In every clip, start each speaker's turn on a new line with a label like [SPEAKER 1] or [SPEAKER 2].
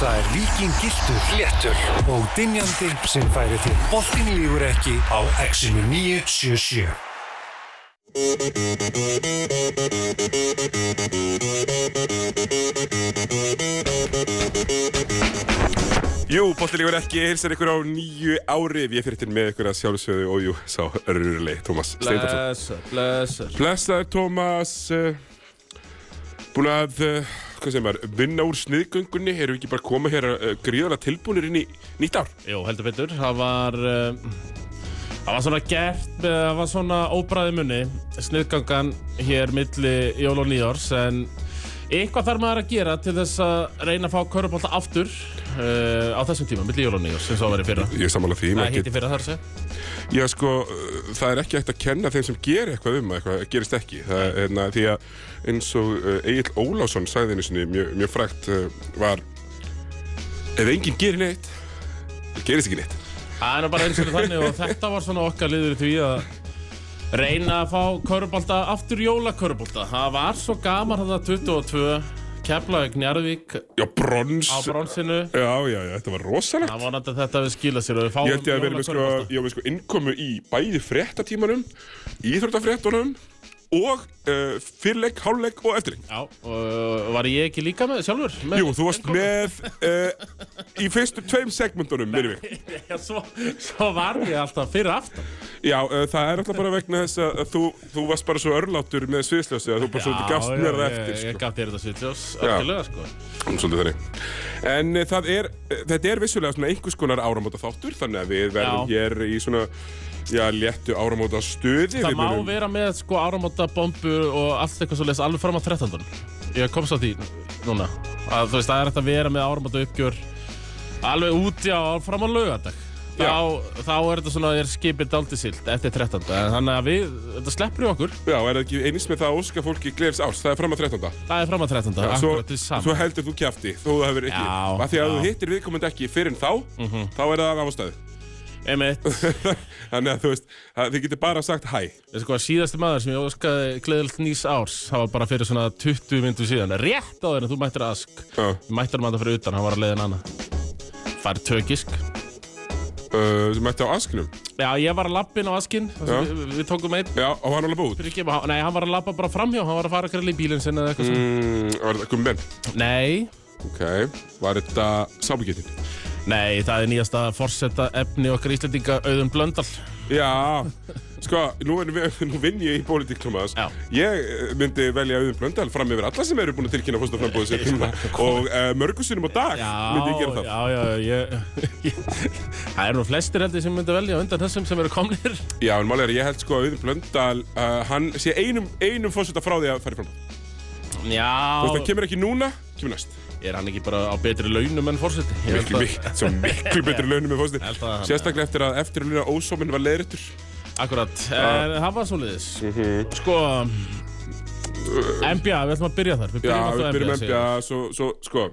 [SPEAKER 1] Það er Víking Giltur, Léttur og Dinjandi sem færi þér boltin lífur ekki á Exinu 977.
[SPEAKER 2] Jú, bóttilegur ekki, hilsar ykkur á nýju ári Við fyrirtinn með ykkur að sjálfsögðu og jú, sá örurli, Tómas Steindarsson
[SPEAKER 3] Blessar, blessar
[SPEAKER 2] Blessaður, Tómas eh, Búin að, eh, hvað segir maður, vinna úr sniðgöngunni Erum við ekki bara að koma hér eh, gríðarlega tilbúinir inn í nýtt ár?
[SPEAKER 3] Jó, heldur betur, það var uh, Það var svona gert, eh, það var svona óbræði munni Sniðgangan hér milli jól og nýjórs En eitthvað þarf maður að gera til þess að reyna að fá körubólta aftur uh, Á þessum tíma, milli jól og nýjórs, eins og það var í fyrra
[SPEAKER 2] Ég er sammála því
[SPEAKER 3] Nei,
[SPEAKER 2] maður
[SPEAKER 3] hitti fyrra þar að segja
[SPEAKER 2] Já, sko, uh, það er ekki hægt að kenna þeim sem gerir eitthvað um að eitthvað, gerist ekki. Það er hérna, því að eins og uh, Egil Ólásson sagði einu sinni mjög, mjög frægt uh, var ef enginn gerir neitt, það gerist ekki neitt.
[SPEAKER 3] Það er nú bara eins og þannig og þetta var svona okkar liður í því að reyna að fá körubolta, aftur jólakörubólta Það var svo gaman þetta 22 Keflavík, Njarðvík
[SPEAKER 2] Já, brons.
[SPEAKER 3] á bronsinu
[SPEAKER 2] Já, já, já, þetta var rosalegt.
[SPEAKER 3] Það var náttúrulega þetta að við skila sér og við fáum
[SPEAKER 2] Ég held ég að vera með sko,
[SPEAKER 3] jólakörfubolta.
[SPEAKER 2] ég var með sko innkomu í bæði fréttatímanum, íþróttafréttunum og uh, fyrirleik, hálfleik og eftirleik.
[SPEAKER 3] Já, og var ég ekki líka með sjálfur?
[SPEAKER 2] sko-
[SPEAKER 3] Með
[SPEAKER 2] Jú, þú varst með uh, í fyrstu tveim segmentunum, minnum við.
[SPEAKER 3] Já, svo, svo var ég alltaf fyrir aftan
[SPEAKER 2] Já, uh, það er alltaf bara vegna þess að þú, þú varst bara svo örlátur með sviðsljósið að þú bara svolítið gafst mér það eftir,
[SPEAKER 3] Ég, ég
[SPEAKER 2] sko.
[SPEAKER 3] gaf þér þetta svitljós, öllulega sko
[SPEAKER 2] Ég... Svolítið þannig. En uh, það er, uh, þetta er vissulega svona einhvers konar áramóta þáttur, þannig að við verðum
[SPEAKER 3] Já.
[SPEAKER 2] hér í svona, já, léttu áramóta stuði.
[SPEAKER 3] Það má vera með sko áramóta bombur og allt eitthvað svo leys alveg fram á 13. Ég komst að því núna að þú veist, það er hægt að vera með áramóta uppgjör alveg úti á fram á laugardag
[SPEAKER 2] Já.
[SPEAKER 3] þá, þá er þetta svona, er skipið daldið silt eftir 13. En Þannig að við, þetta sleppur í okkur
[SPEAKER 2] Já, er það ekki einins með það að óska fólki glefs árs, það er fram að 13.
[SPEAKER 3] Það er fram að 13.
[SPEAKER 2] svo,
[SPEAKER 3] Akkurat því
[SPEAKER 2] svo
[SPEAKER 3] saman.
[SPEAKER 2] heldur þú kjafti, þú hefur ekki.
[SPEAKER 3] Já,
[SPEAKER 2] Af því að
[SPEAKER 3] já. Mhm.
[SPEAKER 2] þú hittir viðkomandi ekki fyrir en þá, þá er það af ástæðu.
[SPEAKER 3] Einmitt.
[SPEAKER 2] Þannig að þú veist, að þið getur bara sagt hæ.
[SPEAKER 3] Þessi hvað síðasti maður sem ég óskaði gleðilt nýs árs, það var bara fyrir svona 20 myndu síðan. Rétt á þeirra, þú mættir ask.
[SPEAKER 2] Já.
[SPEAKER 3] Ég mættir hann maður fyrir utan, hann var að leiðin annað. Fær tökisk.
[SPEAKER 2] Uh, sem mætti á askinum.
[SPEAKER 3] Já, ég var að lappin á askinn, þar sem
[SPEAKER 2] Já.
[SPEAKER 3] við, við tókum einn
[SPEAKER 2] Já, og hann alveg búið.
[SPEAKER 3] fyrir ekki, hann- nei, hann var að lappa bara framhjá, hann var að fara að grilla í bílinn sinni eða eitthvað svona.
[SPEAKER 2] Mm, var þetta gumbenn?
[SPEAKER 3] Nei,
[SPEAKER 2] Ok, var þetta sábyggjittin?
[SPEAKER 3] nei, það er nýjasta forsetta efni okkar íslendinga auðum blöndal.
[SPEAKER 2] Já, sko, nú, er, nú vinn ég í pólitíklumaðas.
[SPEAKER 3] Já.
[SPEAKER 2] Ég eh, myndi velja auðvun blöndal fram yfir alla sem eru búin að tilkynna fórstaframbóðu sér tíma og uh, mörgusunum á dag myndi ég gera það.
[SPEAKER 3] já, já, ég, ég, það er nú flestir heldur sem myndi velja á undan þessum sem eru komnir.
[SPEAKER 2] Já, en málega er að ég held sko að auðvun blöndal, uh, hann sé einum, einum fórseta frá því að fara í frambóð.
[SPEAKER 3] Já,
[SPEAKER 2] Þú veist, hann kemur ekki núna, kemur næst.
[SPEAKER 3] er hann ekki bara á betri launum enn fórseti? Ég held
[SPEAKER 2] Miklu,
[SPEAKER 3] að-
[SPEAKER 2] miklu, svo miklu betri launum með
[SPEAKER 3] Held
[SPEAKER 2] fórseti.
[SPEAKER 3] að hann-
[SPEAKER 2] Sérstaklega eftir að eftirluna ósóminn var leiðrættur.
[SPEAKER 3] Akkurat, en það var svoleiðis Sko NBA, við ætlum að byrja þar Við
[SPEAKER 2] Já,
[SPEAKER 3] byrjum alltaf
[SPEAKER 2] við byrjum
[SPEAKER 3] segir
[SPEAKER 2] NBA, svo, svo, sko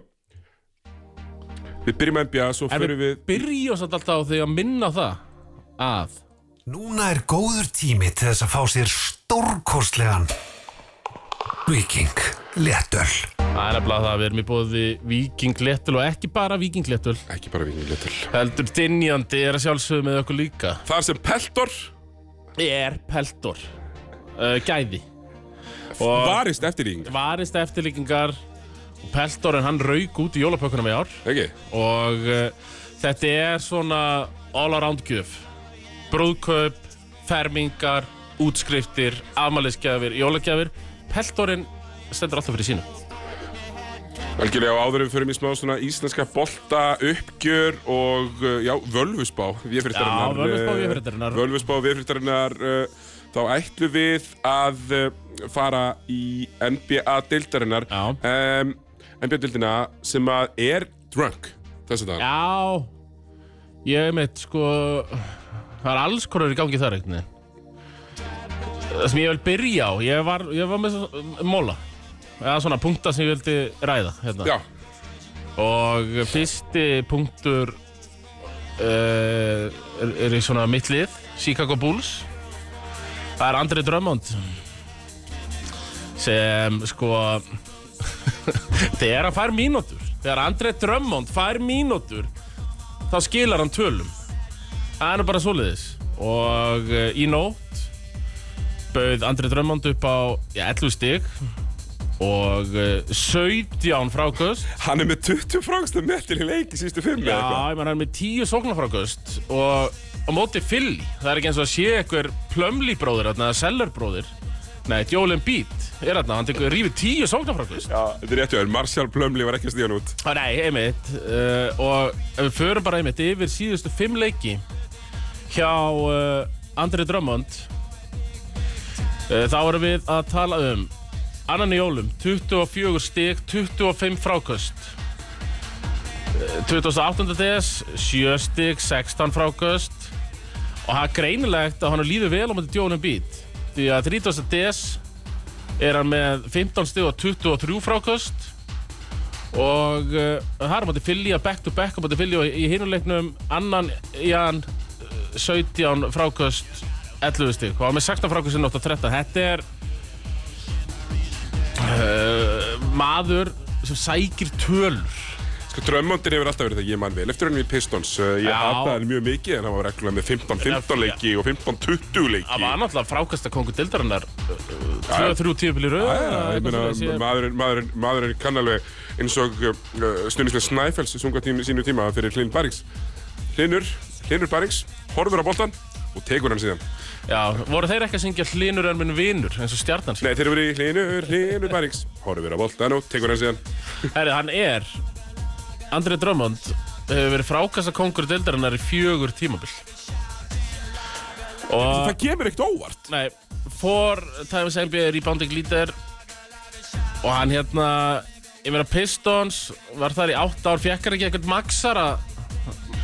[SPEAKER 2] Við byrjum NBA, svo
[SPEAKER 3] En
[SPEAKER 2] fyrir
[SPEAKER 3] við
[SPEAKER 2] við
[SPEAKER 3] byrjum samt alltaf á því að minna það að
[SPEAKER 1] Núna er góður tími til þess að fá sér stórkostlegan Víking Léttöl.
[SPEAKER 3] Það er nefnilega það að við erum í bóði vikingléttul og ekki bara vikingléttul
[SPEAKER 2] Ekki bara vingi léttul
[SPEAKER 3] heldur dynjandi er að sjálfsögðu með okkur líka
[SPEAKER 2] Þar sem Peltor
[SPEAKER 3] er peltor uh, gæði og
[SPEAKER 2] varist eftir yng
[SPEAKER 3] varist eftirlíkingar og peltorinn hann rauk út í jólapökunum í ár
[SPEAKER 2] Ekki?
[SPEAKER 3] og uh, þetta er svona all around gjöf brúðkaup, fermingar útskriftir, afmælisgjafir jólagjafir, peltorinn stendur alltaf fyrir sínu
[SPEAKER 2] Algjörlega og áður en við förum í smá svona íslenska bolta uppgjör og uh, já, völvusbá Véfrittarinnar
[SPEAKER 3] Já, Völvuspá Véfréttarinnar.
[SPEAKER 2] Völvusbá Véfrittarinnar uh, Þá ætlum við að uh, fara í NBA-deildarinnar
[SPEAKER 3] Já.
[SPEAKER 2] um, NBA-deildina sem að er drunk Þess að það
[SPEAKER 3] Já ég meitt sko það er alls konar í gangi þar eigni það sem ég vil byrja á ég var, ég var með svo- móla eða svona punkta sem ég vildi ræða hérna.
[SPEAKER 2] Já,
[SPEAKER 3] og fyrsti punktur uh, er, er í svona mitt lið Chicago Bulls það er Andri Drummond sem sko þegar hann fær mínútur Þegar André Drummond fær mínútur þá skilar hann tölum Það er nú bara svoleiðis og eh, í nótt bauð André Drummond upp á ja, 11 stig og eh, 17 frákust
[SPEAKER 2] Hann er með 20 frangsta metil í leiki sístu fimm eða eitthvað.
[SPEAKER 3] Já, ég menn hann er með tíu sóknarfrákust og á móti Philly það er ekki eins og að sé einhver Plumlee bróðir þarna, eða Seller bróðir Nei, Jólin Beat er þarna, hann tekur rífið tíu sóknarfrákust
[SPEAKER 2] Já, þetta er rétt hjá þér. Marshall Plumlee var ekki stíðan út.
[SPEAKER 3] Já, nei, einmitt uh, og ef við förum bara einmitt yfir síðustu fimm leiki hjá uh, Andri Drummond uh, þá erum við að tala um annan í jólum, 24 stig 25 fráköst uh, 28. DS 7 stig, 16 fráköst og það er greinilegt að hann líður vel á um þetta djónum bít því að 30. DS er hann með 15 stig og 23 fráköst og uh, það er á móti Fili að back to back á móti Fili og í hinuleiknum annan í hann uh, 17 frákvöst 11 stík og hann með 16 frákvöst í nótt og 13 þetta er uh, maður sem sækir tölur
[SPEAKER 2] Sko, Drömmondir hefur alltaf verið það, ég man vel eftir henni í Pistons. Uh, Ég
[SPEAKER 3] Já.
[SPEAKER 2] hataði hann mjög mikið en hann var reglulega með 15-15 leiki og 15-20 leiki.
[SPEAKER 3] það var náttúrulega frákvösta kongu dildarinnar 2-3 tíupil í röð
[SPEAKER 2] Já, já, ég
[SPEAKER 3] eitthvað
[SPEAKER 2] meina,
[SPEAKER 3] svoleiðis, ég-
[SPEAKER 2] maðurinn, maðurinn, maðurinn kann alveg eins og uh, stundislega Snæfells sunga tími, sínu tíma fyrir Hlinn Barings. Hlinnur, Hlinnur Barings, horfur á boltan og tekur hann síðan.
[SPEAKER 3] já, voru þeir ekki að syngja hlinur en minn vinur eins og stjarnan
[SPEAKER 2] Nei, þeir eru verið í Hlinnur, Hlinnur Barings, horfur á boltan og tekur hann síðan.
[SPEAKER 3] Herri, hann er André Drummond hefur verið frákasta kongur deildarinnar í fjögur tímabil og
[SPEAKER 2] Það kemur ekkert óvart.
[SPEAKER 3] nei, for times NBA rebounding leader og hann hérna ég meina Pistons var þar í 8 ár fjekkar ekki eitthvað maxara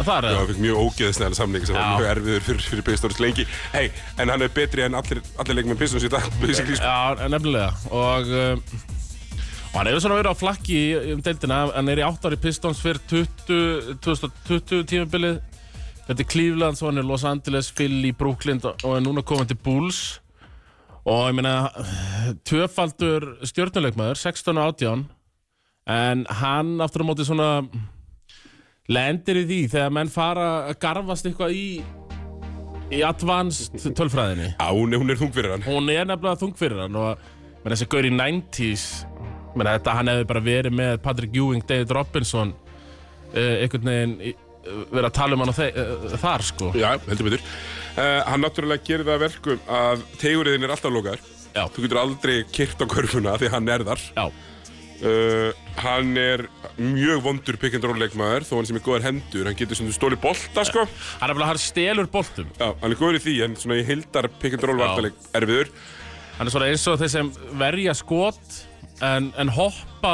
[SPEAKER 3] þar
[SPEAKER 2] Já,
[SPEAKER 3] eða?
[SPEAKER 2] það fikk mjög ógeðsnæðan samning sem
[SPEAKER 3] Já.
[SPEAKER 2] var mjög erfiður fyrir, fyrir Pistons lengi. Hei, en hann er betri en allir, allir leikmenn Pistons í dag, basically. sko.
[SPEAKER 3] Já, nefnilega og, um, og hann hefur svona verið á flakki í- um deildina, hann er í 8 ári Pistons fyrir 20, 2020 tímabilið þetta er Cleveland, svo hann er Los Angeles, Philly, Brooklyn og er núna komin til Bulls og ég meina tvöfaldur stjórnuleikmaður 16 og 18 en hann aftur á móti svona lendir í því þegar menn fara að garfast eitthvað í í advanced tölfræðinni
[SPEAKER 2] Já, hún, er- hún er þung fyrir hann.
[SPEAKER 3] hún er nefnilega þung fyrir hann og menn, þessi gaur í 90s menn, þetta, hann hefði bara verið með Patrick Ewing, David Robinson uh, einhvern veginn uh, verið að tala um hann á þe uh, þar sko
[SPEAKER 2] Já, heldur betur. Uh, hann náttúrulega gerir það að verkum að tegurinn er alltaf lokaður.
[SPEAKER 3] já,
[SPEAKER 2] Þú getur aldrei kyrt á körfuna því hann er þar.
[SPEAKER 3] já,
[SPEAKER 2] Uh, hann er mjög vondur pick and roll leikmaður þó hann sem er góðar hendur. Hann getur svona stóli bolta sko.
[SPEAKER 3] hann er bara hann stelur boltum
[SPEAKER 2] Já, hann er góður í því en svona í hildar pick and roll
[SPEAKER 3] Já.
[SPEAKER 2] vartaleg erfiður.
[SPEAKER 3] hann er svona eins og þeir sem verja skot en, en hoppa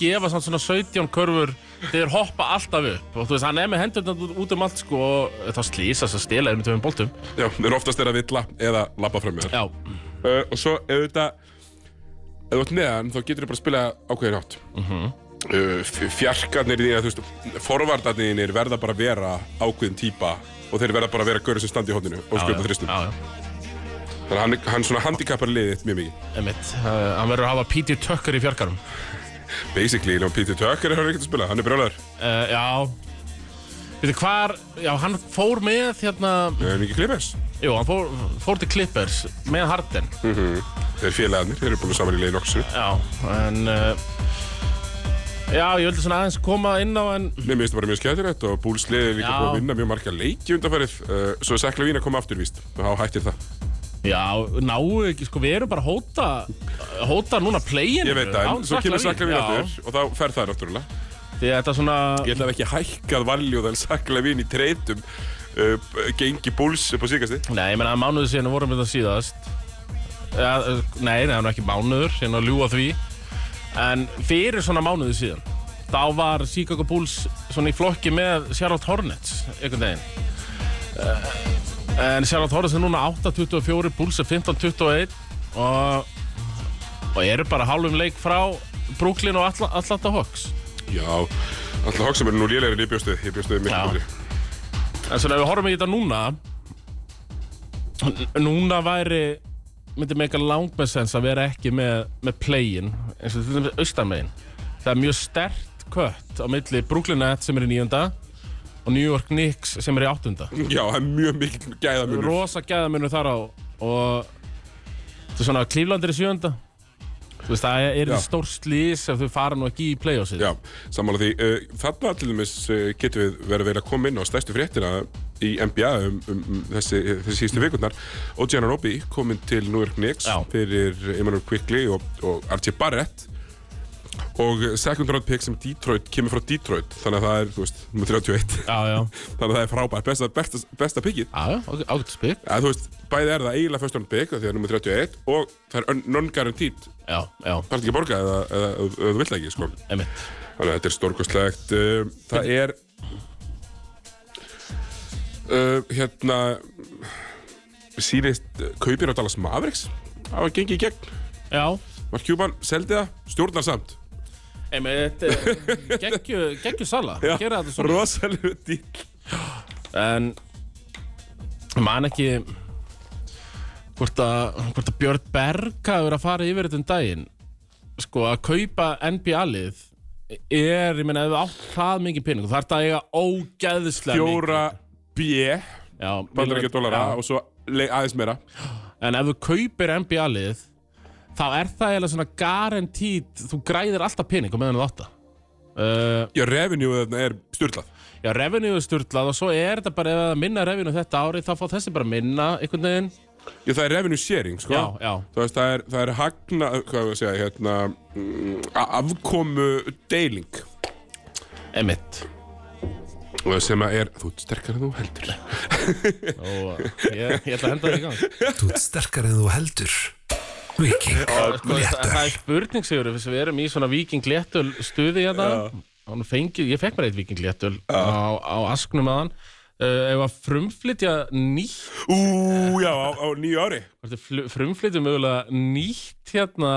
[SPEAKER 3] gefa samt svona 17 körfur þeir hoppa alltaf upp og þú veist, hann er með hendurna út um allt sko og þá slýsast að stela þeir með tveim boltum
[SPEAKER 2] Já, þeir eru oftast er að villa eða labba fram með þér.
[SPEAKER 3] já,
[SPEAKER 2] Uh, og svo ef þetta ef þú ert neðan þá getur þið bara að spila ákveðin átt mm
[SPEAKER 3] Mhm.
[SPEAKER 2] -hmm. uh, fjarkarnir þínir þú veist, forvardarnir þínir verða bara að vera ákveðin típa og þeir verða bara að vera gaurið sem standi í hotninu og skjóta þristum
[SPEAKER 3] já, já.
[SPEAKER 2] þannig að hann, hann svona handikappar liðið þitt mjög mikið
[SPEAKER 3] Einmitt, uh, hann verður að hafa Peter Tucker í fjarkarum
[SPEAKER 2] basically, ef Peter Tucker er hann ekkert að spila hann er brjólaður,
[SPEAKER 3] uh, Já Veitir hvar, já hann fór með hérna
[SPEAKER 2] það er mikið klipers
[SPEAKER 3] Jú, hann fór, fór til Clippers með Harden
[SPEAKER 2] Mm. þeir félagarnir, þeir eru búin saman í liðin okkur
[SPEAKER 3] Já, en uh, Já, ég vildi svona aðeins koma inn á en
[SPEAKER 2] Nei, mér finnst það bara mjög skemmtilegt og Búls liðið er líka
[SPEAKER 3] Já.
[SPEAKER 2] búin að vinna mjög marga leiki undanfærið uh, svo er Sekla Vín að koma aftur víst og þá hættir það
[SPEAKER 3] Já, náu ekki, sko við erum bara að hóta Hóta núna playin
[SPEAKER 2] Ég veit það, en svo kemur Sekla Vín aftur og þá fer það náttúrulega
[SPEAKER 3] Því að þetta svona
[SPEAKER 2] Ég held að hafa ekki hækkað valjú þannig saklega vinn í treytum uh, gengi búls upp á síkasti
[SPEAKER 3] Nei, ég meina að mánuðu síðan við vorum við það síðast ja, uh, Nei, nei, það var ekki mánuður Ég er nú að ljúa því En fyrir svona mánuðu síðan Þá var Chicago Bulls svona í flokki með Charlotte Hornets Einhvern veginn uh, En Charlotte Hornets er núna 8-24 Bulls er 15-21 Og Og eru bara hálfum leik frá Brooklyn og Atla Atlanta Hawks
[SPEAKER 2] Já, alltaf Hoxham er nú lélegri en ég bjóstu Ég bjóstu miklu
[SPEAKER 3] Já.
[SPEAKER 2] betri
[SPEAKER 3] En svona ef við horfum í þetta núna n- Núna væri myndi meika langmessens að vera ekki með, með play-in eins og þetta er austanvegin það er mjög stert kött á milli Brooklyn Nets sem er í nýjunda og New York Knicks sem er í áttunda
[SPEAKER 2] Já, það er mjög mikill gæðamunur
[SPEAKER 3] rosa gæðamunur þar á og þetta er svona Cleveland er í sjönda þú veist það er
[SPEAKER 2] Já.
[SPEAKER 3] stór slís ef þau fara nú ekki í playoffsið
[SPEAKER 2] Já, sammála því uh, Þarna til dæmis uh, getum við verið að vera að koma inn á stærstu fréttina í NBA um, um, um þessi, þessi síðustu vikurnar og Gianna Robby kominn til New York Knicks
[SPEAKER 3] Já.
[SPEAKER 2] fyrir Emmanuel Quickley og, og RJ Barrett og eh, second round pick sem Detroit kemur frá Detroit þannig að það er, þú veist, nummer 31
[SPEAKER 3] já, já,
[SPEAKER 2] þannig að það er frábært besta, besta, besta pickið
[SPEAKER 3] já, já ok, ágætt spik
[SPEAKER 2] að þú veist, bæði er það eiginlega first round pick af því að nummer 31 og það er un- non-guaranteed
[SPEAKER 3] já, já,
[SPEAKER 2] þarf ekki að borga eða, eða, eða, eða, þú vilt það ekki sko.
[SPEAKER 3] emitt
[SPEAKER 2] þannig að þetta er stórkostlegt Um, það er uh, hérna sínist kaupir á Dallas Mavericks hafa gengið í gegn
[SPEAKER 3] já,
[SPEAKER 2] Mark Cuban seldi það, stjórnar samt
[SPEAKER 3] emitt geggju, geggju sala gera þetta svona
[SPEAKER 2] rosalega dýr
[SPEAKER 3] en ég man ekki hvort að, hvort að Björn Berg hafi verið að fara yfir þetta um daginn sko að kaupa NBA-lið er, ég meina, ef við átt það mikið pening þú þarf það að eiga ógæðislega
[SPEAKER 2] fjóra B
[SPEAKER 3] mikið Já,
[SPEAKER 2] bandar ekki dólara
[SPEAKER 3] já.
[SPEAKER 2] og svo le- aðeins meira
[SPEAKER 3] en ef þú kaupir NBA-lið þá er það eiginlega svona garantít þú græðir alltaf pening og meðan þú átt það uh,
[SPEAKER 2] já, revenue þarna er stjórnlað
[SPEAKER 3] Já, revenue er sturlað og svo er þetta bara ef það er minna revenue þetta árið þá fá þessi bara minna einhvern veginn
[SPEAKER 2] Já, það er revenue sharing, sko.
[SPEAKER 3] Já, já.
[SPEAKER 2] Þú veist, það er, það er hagna, hvað við að segja, hérna, mm, a- afkomu deiling eh,
[SPEAKER 3] Emitt
[SPEAKER 2] sem að er, þú ert sterkar en þú heldur.
[SPEAKER 3] og ég, ég ætla að henda það í gang
[SPEAKER 1] Þú ert sterkar en þú heldur Viking
[SPEAKER 3] sko, það, það er spurning sigur þess að við erum í svona vikingléttul stuði hérna Hann fengið, ég fekk mér eitt vikingléttul á, á asknum að hann uh, ef að frumflytja nýtt
[SPEAKER 2] Ú, já, á, á nýju ári.
[SPEAKER 3] hvort er fl- frumflytja mögulega nýtt hérna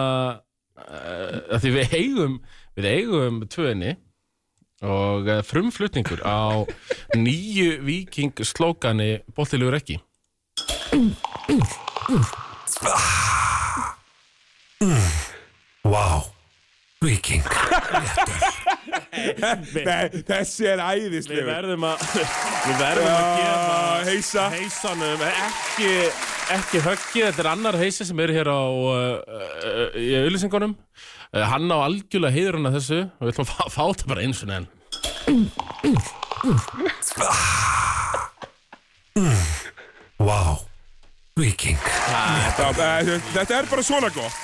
[SPEAKER 3] uh, því við eigum við eigum tvöinni og eh, frumflutningur á nýju viking slókani boltilegur ekki
[SPEAKER 1] Vá Viking
[SPEAKER 2] Nei, þessi er
[SPEAKER 3] Við
[SPEAKER 2] æðislegur.
[SPEAKER 3] verðum að Við verðum að
[SPEAKER 2] Já,
[SPEAKER 3] gefa
[SPEAKER 2] heisa.
[SPEAKER 3] heisanum ekki, ekki höggið, þetta er annar heisi sem er hér á uh, uh, í auðlýsingunum uh, Hann á algjörlega heiðurinn að þessu og við ætlum að fá, fá þetta bara eins og neðan
[SPEAKER 1] Vá Viking
[SPEAKER 2] Já, eh, Þetta er bara svona gott.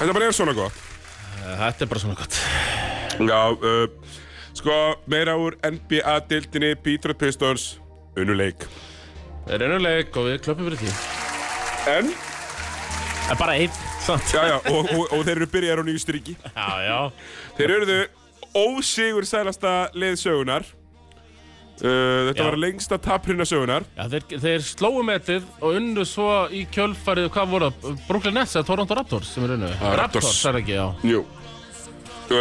[SPEAKER 2] Þetta bara er svona gott.
[SPEAKER 3] Eh, Þetta er bara svona gott
[SPEAKER 2] Já, uh, sko, meira úr NBA-dildinni, Peter Pistons, unnuleik.
[SPEAKER 3] Það er ennuleik og við klöppum fyrir því
[SPEAKER 2] En,
[SPEAKER 3] Það er bara einn samt.
[SPEAKER 2] já, já, og, og, og þeir eru byrjar á nýju stríki.
[SPEAKER 3] Já, já
[SPEAKER 2] Þeir eruðu ósigur sælasta lið sögunar uh, Þetta
[SPEAKER 3] Já.
[SPEAKER 2] var lengsta taprinna sögunar
[SPEAKER 3] Já, þeir, þeir slóu metið og unnu svo í kjölfarið, hvað voru það? Brooklyn Nets eða Toronto Raptors sem er unnu?
[SPEAKER 2] Ah, Raptors.
[SPEAKER 3] Raptors, er það ekki, já.
[SPEAKER 2] Jú uh,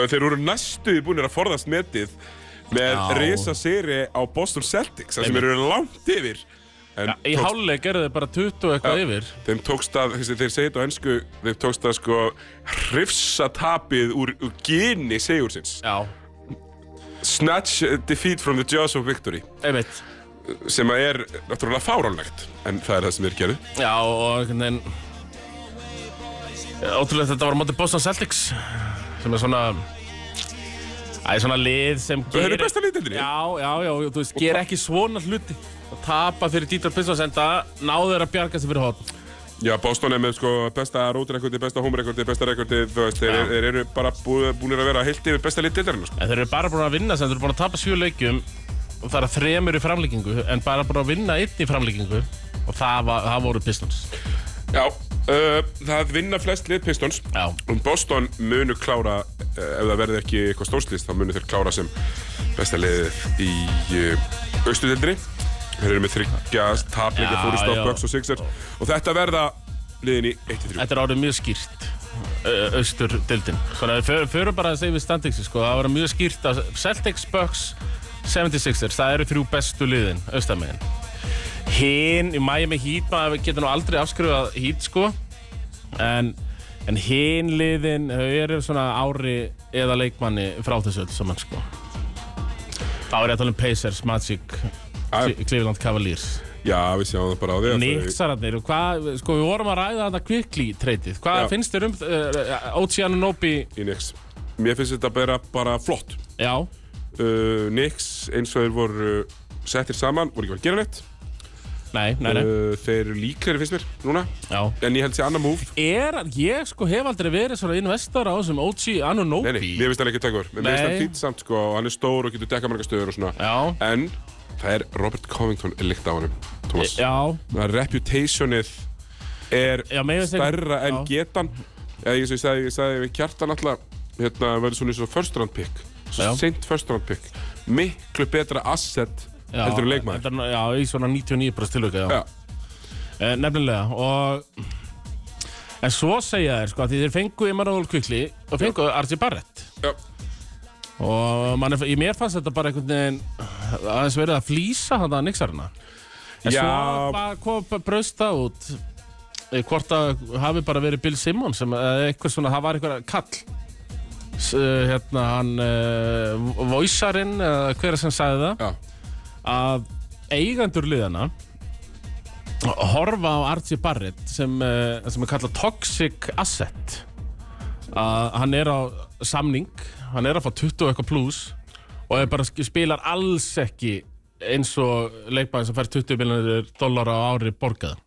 [SPEAKER 2] Þeir eru næstu búinir að forðast metið með
[SPEAKER 3] Já.
[SPEAKER 2] risa seri á Boston Celtics þar sem
[SPEAKER 3] Einmitt.
[SPEAKER 2] eru langt yfir En
[SPEAKER 3] Í
[SPEAKER 2] tókst-
[SPEAKER 3] háluleik eru þeir bara 20 og eitthvað
[SPEAKER 2] Já.
[SPEAKER 3] yfir.
[SPEAKER 2] þeim tókst að, þessi, þeir segja þetta á ennsku þeim tókst að sko hrifsa tapið úr, úr gini segursins
[SPEAKER 3] Já,
[SPEAKER 2] Snatch defeat from the jaws of victory
[SPEAKER 3] einmitt.
[SPEAKER 2] sem að er náttúrulega fáránlegt en það er það sem þeir gerðu
[SPEAKER 3] Já, og einhvern veginn... Ótrúlega þetta var á móti Boston Celtics, sem er svona... Það er svona lið sem
[SPEAKER 2] Þau eru besta lítildinni
[SPEAKER 3] Já, já, já, og þú veist, ger ekki svona hluti. Að tapa fyrir Dieter Pistons en það náðu þeir að bjarga sig fyrir hotn.
[SPEAKER 2] Já, Boston er með sko besta rótrekordi, besta homerekordi, besta rekordi, þú veist, þeir,
[SPEAKER 3] Já.
[SPEAKER 2] þeir eru bara búið, búinir að vera heilt yfir besta lið dildarinn, sko.
[SPEAKER 3] En þeir eru bara búin að vinna sem þeir eru búin að tapa sjö leikjum og það er að þremur í framlíkingu en bara búin að vinna einn í framlíkingu og það, var, það voru Pistons.
[SPEAKER 2] Já, uh, það vinna flest lið Pistons.
[SPEAKER 3] Já.
[SPEAKER 2] Og Boston munu klára, uh, ef það verður ekki eitthvað stórslýst, þá munu þeir klára sem besta liðið í uh, austudildinni. Þeir eru með þryggja, tapleika,
[SPEAKER 3] Já,
[SPEAKER 2] fóru stopp,
[SPEAKER 3] já.
[SPEAKER 2] bucks og sixers. Og þetta verða liðin í 1-3.
[SPEAKER 3] Þetta er árið mjög skýrt ö- austur dildin Svona, við förum bara að segja við standingsi sko. það var mjög skýrt að Celtics, Bucks 76ers, það eru þrjú bestu liðin austamegin Hinn í Miami Heat, maður getur nú aldrei afskrifað Heat sko en En hin liðin, þau eru svona ári eða leikmanni frá þessu öll saman sko. Þá er ég að tala um Pacers, Magic,
[SPEAKER 2] Æ.
[SPEAKER 3] Cle- Cleveland Cavaliers.
[SPEAKER 2] Já, við sjáum það bara á því að þau-
[SPEAKER 3] Nixararnir, og hvað, sko við vorum að ræða þetta kvikli treytið. Hvað
[SPEAKER 2] Já.
[SPEAKER 3] finnst þér um uh, Ocean Nobi?
[SPEAKER 2] í Nix Mér finnst þetta bara, bara flott
[SPEAKER 3] Já,
[SPEAKER 2] uh, Nix eins og þeir voru uh, settir saman, voru ekki að gera neitt
[SPEAKER 3] nei, nei, nei,
[SPEAKER 2] uh, Þeir eru líklegri finnst mér núna
[SPEAKER 3] já.
[SPEAKER 2] En ég held sér annað múf
[SPEAKER 3] Er, ég sko hef aldrei verið svona investor á þessum OG Anunobi.
[SPEAKER 2] Nei, nei, mér finnst hann ekki tökur Mér finnst
[SPEAKER 3] Nei.
[SPEAKER 2] hann fýtt samt sko og Hann er stór og getur dekka marga stöður og svona
[SPEAKER 3] Já.
[SPEAKER 2] En það er Robert Covington líkt á honum Thomas
[SPEAKER 3] Já,
[SPEAKER 2] Það er reputationið er
[SPEAKER 3] Já, mér finnst ekki-
[SPEAKER 2] stærra en
[SPEAKER 3] já.
[SPEAKER 2] getan Eða eins og ég sagði, ég sagði við kjartan alltaf Hérna verður svona eins og first round pick Svo
[SPEAKER 3] Já.
[SPEAKER 2] seint first round pick Miklu betra asset
[SPEAKER 3] já.
[SPEAKER 2] heldur en leikmaður
[SPEAKER 3] þetta er- Já, í svona 99% tilvika, já.
[SPEAKER 2] Já,
[SPEAKER 3] Eh, Nefnilega og En svo segja þeir sko að því þeir fengu Emmanuel Kvikli og fengu Archie Barrett
[SPEAKER 2] já,
[SPEAKER 3] og man, í mér fannst þetta bara einhvern veginn aðeins verið að flýsa hann að nixarina en
[SPEAKER 2] Já.
[SPEAKER 3] svo bara kom bara braust það út eh, hvort að hafi bara verið Bill Simmons sem eða eitthvað svona, það var einhver kall S, eh, hérna hann uh, voicearinn eða hver er sem sagði það
[SPEAKER 2] já
[SPEAKER 3] að eigendur liðana horfa á Archie Barrett sem, eh, sem er kallað Toxic Asset að hann er á samning hann er að fá 20 og eitthvað pluss og er bara sk- spilar alls ekki eins og leikmæðin sem fær 20 miljonir dólar á ári borgað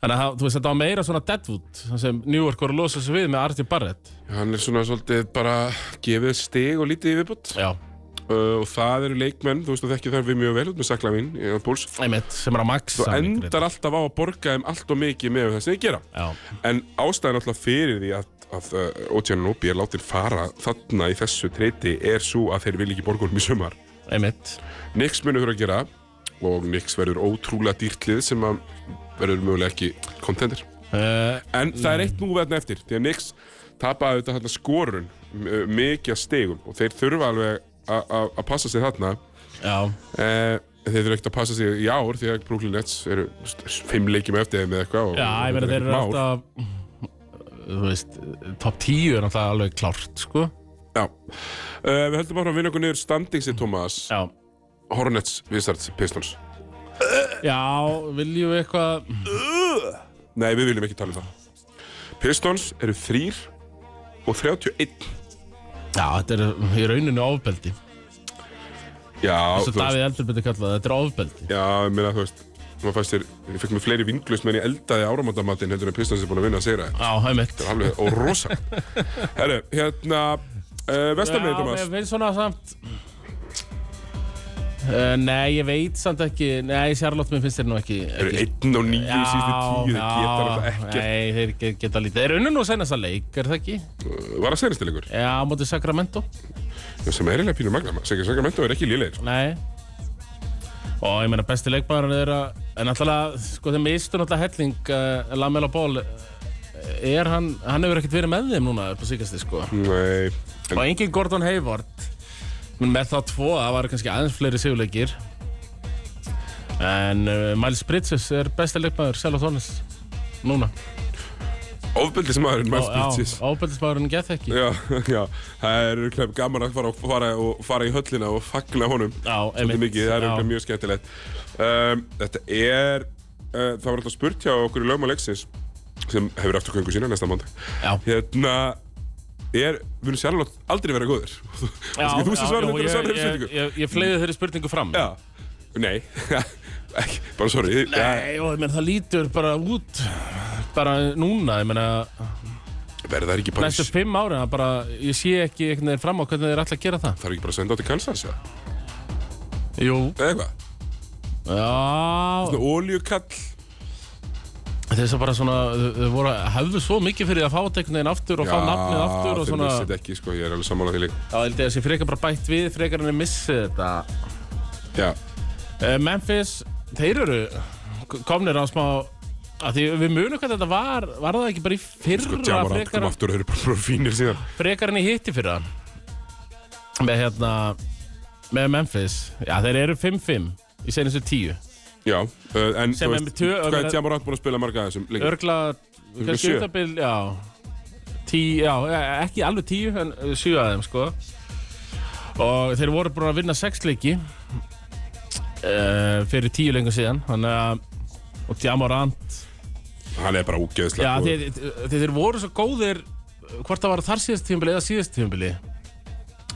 [SPEAKER 3] þannig að það- þú veist þetta var meira svona Deadwood þar sem New York voru að losa sig við með Archie Barrett
[SPEAKER 2] Hann er svona svolítið bara gefið stig og lítið í viðbútt
[SPEAKER 3] já,
[SPEAKER 2] uh, og það eru leikmenn, þú veist að þekki þar við mjög vel út með sakla mín, Púls
[SPEAKER 3] einmitt, sem er að
[SPEAKER 2] þú
[SPEAKER 3] maksa
[SPEAKER 2] endar alltaf á að borga þeim allt og mikið með það sem þið gera
[SPEAKER 3] já,
[SPEAKER 2] en ástæðan alltaf fyrir því að, að uh, Ocean Nobi er látin fara þarna í þessu treyti er svo að þeir vil ekki borga honum í sumar
[SPEAKER 3] einmitt
[SPEAKER 2] Nix munur þurfa að gera og Nix verður ótrúlega dýrtlið sem að verður mögulega ekki kontender
[SPEAKER 3] uh,
[SPEAKER 2] en það er eitt núverðna eftir því að Nix tapaði þetta hérna skorun m- mikið að stegum og þeir þurfa alveg að- að að passa sig þarna
[SPEAKER 3] já,
[SPEAKER 2] Eh, þeir þurfa ekkert að passa sig í ár því að Brooklyn Nets eru st- fimm leikjum eftir þeim eða eitthvað og
[SPEAKER 3] Já, ég meina
[SPEAKER 2] þetta
[SPEAKER 3] þeir
[SPEAKER 2] er
[SPEAKER 3] eru
[SPEAKER 2] ekkert mál.
[SPEAKER 3] alltaf Þú veist, top 10 er náttúrulega alveg klárt, sko
[SPEAKER 2] Já. Uh, við höldum bara að vinna okkur niður standingsi Thomas
[SPEAKER 3] Já
[SPEAKER 2] Hornets, Wizards, Pistons
[SPEAKER 3] viljum við eitthvað
[SPEAKER 2] Nei, við viljum ekki tala um það Pistons eru þrýr og 31
[SPEAKER 3] Já, þetta er í rauninu ofbeldi
[SPEAKER 2] Já,
[SPEAKER 3] Svo Davíð Eldur byrði kallað, þetta er ofbeldi
[SPEAKER 2] Já, ég meina þú veist maður fannst þér, ég fekk mér fleiri vinglaust meðan ég eldaði áramatamatin heldur en Pistons er búin að vinna að segja það
[SPEAKER 3] Já, heimitt
[SPEAKER 2] er alveg og rosa Herru, hérna uh, Vestamegin Thomas
[SPEAKER 3] Já, ég veit svona samt uh, Nei, ég veit samt ekki Nei, Sjarlótt, mér finnst þér nú ekki,
[SPEAKER 2] eru
[SPEAKER 3] ekki.
[SPEAKER 2] 1 og 9 í síðustu 10 þeir geta alveg
[SPEAKER 3] já,
[SPEAKER 2] ekkert
[SPEAKER 3] nei, þeir ge- geta lítið Þeir unnu nú senast að leik, er það ekki?
[SPEAKER 2] var að senast til ykkur
[SPEAKER 3] Já, á móti Sacramento
[SPEAKER 2] sem er eiginlega pínur magna segir Sacramento er ekki lélegir sko.
[SPEAKER 3] Nei Og ég meina besti leikmaðurinn er að En náttúrulega, sko þeim mistu náttúrulega helling uh, Lamela Ból Er hann, hann hefur ekkert verið með þeim núna upp á síkasti sko
[SPEAKER 2] nei
[SPEAKER 3] Og engin Gordon Hayward Men með þá tvo, það var kannski aðeins fleiri sigurleikir En uh, Miles Bridges er besti leikmaður Sel og Tónis Núna
[SPEAKER 2] ofbildismæðurinn Miles Bridges
[SPEAKER 3] Ábældismaðurinn get ekki
[SPEAKER 2] já, já það er örugglega gaman að fara, og fara, og fara í höllina og fagna honum
[SPEAKER 3] Já,
[SPEAKER 2] svolítið mikið það er
[SPEAKER 3] já.
[SPEAKER 2] örugglega mjög skemmtilegt um, þetta er uh, það var alltaf spurt hjá okkur í lögma leiksins sem hefur aftur köngu sína næsta mándag
[SPEAKER 3] Já.
[SPEAKER 2] hérna er munu sjálfnátt aldrei vera góðir kannski þú sem
[SPEAKER 3] já,
[SPEAKER 2] svarar
[SPEAKER 3] já,
[SPEAKER 2] þetta
[SPEAKER 3] ég-
[SPEAKER 2] er svarar
[SPEAKER 3] ég-
[SPEAKER 2] spurningu
[SPEAKER 3] Ég, ég fleiði þeirri spurningu fram
[SPEAKER 2] já nei ekki bara sorry Já,
[SPEAKER 3] Nei, og ég meina það lítur bara út bara núna, ég meina
[SPEAKER 2] verða það ekki bara
[SPEAKER 3] næstu fimm ára bara, ég sé ekki einhvern veginn fram á hvernig þeir ætla að gera það
[SPEAKER 2] þarf ekki bara að senda á til Kansas eða
[SPEAKER 3] Jú,
[SPEAKER 2] Eða eitthvað
[SPEAKER 3] já
[SPEAKER 2] svona óljukall
[SPEAKER 3] þess að bara svona, þau- þau voru hefðu svo mikið fyrir að fá þetta einhvern veginn aftur og fá nafnið aftur og
[SPEAKER 2] þeir
[SPEAKER 3] svona
[SPEAKER 2] vissi þetta ekki sko ég er alveg sammála því líka
[SPEAKER 3] Já, ég held ég að sé frekar bara bætt við, frekar en ég missi þetta
[SPEAKER 2] já
[SPEAKER 3] Eh, Memphis, þeir eru k- komnir á smá að því við munum hvað þetta var var það ekki bara í
[SPEAKER 2] sko
[SPEAKER 3] fyrra
[SPEAKER 2] Jamarant
[SPEAKER 3] frekar
[SPEAKER 2] kom aftur og þeir eru bara, bara fínir síðan
[SPEAKER 3] frekar en í hitti fyrir það með hérna með Memphis, já þeir eru 5-5 í senastu 10
[SPEAKER 2] já uh, en þú
[SPEAKER 3] Sem er með tvö-
[SPEAKER 2] hvað
[SPEAKER 3] ömurlega-
[SPEAKER 2] er Jamarant búin að spila marga af þessum lengi
[SPEAKER 3] örgla, kannski
[SPEAKER 2] sjö.
[SPEAKER 3] utabil, já tíu, já, e- ekki alveg tíu en eh, sjö af þeim sko og þeir voru búin að vinna sex leiki uh, fyrir tíu lengur síðan þannig að og Djamorant
[SPEAKER 2] Hann er bara ógeðslega
[SPEAKER 3] já,
[SPEAKER 2] góður.
[SPEAKER 3] þeir, þeir, þeir voru svo góðir eh, hvort það var þar síðast tímbili eða síðast tímbili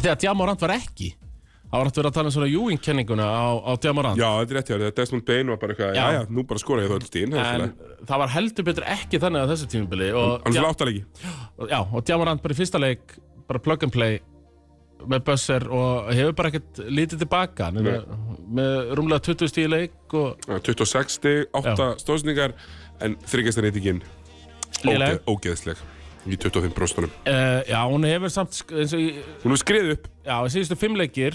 [SPEAKER 3] þegar Djamorant var ekki það var hægt verið að tala um svona júinkenninguna á, á Djamorant
[SPEAKER 2] Já, þetta er rétt hjá þér. Desmond Bain var bara eitthvað,
[SPEAKER 3] Já.
[SPEAKER 2] já, já, nú bara skora ég þá öll stíðin.
[SPEAKER 3] en
[SPEAKER 2] Hann
[SPEAKER 3] það var heldur betur ekki þannig á þessu tímbili og,
[SPEAKER 2] er svona áttalegi.
[SPEAKER 3] Og- Já, og Djamarant bara í fyrsta leik bara plug and play með buzzer og hefur bara ekkert lítið tilbaka hann er með, með rúmlega 20 stíð leik og
[SPEAKER 2] 26 stig, 8 stóðsningar, en þryggjastan eitingin
[SPEAKER 3] Léleg.
[SPEAKER 2] ógeðsleg í 25 bróstunum.
[SPEAKER 3] uh, já, hún hefur samt sk- eins og í,
[SPEAKER 2] Hún er skrið upp.
[SPEAKER 3] já, í síðustu fimm leikir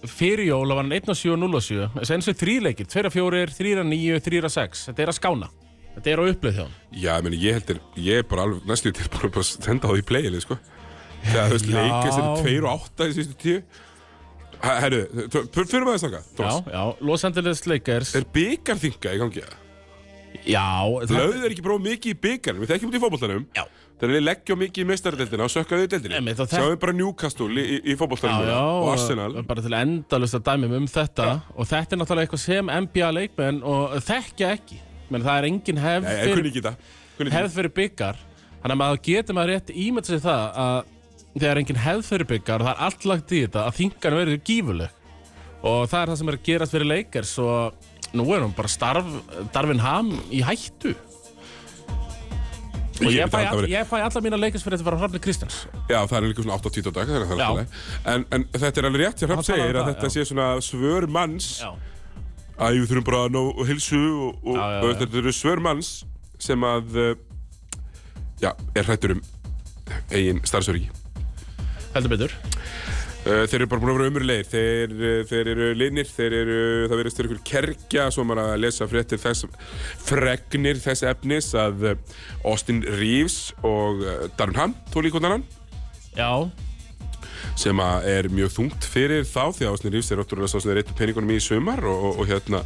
[SPEAKER 3] fyrir jól var hann 1 og 7 og 0 og 7 þessi eins og í þrí leikir, 2 og 4, 3 og 9 3 og 6, þetta er að skána þetta er á upplið hjá hann
[SPEAKER 2] Já, ég meni, ég heldur, ég er bara alveg næstu tilbúin að bara senda á því play-ili, sko. Þegar þú veist,
[SPEAKER 3] Já.
[SPEAKER 2] leikast er 2 og 8 í sístu 10. Herru, fyrir maður þess að
[SPEAKER 3] já,
[SPEAKER 2] það,
[SPEAKER 3] já, Los Angeles Lakers
[SPEAKER 2] er byggarþinga í gangi?
[SPEAKER 3] já, það,
[SPEAKER 2] Löðu þeir ekki bróð mikið í byggarnum, við þekkjum út í fótboltanum.
[SPEAKER 3] já,
[SPEAKER 2] Þegar við leggjum mikið í meistaradeldina og sökkaðu í deldina
[SPEAKER 3] Einmitt, og þe-
[SPEAKER 2] Sjáum við bara Newcastle í, í fótbollstæðinu
[SPEAKER 3] já, já
[SPEAKER 2] og Arsenal
[SPEAKER 3] og bara til endalust að dæmum um þetta og þetta er náttúrulega eitthvað sem NBA leikmenn og þekkja ekki menn það er engin hefð
[SPEAKER 2] Nei, ég
[SPEAKER 3] fyrir,
[SPEAKER 2] kunni ekki það kunni ekki.
[SPEAKER 3] hefð fyrir byggar þannig að maður getur maður rétt ímynda sér það að þegar engin hefð fyrir byggar og það er allt lagt í þetta að þingan verður gífuleg og það er það sem er að gerast fyrir leikar svo nú er hún bara starf, darfin ham í hættu og
[SPEAKER 2] Ég
[SPEAKER 3] ég
[SPEAKER 2] veit
[SPEAKER 3] fæ,
[SPEAKER 2] að það
[SPEAKER 3] all,
[SPEAKER 2] verið-
[SPEAKER 3] ég fæ alla mína leikars fyrir þetta var Hrafni Kristjáns
[SPEAKER 2] Já, það er líka svona 8-20 dag þannig að það er
[SPEAKER 3] Já.
[SPEAKER 2] alveg. en, en þetta er alveg rétt sem
[SPEAKER 3] Hann
[SPEAKER 2] Hrapp
[SPEAKER 3] talaði
[SPEAKER 2] segir
[SPEAKER 3] um
[SPEAKER 2] að
[SPEAKER 3] það,
[SPEAKER 2] þetta
[SPEAKER 3] já.
[SPEAKER 2] sé svona svör manns að við þurfum bara að ná og hilsu og, og,
[SPEAKER 3] Já, já,
[SPEAKER 2] og
[SPEAKER 3] já.
[SPEAKER 2] þetta eru svör manns sem að uh, já, er hrættur um eigin starfsöryggi
[SPEAKER 3] heldur betur
[SPEAKER 2] Uh, þeir eru bara búin að vera umurlegir, þeir, uh, þeir eru linir, þeir eru, það verðist þeir ykkur kerkja, svo maður að lesa fréttir þess, fregnir þess efnis að uh, Austin Reeves og uh, Darren Ham, tólíkondanan,
[SPEAKER 3] já,
[SPEAKER 2] sem að er mjög þungt fyrir þá því að Austin Reeves er ótrúlega svo sem þeir reyttu peningunum í í sumar og, og, og hérna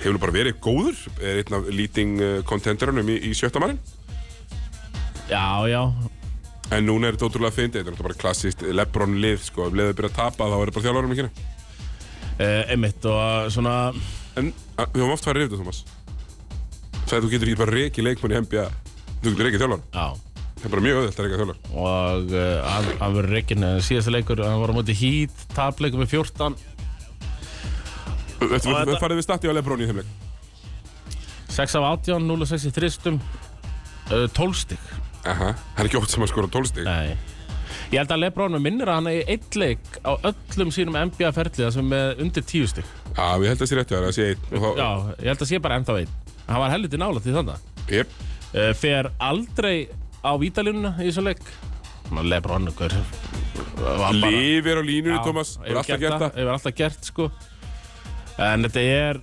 [SPEAKER 2] hefur nú bara verið góður, er einn af leading uh, contenderunum í, í sjötta mannin.
[SPEAKER 3] já, já
[SPEAKER 2] En núna er þetta ótrúlega fyndið, þetta er náttúrulega bara klassíst Lebron lið, sko, ef liðið byrja að tapa þá er þetta bara þjálfarum ekki hérna.
[SPEAKER 3] uh, einmitt og svona
[SPEAKER 2] En a- við höfum oft farið yfir þetta, Thomas. Það að þú getur ekki bara reikið leikmann í NBA. Þú getur reikið þjálfara.
[SPEAKER 3] já,
[SPEAKER 2] Það er bara mjög auðvitað að reikið þjálfara.
[SPEAKER 3] og uh, hann, hann verður reikinn síðasta leikur, hann var á móti hít tapleikum með 14
[SPEAKER 2] Þú veist,
[SPEAKER 3] Og
[SPEAKER 2] það
[SPEAKER 3] þetta-
[SPEAKER 2] farið við stati á Lebron í þeim leik.
[SPEAKER 3] 6 af 18, 0 og 6 í þristum uh, 12 stygg
[SPEAKER 2] Aha, það er ekki oft sem að skora 12 stík.
[SPEAKER 3] Nei. ég held að Lebron mig minnir að hann er eitt leik á öllum sínum NBA ferliða sem er með undir 10 stygg
[SPEAKER 2] Já, ég held að það sé rétt að það sé einn. Og þá,
[SPEAKER 3] já, ég held að sé bara ennþá einn hann var helviti nála til þannig
[SPEAKER 2] ég,
[SPEAKER 3] uh, fer aldrei á vítalínuna í þessum leik Ná, Lebron ykkur
[SPEAKER 2] lifir á línunni, Thomas. Þú er alltaf gert það.
[SPEAKER 3] Ég var alltaf gert sko En þetta er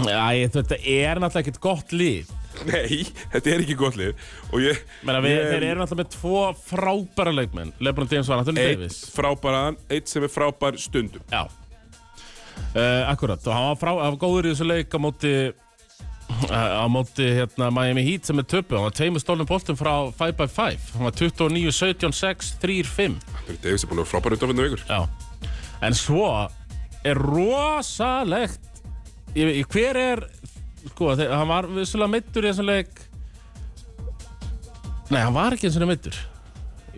[SPEAKER 3] Æ, þetta er náttúrulega ekkert gott líf
[SPEAKER 2] Nei, þetta er ekki gott lið. Og ég,
[SPEAKER 3] Menna, við,
[SPEAKER 2] ég-
[SPEAKER 3] Þeir eru náttúrulega með tvo frábæra leikmenn Lebron James var náttúrulega
[SPEAKER 2] einn
[SPEAKER 3] Davis
[SPEAKER 2] frábæran, einn sem er frábær stundum.
[SPEAKER 3] Já uh, Akkurat, og hann var, frá, hann var góður í þessu leik á móti uh, á móti hérna, Miami Heat sem er töpu hann var tveimur stólnum boltum frá 5x5 hann var 29, 17, 6, 3, 5
[SPEAKER 2] Anthony Davis er búin að vera frábær undanfændum vikur.
[SPEAKER 3] Já En svo er rosalegt ég, veit- Hver er Sko, þeir, hann var vissulega meittur í þessum leik Nei, hann var ekki eins og meittur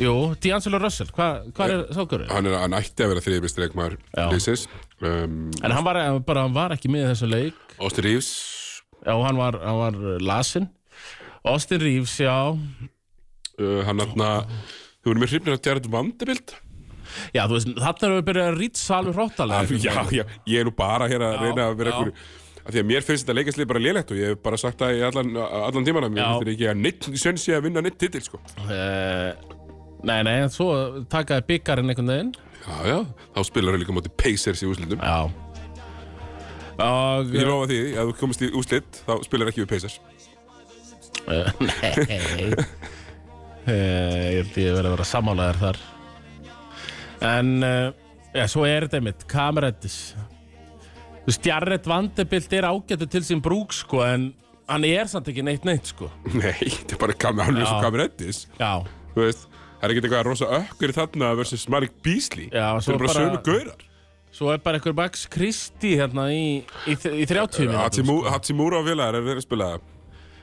[SPEAKER 3] Jú, D'Angelo Russell, hvað hva er sákurinn?
[SPEAKER 2] Hann, er, hann ætti að vera þriðið besti leikmaður
[SPEAKER 3] Já.
[SPEAKER 2] liðsins. Um,
[SPEAKER 3] En hann var, hann bara, hann var ekki með í þessum leik
[SPEAKER 2] Austin Reeves,
[SPEAKER 3] Já, hann var, hann var lasin Austin Reeves, já
[SPEAKER 2] uh, hann aðna, þú verður mér hrifnir að Jared Vanderbilt.
[SPEAKER 3] Já, þú veist, þarna erum við byrjað að rýtsa alveg hróttalega
[SPEAKER 2] Já, já, ég er nú bara hér að
[SPEAKER 3] Já,
[SPEAKER 2] reyna að vera
[SPEAKER 3] já.
[SPEAKER 2] einhverju af því að mér finnst þetta leikaslið bara lélegt og ég hef bara sagt það í allan, allan tímana mér
[SPEAKER 3] Já.
[SPEAKER 2] finnst þetta ekki að neitt sönn sé að vinna neitt titil sko.
[SPEAKER 3] uh, Nei, nei, en svo takaði byggarinn einhvern veginn
[SPEAKER 2] Já, já, þá spilar það líka móti Pacers í úslitum
[SPEAKER 3] Já Og
[SPEAKER 2] Ég lofa því, ef þú komist í úslit þá spilar ekki við Pacers
[SPEAKER 3] Eh, Nei Eh, Ég held ég verið að vera sammálaðar þar En uh, Já, svo er þetta einmitt Kamerættis Stjarret Vandebilt er ágættu til sín brúk sko En hann er samt ekki neitt neitt sko
[SPEAKER 2] Nei, þetta er bara kamer, hann er svo
[SPEAKER 3] Já.
[SPEAKER 2] kamerettis
[SPEAKER 3] Já,
[SPEAKER 2] Þú veist, það er ekkert eitthvað rosa ökkur þarna versus Malik Beasley
[SPEAKER 3] Já,
[SPEAKER 2] Það
[SPEAKER 3] svo
[SPEAKER 2] er bara
[SPEAKER 3] bara-
[SPEAKER 2] sömu gaurar
[SPEAKER 3] svo er bara einhver Max Kristi hérna í, í, í 30 mínútur
[SPEAKER 2] Hatsimu- Hatsimura og félagar er verið að spila það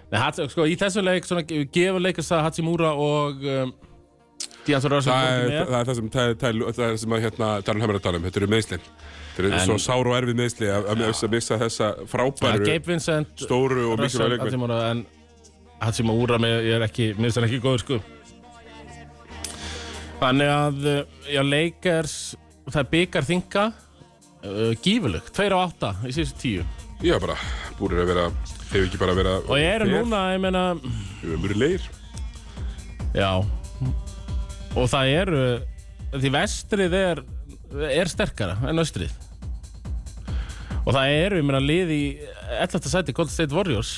[SPEAKER 3] Nei, Hats, sko, í þessu leik svona, gefur leikast að Hachimura og um, Díansson Rörsson
[SPEAKER 2] Það er það er það sem tæ- tæ- það er sem að hérna Darren Hammer er að tala um, þetta eru meðsli Þetta eru
[SPEAKER 3] En-
[SPEAKER 2] svo sár og erfið meðsli að að missa- missa þessa frábæru,
[SPEAKER 3] Gabe Vincent,
[SPEAKER 2] stóru og mikilvæg
[SPEAKER 3] Rörsson,
[SPEAKER 2] leikmenn
[SPEAKER 3] Hachimura en Hachimura með, ég er ekki, minnst hann ekki góður sko Þannig að uh, já, leikers, það er byggar þinga uh, gífuleg, 2 á 8 í síðustu 10
[SPEAKER 2] Já, bara, búrir að vera, hefur ekki bara vera
[SPEAKER 3] og ég eru núna, ég meina
[SPEAKER 2] Ömurleir
[SPEAKER 3] Já Og það eru Því vestrið er, er sterkara en austrið Og það eru, ég meina, lið í 11. sæti Golden State Warriors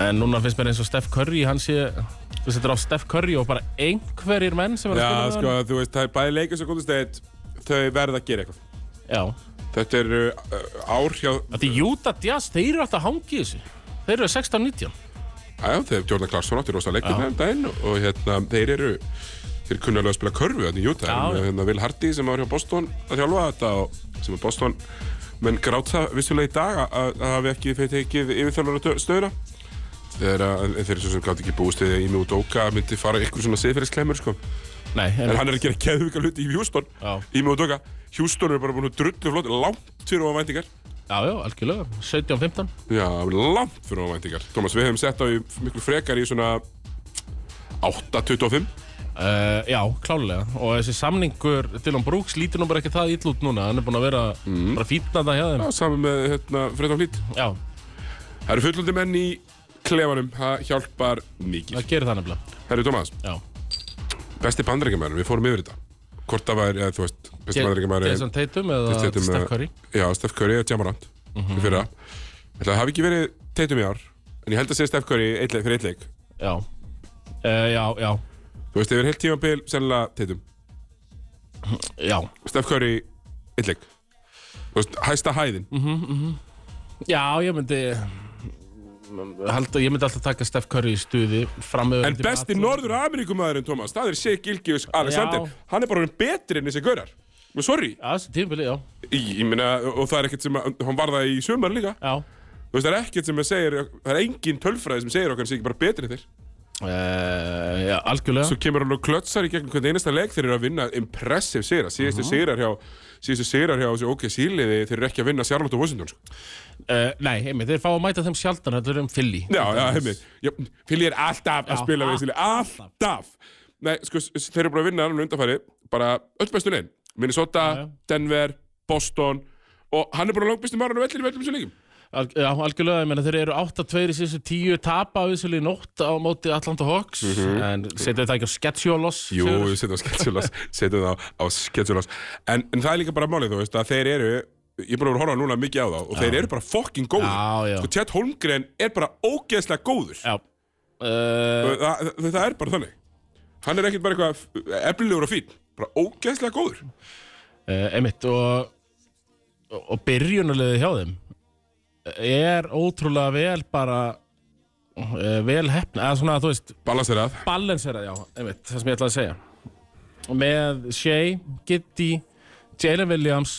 [SPEAKER 3] En núna finnst mér eins og Steph Curry Hann sé, þú setur á Steph Curry Og bara einhverjir menn sem er að
[SPEAKER 2] Já,
[SPEAKER 3] spila
[SPEAKER 2] sko,
[SPEAKER 3] með
[SPEAKER 2] þú veist, það er bæði leikast og góðustætt Þau verða að gera eitthvað
[SPEAKER 3] hann
[SPEAKER 2] Þetta eru uh, ár hjá
[SPEAKER 3] Já Því Utah Jazz, þeir eru alltaf að hanga í þessu Þeir eru 16-19
[SPEAKER 2] Æja, þeir Jordan Clarkson átti rosa leikur nefn daginn og hérna, þeir eru þeir kunna alveg að spila körfu þannig í Utah Þeir
[SPEAKER 3] Já,
[SPEAKER 2] eru
[SPEAKER 3] já.
[SPEAKER 2] með, hérna, Will Hardy sem var hjá Boston að þjálfa þetta og sem er Boston menn gráta vissulega í dag að- að það hafi ekki þeir tekið yfirþjálfara stöðuna þeir, en þeir eru svo sem gátt ekki búist eða Ími og Dóka myndi fara ykkur svona siðferðisklemmur sko.
[SPEAKER 3] Nei,
[SPEAKER 2] en
[SPEAKER 3] einmitt.
[SPEAKER 2] hann er að gera keðvika hluti í Houston
[SPEAKER 3] Já.
[SPEAKER 2] Ími og Dóka Houston er bara búin að drullu flott langt fyrir ofan væntingar
[SPEAKER 3] já, já, algjörlega 17-15
[SPEAKER 2] Já, langt fyrir ofæntingar. Thomas, við hefum sett á í miklu frekar í svona 8.25.
[SPEAKER 3] Uh, já, klálega og þessi samningur Dylan Brooks lítur nú bara ekki það illa út núna hann er búinn að vera
[SPEAKER 2] Mm.
[SPEAKER 3] bara fítna það hjá þeim
[SPEAKER 2] Já, saman með hérna, Freddan Hlýtt.
[SPEAKER 3] Já,
[SPEAKER 2] Það eru fullandi menn í klefanum, það hjálpar mikið.
[SPEAKER 3] það gerir það nefnilega
[SPEAKER 2] Herri Thomas,
[SPEAKER 3] Já,
[SPEAKER 2] besti bandarækjamaður, við fórum yfir þetta. Hvort það var, eða þú veist, besti bandarækjamaður
[SPEAKER 3] Jason Tatum eða
[SPEAKER 2] Tatum,
[SPEAKER 3] Steph
[SPEAKER 2] eh,
[SPEAKER 3] Curry Mhm.
[SPEAKER 2] Já, Steph Curry eða Jamarant mm -hmm. fyrir það. Það hafi ekki verið Tatum í ár, en ég held að segja Steph Curry eitt leik, fyrir eitt leik.
[SPEAKER 3] Já, uh, já, já,
[SPEAKER 2] Þú veist, yfir heilt tímabil, sennilega Tatum.
[SPEAKER 3] já
[SPEAKER 2] Steph Curry, eitt leik. Þú veist, hæsta hæðin.
[SPEAKER 3] Já, ég myndi halda, ég myndi alltaf taka Steph Curry í stuði framöður
[SPEAKER 2] En besti Norður Ameríkumaðurinn, Tómas, það er Sig Gilgius Alexander.
[SPEAKER 3] Já.
[SPEAKER 2] Hann er bara orðinn betri enn þessi gaurar. Og sorry,
[SPEAKER 3] Já, þessi tímabili, já,
[SPEAKER 2] í, ég meina, og það er ekkert sem að, hann var það í sumar líka.
[SPEAKER 3] já
[SPEAKER 2] Þú veist, það er ekkert sem að segir, það er engin tölfræði sem segir okkar hann sé ekki bara betri en þeir.
[SPEAKER 3] Uh, já, algjörlega
[SPEAKER 2] Svo kemur hann og klötsar í gegnum hvernig einasta leik þeir eru að vinna impressive sigrar. Síðustu sigrar hjá, síðustu sigrar hjá þessi OK síliði, þeir eru ekki að vinna Charlotte og Washington, sko.
[SPEAKER 3] uh, Nei, einmitt, þeir fá að mæta þeim sjaldan Þetta er um Philly
[SPEAKER 2] Já, já, heimi. Já, Fili er alltaf að
[SPEAKER 3] Já,
[SPEAKER 2] spila við síli, alltaf. Nei, sko, s- þeir eru bara að vinna hann undanfæri, bara öll bestu legin. Minnesota,
[SPEAKER 3] Já, já.
[SPEAKER 2] Denver, Boston og hann er bara langbestu marðan á vellir í vellum sem líkum.
[SPEAKER 3] Al já, algjörlega, ég meina þeir eru 8-2 í síðustu 10 tapa á þessu í nótt á móti Atlanta Hawks en setja það ekki á sketsjólos
[SPEAKER 2] Jú, við setjum það á sketsjulás, setjum það á sketsjulás. En, en það er líka bara málið, þú veist, að þeir eru, ég er búin að vera að horfa núna mikið á þá og þeir eru bara fucking góður.
[SPEAKER 3] Já, já.
[SPEAKER 2] Sko, Tjett Holmgren er bara ógeðslega góður.
[SPEAKER 3] Já uh,
[SPEAKER 2] Það, það, það er bara þannig. Hann er ekkert bara eitthvað efnilegur og fín, bara ógeðslega góður.
[SPEAKER 3] uh, Einmitt og og byrjunarliðið hjá þeim er ótrúlega vel bara uh, vel hefna, eða svona þú veist
[SPEAKER 2] Ballast þeir að.
[SPEAKER 3] balanserað, já, einmitt, það sem ég ætlaði að segja og með Shea, Giddy Jalen Williams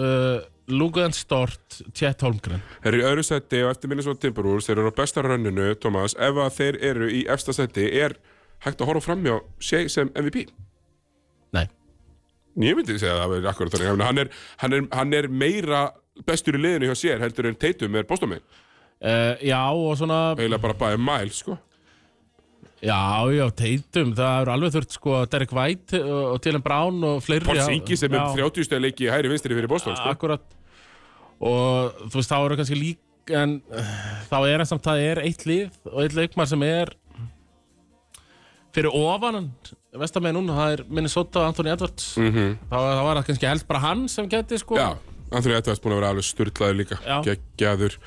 [SPEAKER 3] uh, Lugan Stort Chet Holmgren
[SPEAKER 2] Þeir eru í öðru seti og eftir minni svo Timberwolves, þeir eru á besta rönninu, Thomas, ef að þeir eru í efsta seti, er hægt að horfa framjá Shea sem MVP?
[SPEAKER 3] Nei
[SPEAKER 2] Ég myndi segja að það verður akkurat þannig, Ég meina, hann er, hann, er, hann er meira bestur í liðinu hjá sér heldur en Tatum er bóstómi,
[SPEAKER 3] Uh, já, og svona,
[SPEAKER 2] eiginlega bara bæði mæl, sko.
[SPEAKER 3] já, já, Tatum, það eru alveg þurft, sko, Derek White og Dylan Brown og fleiri.
[SPEAKER 2] Paul
[SPEAKER 3] já,
[SPEAKER 2] Sinki sem er
[SPEAKER 3] já,
[SPEAKER 2] 30 stegi leiki í hæri vinstri fyrir bóstóm, sko.
[SPEAKER 3] Akkurat, og þú veist, þá eru kannski lík, en uh, þá er það samt, það er eitt lið og eitt leikmar sem er fyrir ofanan, vestamegin núna, það er Minnesota og Anthony Edwards. Mm -hmm. þá, þá var það kannski helst bara hann sem geti, sko.
[SPEAKER 2] Mhm. Já, Anthony Edwards búin að vera alveg sturlaður líka,
[SPEAKER 3] Já.
[SPEAKER 2] geggjaður.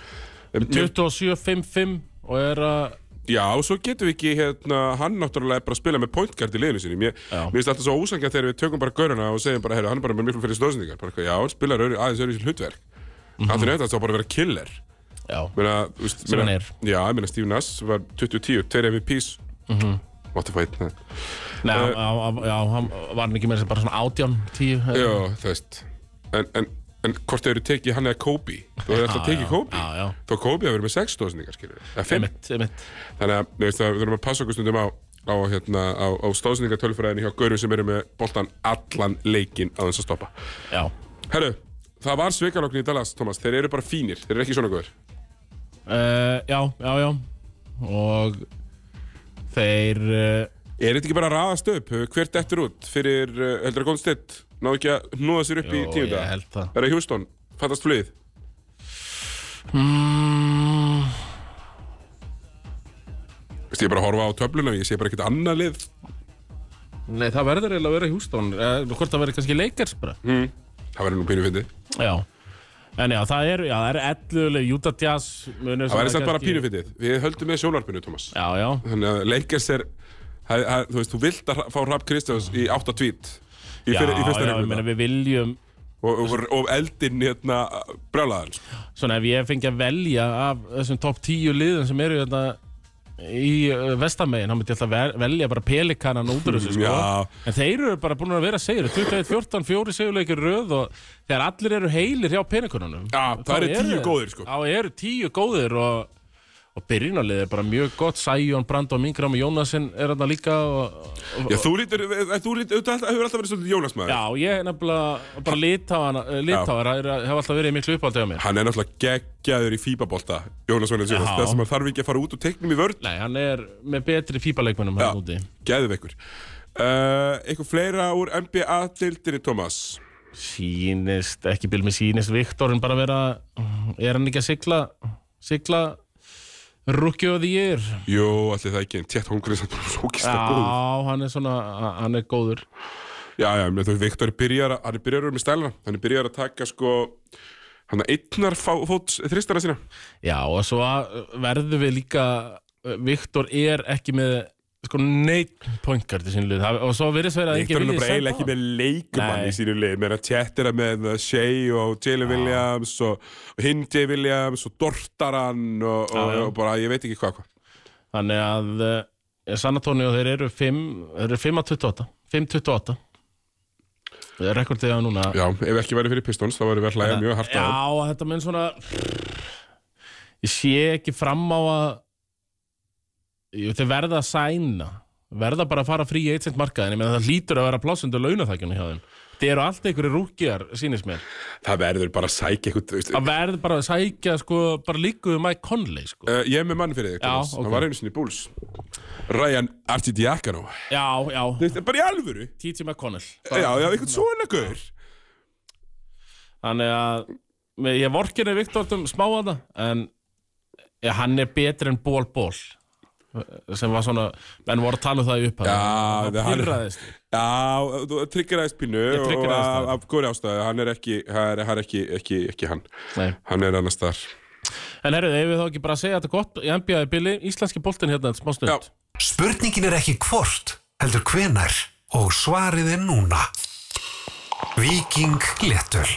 [SPEAKER 2] Um,
[SPEAKER 3] 27-5-5 og er eh, að,
[SPEAKER 2] Já, og svo getum við ekki, hérna, hann náttúrulega er bara að spila með pointgard í liðinu sinni. Mér
[SPEAKER 3] Já.
[SPEAKER 2] mér finnst alltaf svo ósangja þegar við tökum bara gaurana og segjum bara, heyrðu, hann er bara með miklu fyrir stóðsendingar. Bara, eitthvað, já, hann spilar öðru, aðeins öðru sér hlutverk. Mm -hmm. Anthony Edwards á bara að vera killer.
[SPEAKER 3] Já,
[SPEAKER 2] Meina, þú veist,
[SPEAKER 3] Mhm. Sem hann er.
[SPEAKER 2] Já, ég meina Steve Nash var 2010, tveir MVPs
[SPEAKER 3] Mhm.
[SPEAKER 2] What the fight nei.
[SPEAKER 3] Nei,
[SPEAKER 2] Eh.
[SPEAKER 3] uh, á, á, já, hann var hann ekki meira sem bara svona átján, tíu
[SPEAKER 2] Já, þú veist En, en, en hvort þau eru tekið hann eða Kobe Þú hefur alltaf tekið Kobe
[SPEAKER 3] Já, já,
[SPEAKER 2] Þó Kobe hefur verið með 6 stóðsendingar, skilur Eða 5
[SPEAKER 3] emitt, emitt
[SPEAKER 2] Þannig að þú veist, það- við þurfum að passa okkur stundum á á, hérna, á, á stóðsendingartölfræðinni hjá Gaurum sem eru með boltan allan leikinn að þess að stoppa
[SPEAKER 3] Já,
[SPEAKER 2] Herru, það var svikalokkin í Dallas, Thomas Þeir eru bara fínir, þeir eru ekki svona góður
[SPEAKER 3] uh, já, já, já Og þeir uh,
[SPEAKER 2] Er þetta ekki bara að raðast upp? Hvert eftir út fyrir, uh, heldur að góðn stitt Náðu ekki að hnúða sér upp í
[SPEAKER 3] Jó,
[SPEAKER 2] tíunda
[SPEAKER 3] ég held það.
[SPEAKER 2] Herra Hjústón, fattast flugið
[SPEAKER 3] mm,
[SPEAKER 2] Vist, Ég er bara að horfa á töfluna, ég sé bara ekkert annað lið
[SPEAKER 3] Nei, það verður eiginlega að vera Hjústón uh, Hvort það verður kannski leikers bara
[SPEAKER 2] Það verður nú pínu fyndið
[SPEAKER 3] Já En já, það er, já, það er elluleg Utah Jazz Það
[SPEAKER 2] Það verður samt bara pínu fyndið Við höldum með sjónvarpinu, Thomas
[SPEAKER 3] Já, já,
[SPEAKER 2] Þannig að Lakers er hæ, hæ, Þú veist, þú vilt að hra- fá Rapp Kristjáns í 8 tweet Í,
[SPEAKER 3] já,
[SPEAKER 2] fyrir, í
[SPEAKER 3] já,
[SPEAKER 2] fyrsta
[SPEAKER 3] ég meina
[SPEAKER 2] reglum
[SPEAKER 3] við viljum
[SPEAKER 2] og, og, og eldinn hérna brjálaðan sko.
[SPEAKER 3] Svona ef ég fengi að velja af þessum topp 10 liðum sem eru hérna í vestamegin, þá myndi ég alltaf ver- velja bara pelikanan út úr þessu sko
[SPEAKER 2] Já.
[SPEAKER 3] en þeir eru bara búin að vera segir 21-14, fjóri segjuleikir röð og þegar allir eru heilir hjá pelikanunum
[SPEAKER 2] Já, það
[SPEAKER 3] þá
[SPEAKER 2] eru tíu góðir, sko.
[SPEAKER 3] Já, það eru tíu góðir og, og byrjunarlið er bara mjög gott Sæjón, Brando, Mingram og Jónasinn er hérna líka og, og,
[SPEAKER 2] Já, þú lítur, eh, þú lítur, þú hefur alltaf verið svolítið Jólasmaður
[SPEAKER 3] Já, ég er nefnilega bara eh, litáana, litáara eru- hafa alltaf verið í miklu uppáldega mér
[SPEAKER 2] Hann er náttúrulega geggjaður í fíbabolta Jónas Jónas Jónas,
[SPEAKER 3] Já.
[SPEAKER 2] þess að maður þarf ekki að fara út og teiknum í vörn
[SPEAKER 3] Nei, hann er með betri fíbaleikmennum hann úti
[SPEAKER 2] Geðveikur uh, Eitthvað fleira úr NBA-dildinni, Thomas
[SPEAKER 3] Sýnist, ekki byrjum með sýnist Viktorin bara vera, er hann ekki að sigla sigla rúkju og því ég er
[SPEAKER 2] Jó, allir það ekki, en tjett hóngurinn samt bara svo kista góð
[SPEAKER 3] Já, hann er svona, hann er góður
[SPEAKER 2] Já, já, menn þú veist, Viktor er byrjar að, hann er byrjar að vera með stælana Hann er byrjar að taka sko hann að einnar fá- fóts þristara sína
[SPEAKER 3] Já, og svo verðum við líka Viktor er ekki með sko neitt pointkart í sínlið og svo virðist vera að
[SPEAKER 2] Viktor er
[SPEAKER 3] vilji
[SPEAKER 2] nú bara
[SPEAKER 3] senda
[SPEAKER 2] eiginlega ekki
[SPEAKER 3] hann.
[SPEAKER 2] með leikumann
[SPEAKER 3] Nei.
[SPEAKER 2] í sínu lið meðan tjett er að með uh, Shea og Jalen Williams og, og Hindi Williams og Dortaran og, og,
[SPEAKER 3] Já, já.
[SPEAKER 2] og bara, ég veit ekki hvað hvað
[SPEAKER 3] Þannig að eh, San Antonio þeir eru 5 þeir eru 5 að 28 5 28 Það er rekordið á núna
[SPEAKER 2] Já, ef ekki væri fyrir Pistons þá væri við að hlæja mjög hart á þeim.
[SPEAKER 3] Já, þetta mun svona Ég sé ekki fram á að Jú, þeir verða að sæna verða bara að fara frí í 1 cent markaðin ég meina það lítur að vera plásundu launaþækjunni hjá þeim þeir eru allt einhverju rúkjar, sýnist mér
[SPEAKER 2] Það verður bara að sækja eitthvað þú veist.
[SPEAKER 3] það verður bara að sækja sko, bara líkuðu Mike Conley sko.
[SPEAKER 2] uh, Ég er með mann fyrir þig,
[SPEAKER 3] Já,
[SPEAKER 2] Thomas
[SPEAKER 3] ok.
[SPEAKER 2] Hann var einu sinni í Bulls Ryan Artidiakano
[SPEAKER 3] já, já,
[SPEAKER 2] Þetta er bara í alvöru
[SPEAKER 3] T.T. McConnell
[SPEAKER 2] Já, já, eitthvað svona gaur
[SPEAKER 3] Þannig að með- ég vorkinni Viktor um smáana en ja, hann er betri en Ból Ból sem var svona, menn voru að tala um það í upphæð
[SPEAKER 2] Já, það- hann-
[SPEAKER 3] pyrraðist
[SPEAKER 2] Já, þú triggeraðist pínu
[SPEAKER 3] Ég triggeraðist
[SPEAKER 2] og af-
[SPEAKER 3] það.
[SPEAKER 2] Af góri ástæðu, hann er ekki Hann er, hann er ekki, ekki, ekki hann
[SPEAKER 3] Nei.
[SPEAKER 2] Hann er annars þar
[SPEAKER 3] En herruðu, eigum við þá ekki bara að segja þetta gott í NBA í bili, íslenski boltinn hérna, smá stund
[SPEAKER 2] Já.
[SPEAKER 1] Spurningin er ekki hvort, heldur hvenar og svarið er núna. Viking Léttöl.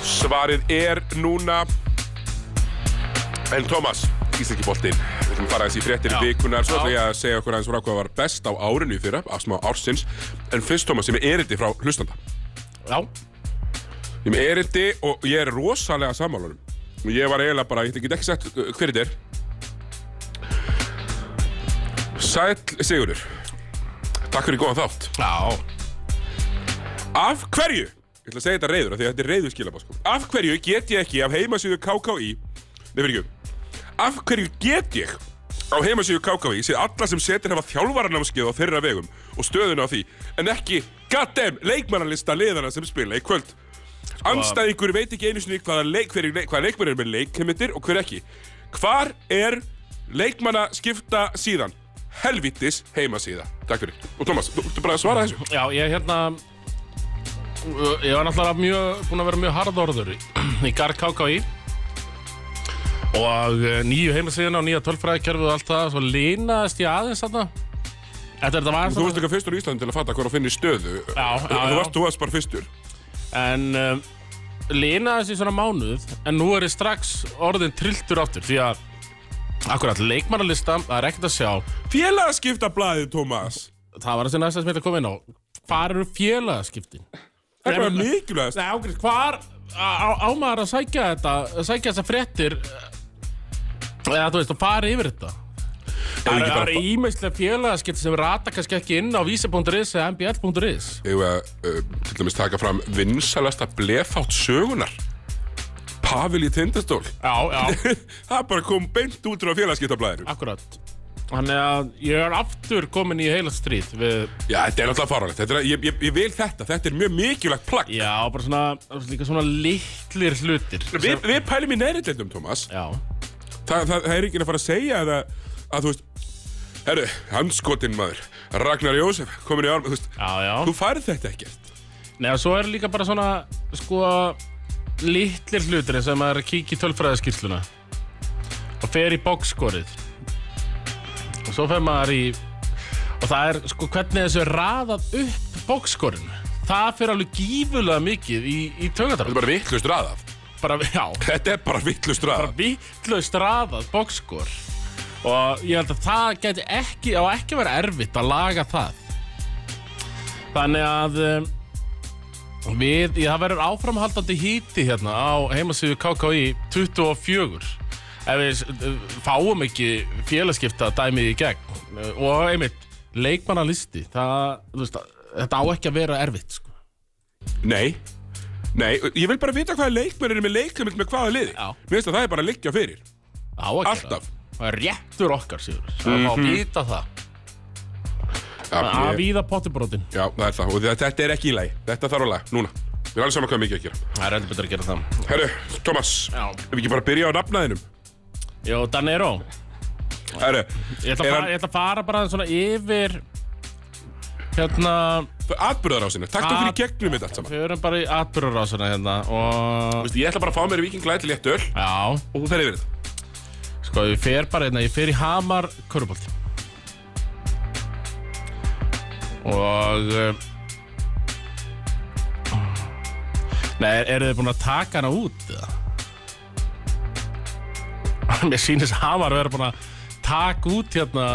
[SPEAKER 2] Svarið er núna En Thomas, Íslenski boltinn Við ætlum að fara aðeins í fréttir
[SPEAKER 3] Já.
[SPEAKER 2] vikunar Svo
[SPEAKER 3] Já.
[SPEAKER 2] ætlum ég að segja okkur aðeins frá hvað var best á árinu í fyrra Af smá ársins En fyrst Thomas, ég er með erindi frá hlustanda
[SPEAKER 3] Já,
[SPEAKER 2] Ég er með erindi og ég er rosalega sammálunum Ég var eiginlega bara, ég get ekki sett uh, hver þetta er Sæll Sigurður Takk fyrir góðan þátt
[SPEAKER 3] já,
[SPEAKER 2] Af hverju, ég ætla að segja þetta reyður af því að þetta er reyður skilabá sko. Af hverju get ég ekki af heimasíðu KKÍ Nei, fyrir ekki Af hverju get ég á heimasíðu KKÍ Sér alla sem setur hafa þjálfaranámskeið á þeirra vegum Og stöðuna á því En ekki, goddamn, leikmannalista liðana sem spila í kvöld Anstæðingur veit ekki einu sinni hvaða, leik, hver, hvaða leikmenn er með leikheimildir og hver ekki Hvar er leikmanna skipta síðan? Helvitis heimasíða Takk fyrir Og Thomas, þú ertu bara að svara þessu
[SPEAKER 3] já, ég hérna ég var náttúrulega mjög, búin að vera mjög harðorður í, í Garð KKI og eh, nýju heimasíðina og nýja tölfræðikerfi og allt það, svo línaðist ég aðeins þarna Þetta þetta var
[SPEAKER 2] Þú varst eitthvað fyrstur í Íslandi til að fatta hvað þú finnir stöðu
[SPEAKER 3] já,
[SPEAKER 2] Þú
[SPEAKER 3] já.
[SPEAKER 2] varst, þú varst bara fyrstur
[SPEAKER 3] En um, linaði sig svona mánuð en nú er ég strax orðin trilltur áttur því að akkurat leikmannalista, það er ekkert að sjá
[SPEAKER 2] Félagaskiptablaðið, Tómas.
[SPEAKER 3] það var þessi næsta sem ég ætla að koma inn á hvar eru félagaskiptin?
[SPEAKER 2] Það er bara
[SPEAKER 3] Nei,
[SPEAKER 2] mikilvægast.
[SPEAKER 3] Nei, ágrið, hvar á- á- á maður að sækja þetta að sækja þessa fréttir eða þú veist, að fara yfir þetta
[SPEAKER 2] Ef
[SPEAKER 3] Það
[SPEAKER 2] ekki
[SPEAKER 3] eru- það
[SPEAKER 2] bara-
[SPEAKER 3] eru ímestlega félagaskipti sem rata kannski ekki inn á vísi.is eða mbl.is
[SPEAKER 2] Eða uh, til dæmis taka fram vinsalasta blefátt sögunar. Pavel í tindastól.
[SPEAKER 3] Já, já,
[SPEAKER 2] það bara kom beint út frá félagaskiptablaðinu.
[SPEAKER 3] akkurat Þannig að ég er aftur komin í heila stríð við
[SPEAKER 2] Já, þetta er náttúrulega faralegt. Þetta er, ég, ég, ég vil þetta. Þetta er mjög mikilvægt plagg.
[SPEAKER 3] Já, bara svona, líka svona litlir hlutir
[SPEAKER 2] Vi, við pælum í neðrillendum, Tómas.
[SPEAKER 3] Já,
[SPEAKER 2] Þa, það, það er ekki að fara að segja að, að, að þú veist, herru, hanskotinn maður, Ragnar Jósef, komin í arm, þú veist,
[SPEAKER 3] já, já
[SPEAKER 2] þú færð þetta ekkert.
[SPEAKER 3] Nei, og svo er líka bara svona, sko, litlir hlutir eins og ef maður kíkir í tölfræðaskýrsluna og fer í bókskorið og svo fer maður í og það er, sko, hvernig þessu er raðað upp bókskorinu það fer alveg gífulega mikið í, í
[SPEAKER 2] Þetta
[SPEAKER 3] tögatar
[SPEAKER 2] er bara vittlust raðað.
[SPEAKER 3] bara, já,
[SPEAKER 2] Þetta er bara vittlust raðað.
[SPEAKER 3] vittlaust raðað bókskor og ég held að það geti ekki, á ekki verið erfitt að laga það þannig að um, við, ég, það verður áframhaldandi híti hérna á heimasíðu KKI 24 ef við s- uh, fáum ekki félagskipta dæmið í gegn Uh, og einmitt, leikmannalisti það, þú veist, þetta á ekki að vera erfitt sko.
[SPEAKER 2] Nei, nei, ég vil bara vita hvaða leikmenn eru með leiklumild með hvaða liði.
[SPEAKER 3] Já.
[SPEAKER 2] Mér finnst að það er bara að liggja fyrir.
[SPEAKER 3] á að gera
[SPEAKER 2] Alltaf.
[SPEAKER 3] það er réttur okkar síður það er að fá að vita það
[SPEAKER 2] Já,
[SPEAKER 3] að
[SPEAKER 2] ég,
[SPEAKER 3] víða pottibrotin
[SPEAKER 2] já það er það. Og þetta- þetta er ekki í lagi. Þetta þarf að laga, núna. Við erum alveg saman hvað mikið að gera.
[SPEAKER 3] Það er heldur betur að gera það
[SPEAKER 2] Herru, Thomas,
[SPEAKER 3] Já.
[SPEAKER 2] ef við ekki bara byrja á nafnaðinum.
[SPEAKER 3] Jó, Danero
[SPEAKER 2] Herru,
[SPEAKER 3] Ég
[SPEAKER 2] Er
[SPEAKER 3] ætla, að fara,
[SPEAKER 2] hann-
[SPEAKER 3] ég ætla að fara bara svona yfir Hérna
[SPEAKER 2] atbyrðarásinu, takk þú fyrir
[SPEAKER 3] At-
[SPEAKER 2] gegnum þetta allt saman.
[SPEAKER 3] Við erum bara í atbyrðurásuna hérna Og
[SPEAKER 2] Veistu, Ég ætla bara að fá mér vikinglæti létt öl
[SPEAKER 3] Já,
[SPEAKER 2] og þú fer yfir þetta.
[SPEAKER 3] sko ég fer bara hérna Ég fer í Hamar Körubolt Og eh, Nei, er, eru þið búin að taka hana út? eða? Mér sýnist Hamar vera búin að taka út hérna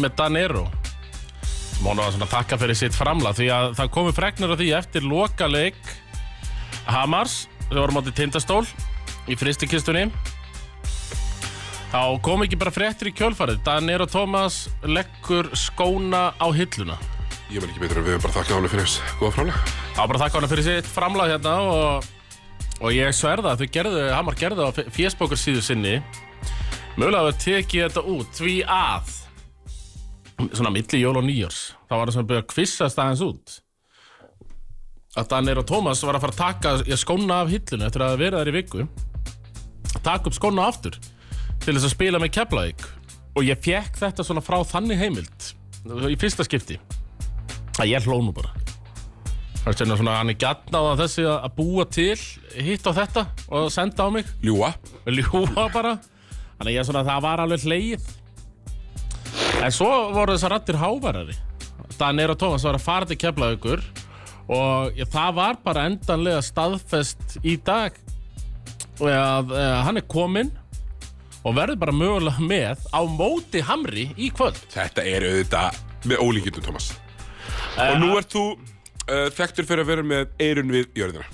[SPEAKER 3] með Danero Mónu að svona þakka fyrir sitt framla því að það komu fregnir af því eftir lokaleik Hamars við vorum átti tindastól í fristikistunni þá kom ekki bara frettir í kjölfarið Danero Thomas leggur skóna á hilluna
[SPEAKER 2] Ég vel ekki betur en við höfum bara þakkað honum fyrir þess góða framlega.
[SPEAKER 3] Það var bara að þakka hana fyrir sitt framlag hérna og, og ég sverða að þau gerðu, Hamar gerðu á fésbókur síðu sinni mögulega að tekið þetta út því að svona milli jól og nýjórs þá var það sem að byrja að kvissast aðeins út að Danir og Tómas var að fara að taka ég, skóna af hillinu eftir að vera þær í viku taka upp skóna aftur til þess að spila með Keflavík og ég fekk þetta svona frá þannig heimild í fyrsta skipti að ég hló nú bara Það er sérna svona, hann er gætna á það þessi að að búa til hitt á þetta og senda á mig
[SPEAKER 2] Ljúa.
[SPEAKER 3] og ljúa bara Þannig að ég svona, það var alveg hlegið En svo voru þessar rættir háværari Danir og Tómas var að fara til Keflavíkur og ég, það var bara endanlega staðfest í dag og að e, hann er kominn og verður bara mögulega með á móti Hamri í kvöld
[SPEAKER 2] Þetta er auðvitað með ólíkjöndum, Thomas. og nú ert þú uh, þekktur fyrir að vera með eirun við jörðina.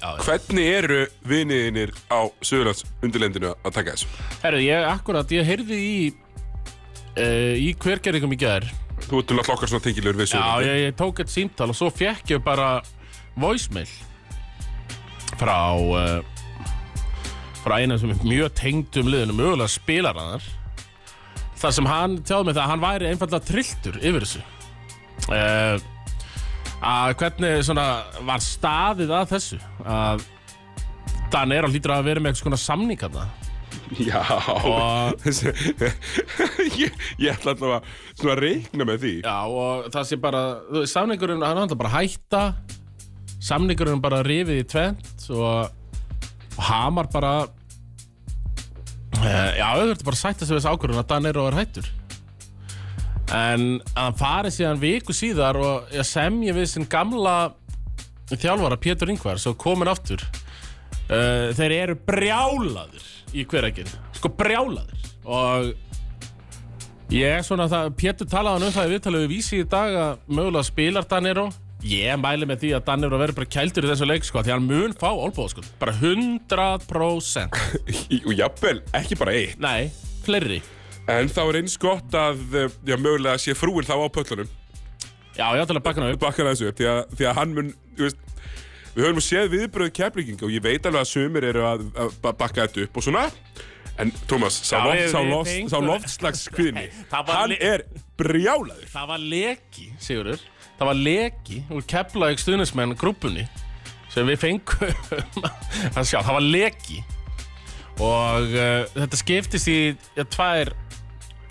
[SPEAKER 3] Já, já.
[SPEAKER 2] Hvernig eru viniðinir á Suðurlands undirlendinu að taka þessu?
[SPEAKER 3] Herru, ég akkurat, ég heyrði í e, í hvergerðingum í gær
[SPEAKER 2] Þú ert náttúrulega okkar svona tengilur við
[SPEAKER 3] Já,
[SPEAKER 2] Suðurlandin.
[SPEAKER 3] ég, ég tók eitt síntal og svo fekk ég bara voicemail frá uh, frá einum sem er mjög tengdum liðinu, mögulega spilaranar þar sem hann tjáði mig það að hann væri einfallega trilltur yfir þessu uh, að hvernig svona var staðið að þessu að Dan er að hlýtur að vera með eitthvað svona samning þarna.
[SPEAKER 2] Já,
[SPEAKER 3] Og-
[SPEAKER 2] Þessi- ég, ég ætla alltaf að svona reikna með því.
[SPEAKER 3] Já og það sé bara þú veist, Samningurinn, hann er alltaf bara að hætta Samningurinn bara rifið í tvent og, og Hamar bara uh, Já, auðvitað bara að sætta sig við þess ákvörðun að Danero er hættur En að hann fari síðan viku síðar og ég semja við sinn gamla þjálfara Pétur Ingvar svo komin aftur uh, þeir eru brjálaðir í hveraginn, sko brjálaðir og ég svona það, Pétur talaði hann um það í viðtalið við vísi í dag að mögulega spilar Danero ég mæli með því að Danero verður bara kældur í þessu leik sko, því hann mun fá olbóð sko, bara 100%
[SPEAKER 2] Í- Og jafnvel, ekki bara eitt
[SPEAKER 3] nei, fleiri
[SPEAKER 2] En þá er eins gott að, eh, já, mögulega sé frúin þá á pöllunum
[SPEAKER 3] já, ég ætla að bakka hann upp
[SPEAKER 2] Bakkar þessu upp, því að, því að hann mun, þú veist Við höfum nú séð viðbröð keflinginga og ég veit alveg að sumir eru að, að ba- bakka þetta upp og svona En Tómas, sá,
[SPEAKER 3] Já,
[SPEAKER 2] loft,
[SPEAKER 3] við-
[SPEAKER 2] sá,
[SPEAKER 3] við
[SPEAKER 2] loft,
[SPEAKER 3] fengum-
[SPEAKER 2] sá loftslagskvinni
[SPEAKER 3] það var
[SPEAKER 2] Hann
[SPEAKER 3] li-
[SPEAKER 2] er brjálaður
[SPEAKER 3] Það var leki, Sigurður Það var leki úr Keflavík stuðnismenn grúpunni sem við fengum að sjá, það var leki og uh, þetta skiptist í ja, tvær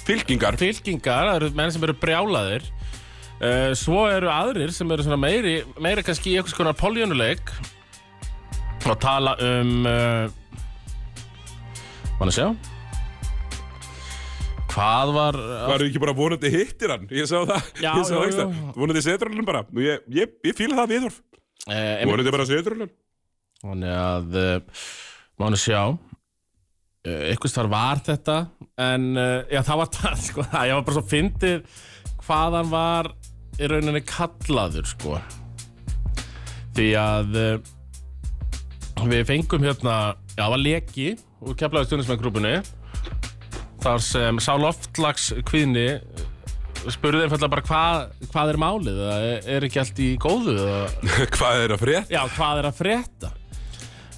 [SPEAKER 2] Fylkingar
[SPEAKER 3] fylkingar, það eru menn sem eru brjálaðir uh, svo eru aðrir sem eru svona meiri, meiri kannski í einhvers konar poljónuleik og tala um uh, mann að sjá hvað var eh,
[SPEAKER 2] Varu ekki bara vonandi hittir hann? Ég sá það.
[SPEAKER 3] Já,
[SPEAKER 2] ég sá
[SPEAKER 3] já,
[SPEAKER 2] það ekstra.
[SPEAKER 3] já.
[SPEAKER 2] Vonandi setur hann bara. Nú, ég, ég, ég fíla það viðhorf.
[SPEAKER 3] uh,
[SPEAKER 2] Vonandi bara setur hann.
[SPEAKER 3] Þannig að uh, mánu sjá uh, eitthvað þar var þetta en uh, já, það var það sko, það- ég var bara svo fyndið hvaðan var í rauninni kallaður sko því að uh, við fengum hérna já, það var leki úr keflaði stjórnismenngrúpunni þar sem sá loftlags kvinni spurði einfallega bara hvað, hvað er málið, eða er- er ekki allt í góðu eða
[SPEAKER 2] Hvað er að frétt?
[SPEAKER 3] Já, hvað er að frétta?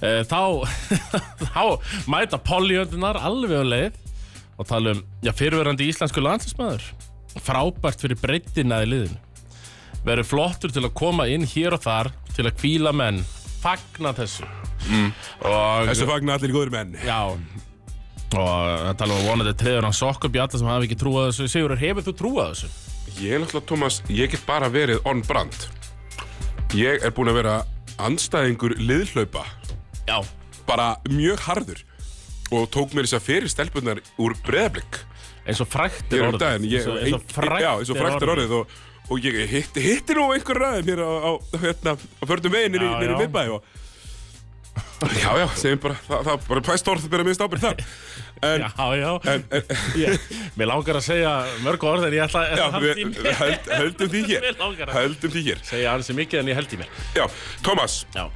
[SPEAKER 3] Eh, Þá, þá mæta polljöndunnar alveg á leið og tala um, já, fyrirverandi íslensku landslísmaður frábært fyrir breyttina í liðinu verður flottur til að koma inn hér og þar til að kvíla menn fagna þessu og
[SPEAKER 2] Mm. Þessu fagnar allir góður menn.
[SPEAKER 3] já og það tala um að vonandi treður hann sokkum í alla sem hafa ekki trúað þessu Sigurður, hefur þú trúað þessu?
[SPEAKER 2] Ég er náttúrulega, Tómas, ég get bara verið on brand. Ég er búin að vera anstæðingur liðhlaupa.
[SPEAKER 3] Já,
[SPEAKER 2] Bara mjög harður. Og tók mér þess að fyrir stelpunar úr breðablikk.
[SPEAKER 3] eins og frækt
[SPEAKER 2] Ég
[SPEAKER 3] er
[SPEAKER 2] er um
[SPEAKER 3] orðið
[SPEAKER 2] daginn. Ég,
[SPEAKER 3] Eins og- eins og frægt
[SPEAKER 2] já, eins og frækt er orðið. Og, og ég hitti, hitti nú einhver ræðum hér á, á, hérna, á förnum veginn
[SPEAKER 3] Já,
[SPEAKER 2] nýri
[SPEAKER 3] já.
[SPEAKER 2] miðbæði og Já, já, segjum bara, það, það bara pæst orð að byrja minnst ábyrð þar. En,
[SPEAKER 3] Já, já,
[SPEAKER 2] en, en
[SPEAKER 3] Ég, mér langar að segja mörg orð en ég ætla
[SPEAKER 2] já,
[SPEAKER 3] að
[SPEAKER 2] við við höld, höldum því hér.
[SPEAKER 3] Mig langar að-
[SPEAKER 2] Höldum því hér.
[SPEAKER 3] segja ansi mikið en ég held í mér.
[SPEAKER 2] Já, Thomas,
[SPEAKER 3] Já,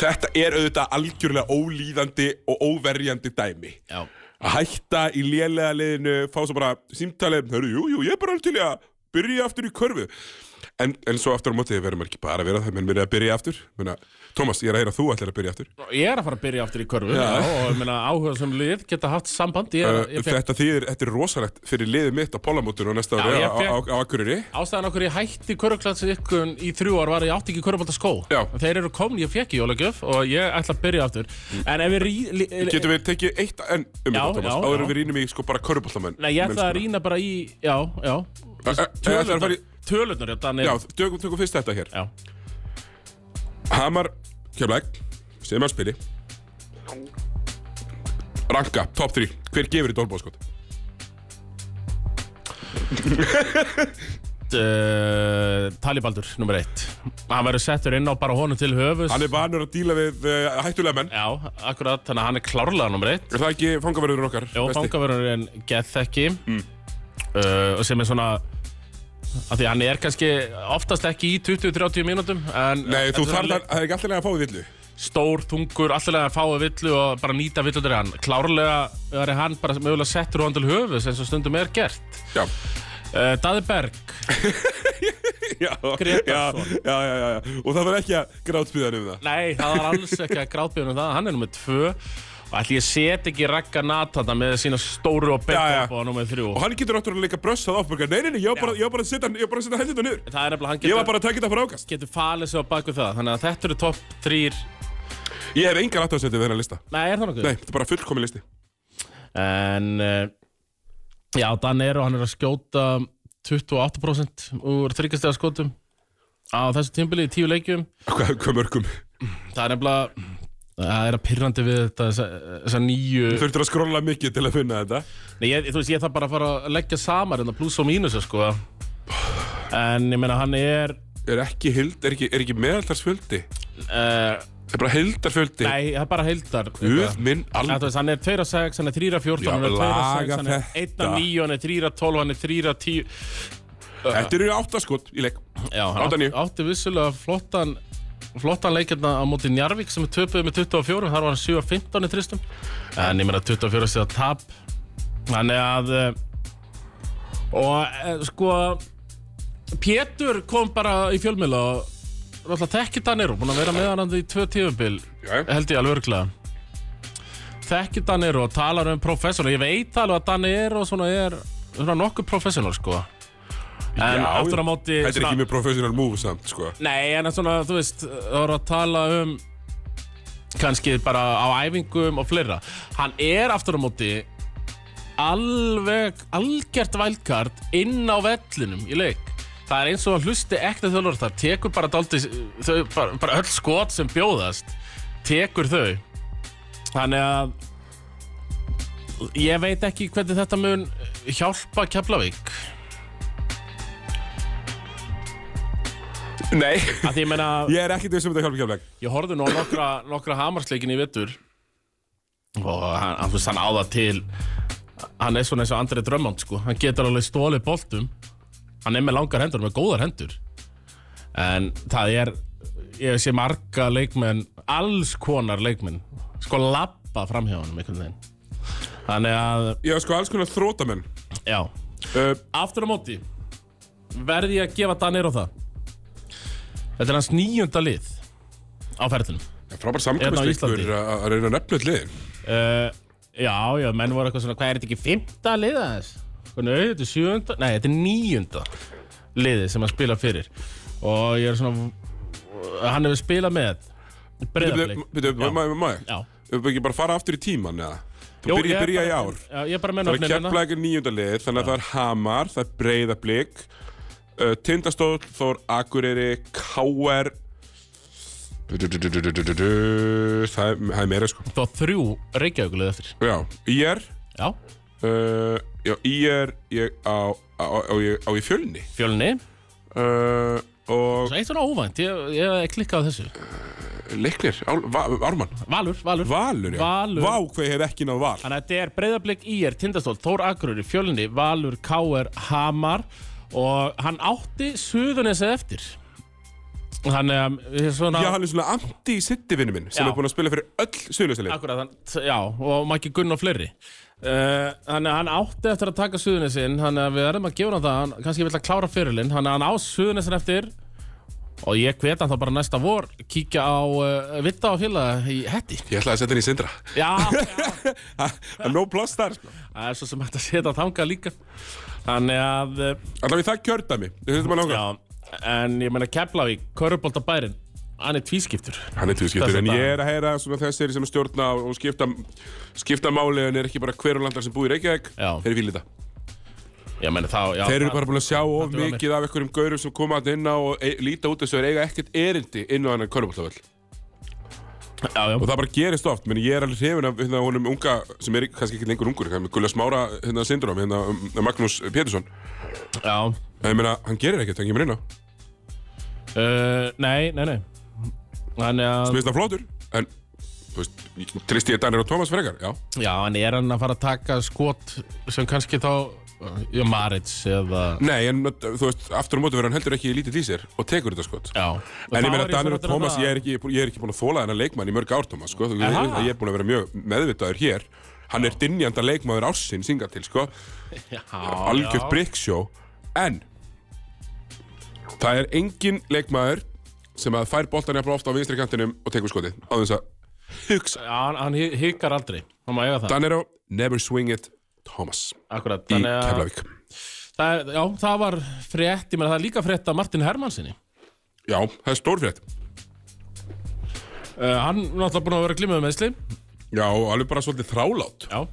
[SPEAKER 2] þetta er auðvitað algjörlega ólíðandi og óverjandi dæmi.
[SPEAKER 3] já,
[SPEAKER 2] Að hætta í lélega liðinu, fá svo bara símtalið, hörru, jú, jú, ég er bara alveg til í að byrja aftur í körfu. En, en svo aftur á móti verður maður ekki bara að vera það, menn verður að byrja aftur. Menna, Thomas, ég er að heyra að þú ætlar að byrja aftur.
[SPEAKER 3] ég er að fara að byrja aftur í körfu já. og ég meina áhuga sem lið geta haft samband ég,
[SPEAKER 2] Uh,
[SPEAKER 3] uh, ég fekk,
[SPEAKER 2] þetta þýðir, þetta er rosalegt fyrir liðið mitt á Pólamótinu og næsta
[SPEAKER 3] Já,
[SPEAKER 2] ári
[SPEAKER 3] ég
[SPEAKER 2] á, á,
[SPEAKER 3] fékk-
[SPEAKER 2] á Akureyri.
[SPEAKER 3] ástæðan okkur ég hætti körfuklatsi ykkur í þrjú ár var að ég átti ekki körfubalta skó
[SPEAKER 2] Já.
[SPEAKER 3] þeir eru komin, ég fekk í jólagjöf og ég ætla að byrja aftur en ef við rí, li,
[SPEAKER 2] Getum Mm. við tekið eitt enn um
[SPEAKER 3] Já,
[SPEAKER 2] þetta, Thomas,
[SPEAKER 3] já,
[SPEAKER 2] áður
[SPEAKER 3] já.
[SPEAKER 2] en við rýnum í sko bara sko. köruboltamenn.
[SPEAKER 3] Nei, ég ætla að rýna bara í já, já,
[SPEAKER 2] Eh, rýna.
[SPEAKER 3] tölurnar já,
[SPEAKER 2] Já,
[SPEAKER 3] Daniel.
[SPEAKER 2] tökum, tökum fyrst þetta hér.
[SPEAKER 3] já,
[SPEAKER 2] Hamar, Keflæk, sem að spili. Ranka, top 3. Hver gefur í dólbóðskot?
[SPEAKER 3] uh, Talibaldur, nummer eitt hann verður settur inn á bara honum til höfus
[SPEAKER 2] Hann er vanur að díla við uh, hættulega menn.
[SPEAKER 3] Já, akkurat, þannig að hann er klárlega nummer eitt
[SPEAKER 2] Er það ekki fangaverður okkar?
[SPEAKER 3] Jó,
[SPEAKER 2] besti?
[SPEAKER 3] fangavörðurinn Gethekki mm. uh, sem er svona að því hann er kannski oftast ekki í 20-30 mínútum en eh,
[SPEAKER 2] Nei, þú
[SPEAKER 3] en
[SPEAKER 2] þarf
[SPEAKER 3] svona
[SPEAKER 2] að, það er ekki alltaf að fá við villu.
[SPEAKER 3] stór, þungur, allilega að fáa villu og bara nýta villu til hann klárlega er hann bara mögulega settur hann til höfus eins og stundum er gert
[SPEAKER 2] Já.
[SPEAKER 3] uh, Daði Berg
[SPEAKER 2] Já, já,
[SPEAKER 3] Grétarsson.
[SPEAKER 2] já, já, já, já. Og það var ekki að grátspýða hann um það.
[SPEAKER 3] Nei, það var alls ekki að grátbjörnum það hann er nummer 2 og ætli ég set ekki Ragga Natana með sína stóru og
[SPEAKER 2] Já, já.
[SPEAKER 3] betta upp á nummer 3
[SPEAKER 2] Og hann getur náttúrulega líka brössað áfbörgar. Nei, nei, nei, ég var bara, ég var bara að setja hann- ég var bara að setja hendina niður.
[SPEAKER 3] það er nefnilega hann
[SPEAKER 2] Ég
[SPEAKER 3] getur,
[SPEAKER 2] var bara að taka þetta fyrir ákast.
[SPEAKER 3] getur falið sig á baku það þannig að þetta eru topp 3
[SPEAKER 2] Ég hef engar aðtöðsendir við þennan lista.
[SPEAKER 3] Nei, er það nokkuð?
[SPEAKER 2] Nei, þetta er bara fullkomin listi.
[SPEAKER 3] En uh, já, Dan Ero, hann er að skjóta 28% úr þryggjastega skotum á þessu tímbili í tíu leikjum.
[SPEAKER 2] Hvað, hvað mörgum?
[SPEAKER 3] Það er nefnilega, það er að pirrandi við þetta, þessa- þessa nýju...
[SPEAKER 2] Þurftur að skrolla mikið til að finna þetta.
[SPEAKER 3] Nei, ég, þú veist, ég þarf hérna, bara að fara að leggja saman en það pluss og mínus, sko. En ég meina, hann er
[SPEAKER 2] er ekki, hild, er ekki, er ekki meðaltarsfjöldi
[SPEAKER 3] uh,
[SPEAKER 2] er bara hildarfjöldi
[SPEAKER 3] Nei, það er bara heildar
[SPEAKER 2] Guð minn
[SPEAKER 3] Ja, þú
[SPEAKER 2] alveg
[SPEAKER 3] veist, hann er 2 að 6, hann er 3 að 14,
[SPEAKER 2] Já,
[SPEAKER 3] hann er 2 að
[SPEAKER 2] laga
[SPEAKER 3] 6, hann er 1 að
[SPEAKER 2] þetta.
[SPEAKER 3] 9, hann er 3 að 12, hann er 3 að 10
[SPEAKER 2] Þetta eru átta skot í leik
[SPEAKER 3] Já, hann
[SPEAKER 2] Átta níu.
[SPEAKER 3] átti, átti vissulega flottan, flottan leikirna á móti Njarvík sem er töpuð með 24, þar var hann 7 að 15 í tristum. En ég meina 24 stíða tap, þannig að, eh, og eh, sko, Pétur kom bara í fjölmiðla og alltaf þekkit hann eru, búin að vera með hann þarna í tvö tífubil
[SPEAKER 2] Já, já.
[SPEAKER 3] held ég alveg örglega þekkir Danir og talar um professional ég veit alveg að Danir og svona er svona nokkuð professional sko en
[SPEAKER 2] Já,
[SPEAKER 3] aftur á móti
[SPEAKER 2] Þetta er ekki mjög professional move samt sko.
[SPEAKER 3] nei en svona þú veist það voru að tala um kannski bara á æfingum og fleira hann er aftur á móti alveg algjört vælkart inn á vellinum í leik það er eins og að hlusti ekta þjálfur þar tekur bara, daldi, þau, bara, bara öll skot sem bjóðast tekur þau þannig að ég veit ekki hvernig þetta mun hjálpa Keflavík
[SPEAKER 2] Nei
[SPEAKER 3] að því ég meina
[SPEAKER 2] Ég er ekkert þessum þetta hjálpa hjálpa
[SPEAKER 3] ég horfði nú á nokkra, nokkra hamarsleikin í vettur og hann, hann, þú veist, hann áða til hann er svona eins og Andri Drömmand sko. hann getur alveg stólið boltum hann er með langar hendur, með góðar hendur en það er ég sé marga leikmenn alls konar leikmenn sko labba framhjá hann einhvern veginn þannig að,
[SPEAKER 2] Já sko alls konar þrótamenn
[SPEAKER 3] já
[SPEAKER 2] uh,
[SPEAKER 3] aftur á móti verði ég að gefa Danir á það Þetta er hans nýjunda lið á ferðinum
[SPEAKER 2] Frábær
[SPEAKER 3] Hérna á Íslandi.
[SPEAKER 2] samkvæmstleikur að að reyna að nefna öll liðin
[SPEAKER 3] uh, Já, já, menn voru eitthvað svona Hvað er þetta ekki fymta lið aðeins? Nei, þetta er sjöunda, nei, þetta er níunda liðið sem hann spila fyrir og ég er svona hann hefur spilað með breyðarblik
[SPEAKER 2] Byrju,
[SPEAKER 3] Já.
[SPEAKER 2] maður, maður
[SPEAKER 3] Já,
[SPEAKER 2] Við ekki bara fara aftur í tíman eða
[SPEAKER 3] Jú,
[SPEAKER 2] Þú byrja,
[SPEAKER 3] ég er
[SPEAKER 2] byrja í
[SPEAKER 3] bara-
[SPEAKER 2] ár
[SPEAKER 3] já, Ég er bara með
[SPEAKER 2] Það er
[SPEAKER 3] nöfnin hérna.
[SPEAKER 2] keflæk er nýjöndalið Þannig að það er Hamar, það er Breiðablík uh, Tindastóll, Þór Akureyri K.R. Það er, það er meira sko
[SPEAKER 3] Þú á þrjú reykjauglið eftir
[SPEAKER 2] Já, IR
[SPEAKER 3] Já,
[SPEAKER 2] uh, Já, IR Ég á, á, á, á, ég- á í fjölni
[SPEAKER 3] fjölni
[SPEAKER 2] uh, Og
[SPEAKER 3] Svo eitt svona óvænt, ég, ég klikkaði á þessu
[SPEAKER 2] leiknir, Ál- Va- Ármann
[SPEAKER 3] Valur, Valur
[SPEAKER 2] Valur, já
[SPEAKER 3] Valur.
[SPEAKER 2] Vá, hvað ég hef ekki náð val
[SPEAKER 3] Þannig að þetta er breyðablík IR, Tindastól, Þór Akureyri, Fjölni, Valur, K.R. Hamar og hann átti Suðunesa eftir. Þannig að ég er svona...
[SPEAKER 2] Já, hann er svona anti-sitti vinnu minn sem
[SPEAKER 3] Já.
[SPEAKER 2] er búinn að spila fyrir öll suðljósalið
[SPEAKER 3] Akkurat, hann, t- já, og Maggi Gunn og fleiri. Uh, þannig að hann átti eftir að taka Suðunesin, þannig að við erum að gefa hann það, hann, kannski vill að klára fyrirlinn, þannig að hann á Suðunesin eftir og ég hvet hann þá bara næsta vor, kíkja á uh, Vitta og Fjöla í Hetti.
[SPEAKER 2] Ég ætlaði að setja henni í sindra
[SPEAKER 3] Já,
[SPEAKER 2] Það er no plus þar sko.
[SPEAKER 3] það er svo sem hægt að setja þangað líka. Þannig að... Uh,
[SPEAKER 2] Allavega í það kjördæmi Þetta er maður langar
[SPEAKER 3] Já, en ég meina Keflavík, Köruboltabærin, hann er tvískiptur.
[SPEAKER 2] Hann er tvískiptur En
[SPEAKER 3] Þessa
[SPEAKER 2] ég er að heyra svona þessir sem stjórna og skipta, skipta máli en er ekki bara hver og landar sem búið í Reykjavík
[SPEAKER 3] Já.
[SPEAKER 2] Þeir fílita
[SPEAKER 3] Ég meina þá, já.
[SPEAKER 2] Þeir eru bara búin að sjá of
[SPEAKER 3] dugar mér.
[SPEAKER 2] mikið af einhverjum gaurum sem koma að inn á og e líta út þessu er eiga ekkert erindi inn á hennar körfbóltavöll
[SPEAKER 3] Já, já.
[SPEAKER 2] og það bara gerist oft, menn ég er alveg hrifin af hérna, honum unga, sem er kannski ekki lengur ungur hérna, Gulli Smára hérna, syndrom, hérna, um, Magnús Pétursson
[SPEAKER 3] já.
[SPEAKER 2] en ég meina, hann gerir ekkert, hann kemur inn á mér
[SPEAKER 3] Uh, nei, nei, nei. Þannig að,
[SPEAKER 2] finnst það flottur, en þú veist, ég- tristi ég Danir og Tómas frekar, já
[SPEAKER 3] já, en er hann að fara að taka skot sem kannski þá, já, Marits eða...
[SPEAKER 2] nei, en þú veist, aftur á móti verður hann heldur ekki lítið í sér og tekur þetta skot
[SPEAKER 3] Já.
[SPEAKER 2] En ég meina, Danir og Tómas, ég er ekki, ég er ekki búin að þóla þennan leikmann í mörg ár, Tómas, sko. Þú-
[SPEAKER 3] Aha.
[SPEAKER 2] Ég er búin að vera mjög meðvitaður hér. Hann er dinjanda leikmaður ásinn, singa til, sko.
[SPEAKER 3] Já,
[SPEAKER 2] algjört bryggsjó en það er engin leikmaður sem að fær boltan jafnlega ofta á vinstri kantinum og tekur skotið á þess að hugsa
[SPEAKER 3] Já, hann, hann hikkar aldrei. Hann má eiga það.
[SPEAKER 2] Danero, never swing it Thomas
[SPEAKER 3] Akkurat.
[SPEAKER 2] í
[SPEAKER 3] þannig að-
[SPEAKER 2] Keflavík
[SPEAKER 3] Það, er- já, það var frétt, ég meina það er líka frétt að Martin Hermansinni.
[SPEAKER 2] Já, það er stórfrétt
[SPEAKER 3] Uh, hann er náttúrulega búin að vera glimmuð með slim.
[SPEAKER 2] Já, og alveg bara svolítið þrálát
[SPEAKER 3] Já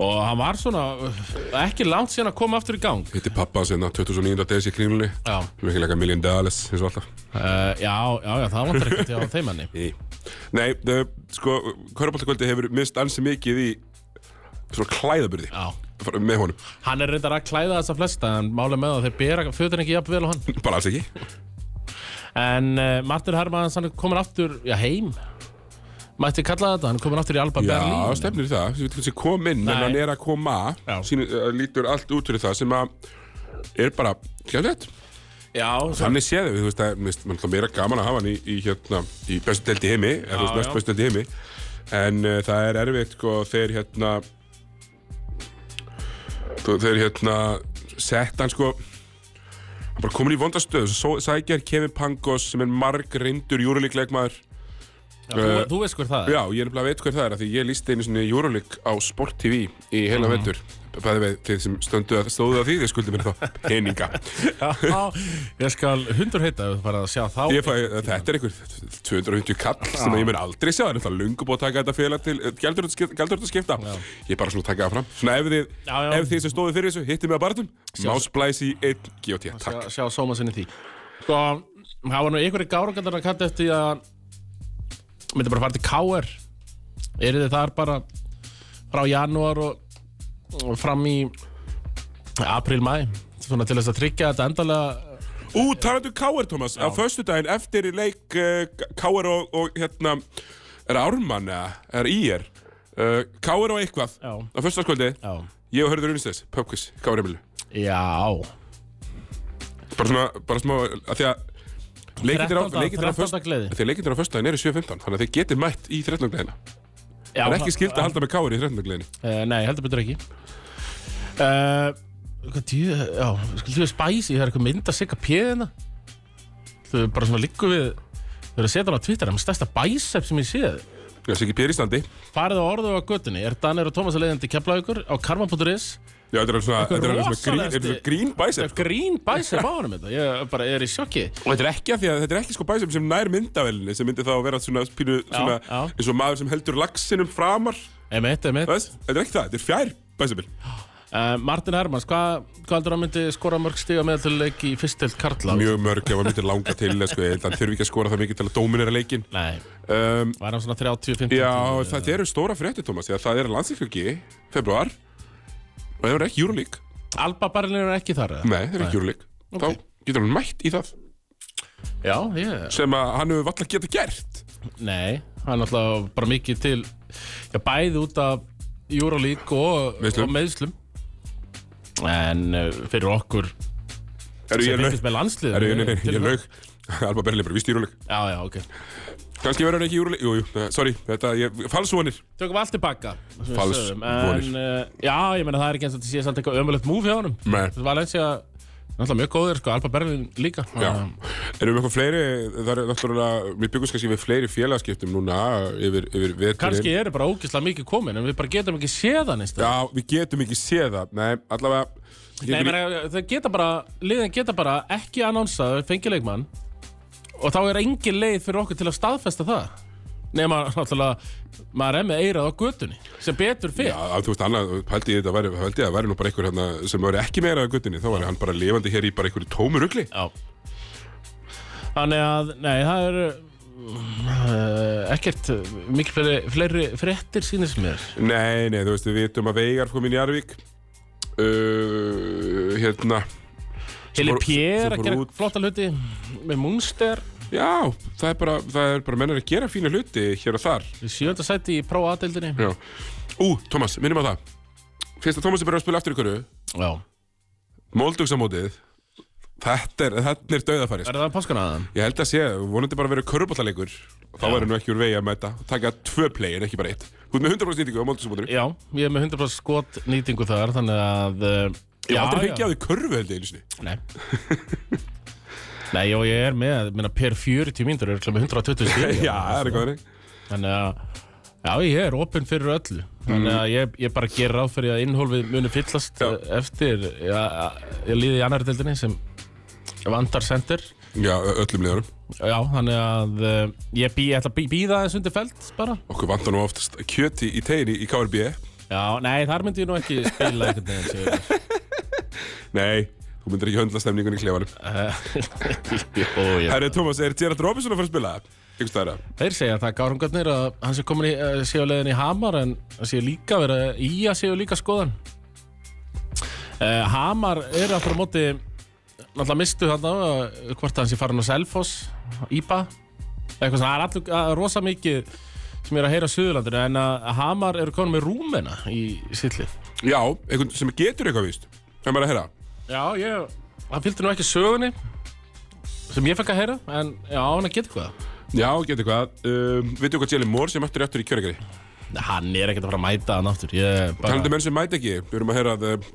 [SPEAKER 3] Og hann var svona uh, ekki langt síðan að koma aftur í gang
[SPEAKER 2] Hitti pappa hérna, sinna 2009. desi í kringlunni
[SPEAKER 3] Já,
[SPEAKER 2] Mikið leika million dollars, eins og alltaf
[SPEAKER 3] uh, já, já, já það vantar ekkert hjá þeim henni
[SPEAKER 2] Í. Nei, eh, það, sko, Körbáltakvöldi hefur mist ansi mikið í svona klæðaburði
[SPEAKER 3] Já,
[SPEAKER 2] fara- með honum
[SPEAKER 3] Hann er reyndar að klæða þessa flesta en máli með það þeir bera fötin ekki jafn vel á hann
[SPEAKER 2] bara alls ekki
[SPEAKER 3] En uh, Martin Hermanns hann er komin aftur já, heim Mætti kalla þetta, hann er komin aftur í Alba
[SPEAKER 2] Já,
[SPEAKER 3] Berlín
[SPEAKER 2] stefnir í það, ég veit hvernig kom inn en
[SPEAKER 3] Nei.
[SPEAKER 2] hann er að koma,
[SPEAKER 3] Já.
[SPEAKER 2] sín, uh, lítur allt út fyrir það sem að er bara, skjálflegt
[SPEAKER 3] Já, svo,
[SPEAKER 2] þannig séð við, þú veist, það er mjög meira gaman að hafa hann í, í hérna, í bestu deldi heimi eða þú veist,
[SPEAKER 3] Já,
[SPEAKER 2] mest
[SPEAKER 3] já.
[SPEAKER 2] bestu deldi heimi en uh, það er erfitt, sko, þeir hérna þú- þeir hérna sett hann, sko hann bara komin í vondastöð, svo sækjar Kevin Pangos sem er marg reyndur júrulíkleikmaður
[SPEAKER 3] þú, þú veist hver það er
[SPEAKER 2] Já, ég er nefnilega veit hver það er af því ég lísti einu svona Euroleague á Sport TV í heila
[SPEAKER 3] Mhm.
[SPEAKER 2] mm. vettur Bæði við þið sem stöndu að stóðu að því þið skuldið mér þá peninga
[SPEAKER 3] Já, ég skal hundur heita ef þú farið að sjá þá
[SPEAKER 2] Ég fæ, Þetta er einhver 250 kall sem ég mun aldrei sjá en það er lungu búið að taka þetta félag til gældur þetta skipta Ég er bara svona að taka það fram Svona ef þið,
[SPEAKER 3] Já, já.
[SPEAKER 2] Ef þið sem stóðu fyrir þessu hitti mig að barðum Másplæs í 1 GOT Takk
[SPEAKER 3] sjá, sjá sóma sinni í því Sko, það var nú ykkur í gárangandar að kalla eftir því að myndi bara fara til KR eru þið þar bara frá janúar og, og fram í apríl, mæ svona til þess að tryggja þetta endalega
[SPEAKER 2] Ú, talandu K.R. Thomas, á föstudaginn eftir í leik uh, K.R. Og, og hérna, er það Ármann eða, er Ír uh, K.R. og eitthvað,
[SPEAKER 3] Já.
[SPEAKER 2] á föstudagskvöldi
[SPEAKER 3] já,
[SPEAKER 2] Ég og Hörður Unistæðs, Pöpkvís, K.R. Emilu
[SPEAKER 3] já.
[SPEAKER 2] Bara svona, bara smá, að því að Leikindir á,
[SPEAKER 3] 13.
[SPEAKER 2] leikindir á,
[SPEAKER 3] 13.
[SPEAKER 2] föst,
[SPEAKER 3] gleði.
[SPEAKER 2] því að leikindir á föstudaginn eru 7.15 Þannig að þeir getið mætt í 13. gleðina
[SPEAKER 3] já
[SPEAKER 2] Það er ekki skilt
[SPEAKER 3] það-
[SPEAKER 2] að halda með K.R. í 13. gleðinni
[SPEAKER 3] Eh, nei, heldur betur ekki uh, Hvað djú, já, skuldum við spæsi, það er eitthvað mynd að sigga pjöðina Þau bara svona liggur við Þau eru að setja hann á Twitter, það er með stærsta bæsepp sem ég séð
[SPEAKER 2] Það sé ekki Pér Íslandi Já,
[SPEAKER 3] Farið á orðu á göttunni, er Danir og Tómas að leiðandi keflaugur á karma.is
[SPEAKER 2] þetta er alveg svona, þetta er alveg svona, grín,
[SPEAKER 3] rosalegasti-
[SPEAKER 2] þetta er svona grín
[SPEAKER 3] Það er
[SPEAKER 2] bæsef
[SPEAKER 3] grín bæsepp á honum þetta, ég bara er í sjokki
[SPEAKER 2] Og þetta er ekki að því að þetta er ekki sko bæsum sem nær myndavelinni sem myndi þá að vera svona pínu svona
[SPEAKER 3] já.
[SPEAKER 2] eins og maður sem heldur laxinum framar
[SPEAKER 3] Emitt, emitt
[SPEAKER 2] Þú veist, Þetta er ekki það, þetta er fjær bæsumil
[SPEAKER 3] uh, Martin Hermans, hvað hva heldur hann myndi skora mörg stiga meðaltöluleik í fyrstild Karla?
[SPEAKER 2] Mjög mörg ef hann myndir langa til sko, ég held að hann þurfi ekki að skora það mikið til að dóminera leikin
[SPEAKER 3] Nei,
[SPEAKER 2] um,
[SPEAKER 3] var hann svona 30-50
[SPEAKER 2] Já, þetta eru stóra frétti, Tómas því að það er landsleiklöki, februar og það er ekki júrulík
[SPEAKER 3] Alba Barlin er ekki þar eða?
[SPEAKER 2] Nei, það er ekki júrulík
[SPEAKER 3] Ok.
[SPEAKER 2] Þá getur hann mætt í það
[SPEAKER 3] Já, ég,
[SPEAKER 2] sem að hann hefur valla geta gert
[SPEAKER 3] Nei, það er náttúrulega bara mikið til já, bæði út af Euroleague og
[SPEAKER 2] Meiðslum.
[SPEAKER 3] og meiðslum. En uh, fyrir okkur
[SPEAKER 2] Eru
[SPEAKER 3] sem
[SPEAKER 2] ég laug?
[SPEAKER 3] fylgist með landslið
[SPEAKER 2] Eru ég laug? Ég laug Alba Berlin bara víst júrulík
[SPEAKER 3] Já, já, ok
[SPEAKER 2] Kanski verður hann ekki júrulík Jú, jú, eh, sorry, þetta, ég, falsvonir
[SPEAKER 3] Tökum allt tilbaka sem við
[SPEAKER 2] Fals
[SPEAKER 3] sögðum.
[SPEAKER 2] vonir.
[SPEAKER 3] En uh, já, ég meina það er ekki eins og þetta sé samt eitthvað ömulegt múfi á honum
[SPEAKER 2] Nei.
[SPEAKER 3] Þetta var lensi að Náttúrulega mjög góður, sko, Alba Berlin líka Um,
[SPEAKER 2] Já,
[SPEAKER 3] Þannig
[SPEAKER 2] erum við eitthvað fleiri, það er náttúrulega, við byggum kannski við fleiri félagskiptum núna yfir, yfir veturinn.
[SPEAKER 3] að Kannski eru bara ógislega mikið komin En við bara getum ekki séð hann einstæð
[SPEAKER 2] Já, við getum ekki séð það, nei, allavega.
[SPEAKER 3] Nei,
[SPEAKER 2] getum-
[SPEAKER 3] meni, þau geta bara, liðin geta bara ekki annonsað að þau fengi leikmann og þá er engin leið fyrir okkur til að staðfesta það nema náttúrulega maður er með eirað á götunni sem betur
[SPEAKER 2] Já,
[SPEAKER 3] fyrr
[SPEAKER 2] að, þú veist, annað, held ég þetta væri, held ég að væri nú bara einhver hérna sem væri ekki meira að guttinni, þá væri hann bara lifandi hér í bara einhverju tómu rugli.
[SPEAKER 3] Já Þannig að, nei, það eru uh, ekkert uh, mikil fleiri, fleiri fréttir sýnist mér
[SPEAKER 2] Nei, nei, þú veist, við vitum að Veigar kom inn í Arvík, uh, hérna,
[SPEAKER 3] Heli
[SPEAKER 2] fór- sem
[SPEAKER 3] Pér
[SPEAKER 2] fór
[SPEAKER 3] að gera
[SPEAKER 2] út.
[SPEAKER 3] flotta hluti með Munster
[SPEAKER 2] já, það er bara, það er bara mennir að gera fína hluti hér og þar.
[SPEAKER 3] í sjönda sæti í prófa-aðdeildinni
[SPEAKER 2] Já. Ú, Tómas, minnum á það. Fyrst að Tómas er bara að spila aftur ykkur,
[SPEAKER 3] Já
[SPEAKER 2] Moldugsamótið Þetta er, þetta er döðafærist
[SPEAKER 3] Er það páskanaðan?
[SPEAKER 2] Ég held að sé, vonandi bara að vera körbállaleikur Þá
[SPEAKER 3] Já.
[SPEAKER 2] verður nú ekki úr vegi að mæta Taka tvö play en ekki bara eitt Þú ert með 100% nýtingu á Moldugsamótinu
[SPEAKER 3] Já, ég er með 100% skot nýtingu þar Þannig að uh,
[SPEAKER 2] Ég hef aldrei hengið á því körfu held ég einu sinni
[SPEAKER 3] Nei Nei, og ég er með, minna per 40 mínútur er örugglega með 120 stíð
[SPEAKER 2] Já, það er eitthvað þannig
[SPEAKER 3] Þannig að, já, ég er opinn fyrir öllu Þannig að ég, ég bara ger ráð fyrir að innhólfið muni fyllast
[SPEAKER 2] Já.
[SPEAKER 3] eh, eftir já, ég líði í annar deildinni sem vandar sendir
[SPEAKER 2] Já, ö- öllum liðarum
[SPEAKER 3] Já, þannig að eh, ég, bý, ég ætla að býða þess undir felt bara
[SPEAKER 2] Okkur vantar nú oftast kjöti í tegin í KRB
[SPEAKER 3] Já, nei, þar myndi ég nú ekki spila einhvern veginn Sigurður.
[SPEAKER 2] Nei, þú myndir ekki höndla stemningun í klefanum
[SPEAKER 3] Jó, já
[SPEAKER 2] Herri, Tómas, er Gerard Robinson að fara að spila? Ykkur stæðra
[SPEAKER 3] Þeir segja það gárumgarnir að hann sé komin í, eh, sé á leiðin í Hamar en hann sé líka verið í að séu líka skoðan Uh, Hamar eru aftur á móti náttúrulega mistu þarna eh, hvort hans er farin á Selfoss, Íba eitthvað svona, það er allur að- rosa mikið sem ég er að heyra á Suðurlandinu en að Hamar eru konum með Rúmena í sittlið
[SPEAKER 2] Já, einhvern sem getur eitthvað víst Það er bara að heyra
[SPEAKER 3] Já, ég, það fylgdi nú ekki sögunni sem ég fekk að heyra en já, hann að geta eitthvað
[SPEAKER 2] Já, getur eitthvað um, Vitið hvað Jelly Moore sem mættur réttur í kjörgari
[SPEAKER 3] Nei, Hann er ekkert að fara að mæta hann aftur ég, bara,
[SPEAKER 2] Talandi um menn sem mæta ekki Við erum að heyra að uh,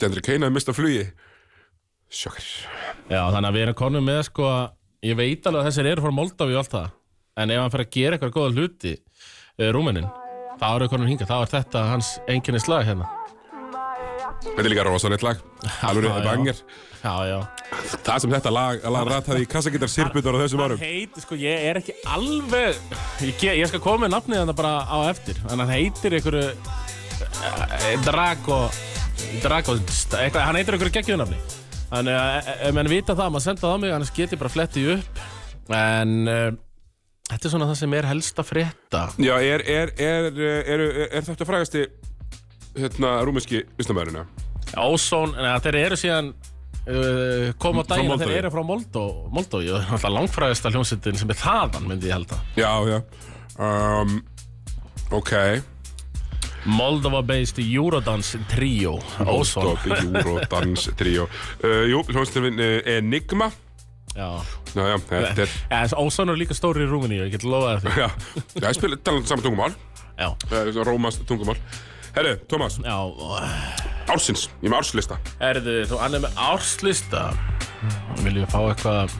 [SPEAKER 2] Dendri Kane hafði mistað flugi Sjokkar
[SPEAKER 3] Já, þannig að við erum konum með sko ég veit alveg að þessir eru frá Moldavi og allt það en ef hann fer að gera eitthvað góða hluti uh, Rúmenin, þá eru konum hingað þá er þetta hans enginni slag hérna
[SPEAKER 2] Þetta er líka rosalegt lag Alveg
[SPEAKER 3] Já, já.
[SPEAKER 2] þetta bangir
[SPEAKER 3] Já, já
[SPEAKER 2] Það sem þetta lag Lag rataði í kassagittar sirputar á þessum árum
[SPEAKER 3] heit, sko, ég er ekki alveg ég, ge- ég skal koma með nafnið hann bara á eftir en hann heitir einhverju eh, Drago Drago, eitthvað, hann heitir einhverju geggjunafni þannig að eh, ef menn vita það maður senda það á mig, annars get ég bara flettið upp en uh, þetta er svona það sem er helst að frétta
[SPEAKER 2] Já, er, er, er, eh, er, er, er þetta frægasti Hérna, rúmenski Íslamæðurina
[SPEAKER 3] Ósón, neða, þeir eru síðan uh, koma á
[SPEAKER 2] Frá
[SPEAKER 3] daginn að
[SPEAKER 2] Moldóvu.
[SPEAKER 3] þeir eru frá Moldó Moldói, og það er langfræðasta hljómsveitin sem er þaðan, myndi ég halda
[SPEAKER 2] Já, já um, Ok
[SPEAKER 3] Moldova-based Eurodance trio Ósón
[SPEAKER 2] Óstopp, Eurodans, tríó uh, Jú, hljómsnefin Enigma
[SPEAKER 3] Já.
[SPEAKER 2] Já, já, þetta er
[SPEAKER 3] Ja, þessi Ósson er líka stóri í rúminni, ég get lofaði því
[SPEAKER 2] Já, já ég spila talan saman tungumál
[SPEAKER 3] Já,
[SPEAKER 2] uh, Rómas tungumál Herru, Tómas,
[SPEAKER 3] já
[SPEAKER 2] ársins, ég er með árslista
[SPEAKER 3] Erðu, þú annað með árslista Viljum við fá eitthvað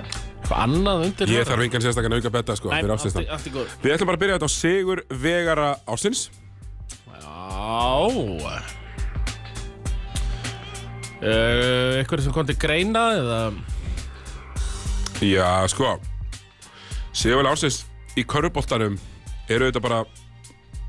[SPEAKER 3] eitthvað annað undir
[SPEAKER 2] Ég þarf engan sérstakann auka betta, sko, fyrir árslistan
[SPEAKER 3] Allt í góð
[SPEAKER 2] Við ætlum bara að byrja þetta á Sigur Vegara ársins
[SPEAKER 3] Já Uh, eitthvað sem kom til greina eða
[SPEAKER 2] Já, sko Sigur ársins í körfuboltarum eru þetta bara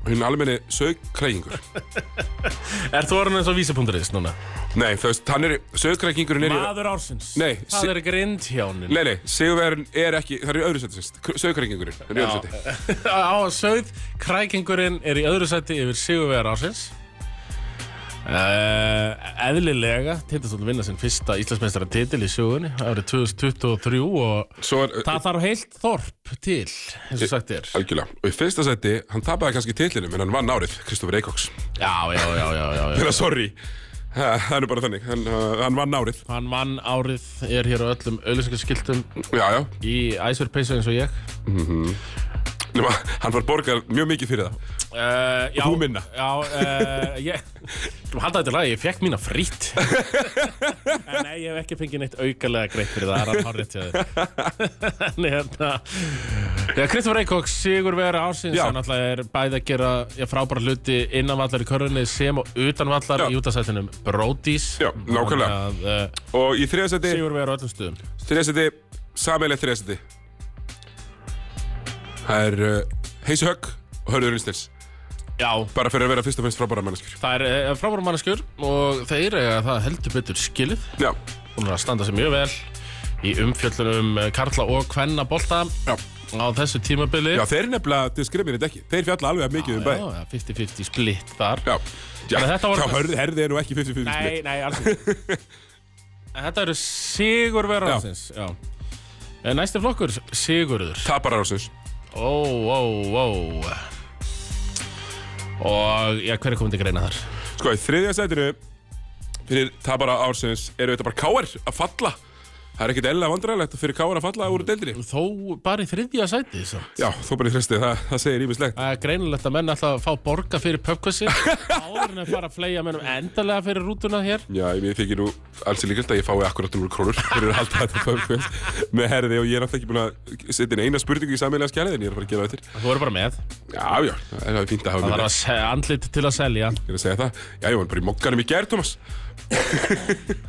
[SPEAKER 2] hinn almenni sögkrækingur
[SPEAKER 3] Er þú orðin eins og vísi.is núna?
[SPEAKER 2] Nei, þú veist, hann er, sögkrækingurinn er í
[SPEAKER 3] Maður ársins
[SPEAKER 2] Nei,
[SPEAKER 3] Það
[SPEAKER 2] si-
[SPEAKER 3] er grindhjánin
[SPEAKER 2] Nei, nei, Sigurverðin er ekki, það er í öðru seti sérst, sögkrækingurinn er í öðru seti
[SPEAKER 3] Á sögð, krækingurinn er í öðru sæti yfir sigurvegar ársins uh, Eðlilega Tindastóll vinna sinn fyrsta Íslandsmeistara titil í sögunni árið 2023 og
[SPEAKER 2] Svo er,
[SPEAKER 3] það þarf heilt þorp til eins og sagt er
[SPEAKER 2] algjörlega, og í fyrsta seti, hann tapaði kannski titlinum en hann vann árið, Kristofur Eikóks
[SPEAKER 3] Já, já, já, já, já, já.
[SPEAKER 2] Þeirra, sorry, Ha, það er nú bara þannig, hann, uh, hann vann árið
[SPEAKER 3] Hann vann árið er hér á öllum auðlýsingarskiltum
[SPEAKER 2] Já, já,
[SPEAKER 3] í æsverpeysu eins og ég
[SPEAKER 2] Nefna, hann var borgað mjög mikið fyrir það
[SPEAKER 3] Uh, já,
[SPEAKER 2] þú minna.
[SPEAKER 3] Já, uh, ég Þú halda þetta lag, ég fekk mína frýtt En nei, ég hef ekki fengið neitt aukalega greitt fyrir það, það er hann hárrétt hjá þér En hérna Já, Kristofur Eikóks, Sigur Vegar Ársins
[SPEAKER 2] Já.
[SPEAKER 3] hann alltaf er bæði að gera já, frábæra hluti innanvallar í körfunni sem og utanvallar
[SPEAKER 2] Já.
[SPEAKER 3] í útasættinum Brodís
[SPEAKER 2] Já, nákvæmlega.
[SPEAKER 3] Þannig að, eh,
[SPEAKER 2] Og í þriða seti,
[SPEAKER 3] Sigur Vegar á öllum stöðum
[SPEAKER 2] þriða seti, sameileg þriða seti Það er uh, Heisi Högg og Hörður Unstens
[SPEAKER 3] Já,
[SPEAKER 2] Bara fyrir að vera fyrst og fremst frábæra manneskjur
[SPEAKER 3] það er eh, frábæra manneskjur og þeir eiga það heldur betur skilið
[SPEAKER 2] Já,
[SPEAKER 3] Hún er að standa sig mjög vel í umfjöllunum eh, Karla og Kvenna bolta
[SPEAKER 2] já,
[SPEAKER 3] á þessu tímabili.
[SPEAKER 2] já, þeir nefnilega diskriminir þetta ekki Þeir fjalla alveg að mikið um bæði
[SPEAKER 3] Já, já, 50-50 splitt þar.
[SPEAKER 2] Já, já
[SPEAKER 3] Þannig að þetta
[SPEAKER 2] þá
[SPEAKER 3] voru-
[SPEAKER 2] hörði, herði er nú ekki 50-50
[SPEAKER 3] Nei,
[SPEAKER 2] split
[SPEAKER 3] nei, alls ekki. En Þetta eru
[SPEAKER 2] Já.
[SPEAKER 3] Sigurverðarsins, já. já. Næsti flokkur, Sigurður.
[SPEAKER 2] Tapar ársins
[SPEAKER 3] Ó, ó, ó. Og, já, hver er komin til greina þar?
[SPEAKER 2] Sko, í þriðja sætinu fyrir tapara ársins eru þetta bara káar að falla Það er ekkit eðlilega vandræðilegt fyrir káar að falla úr deildinni
[SPEAKER 3] Þó bara í þriðja sæti, samt.
[SPEAKER 2] Já, þú bara í þristi, það, það segir ímislegt
[SPEAKER 3] Það er greinilegt að menn alltaf að fá borga fyrir pöpkvössi áður en að fara að fleja mennum endalega fyrir rútuna hér.
[SPEAKER 2] Já, ég þykir nú alls í líkilt að ég fái akkurat 0 krónur fyrir að halda þetta fölkvist með herði og ég er alltaf ekki búin að setja inn eina spurningu í sammelega skjælið en ég er að fara að gera þetta
[SPEAKER 3] Þú eru bara með.
[SPEAKER 2] Já, já, það er fínt að hafa
[SPEAKER 3] Það
[SPEAKER 2] með
[SPEAKER 3] þarf að se- andlit til að selja.
[SPEAKER 2] Ég er að segja það Já, ég var bara í mokkanum í gær, Thomas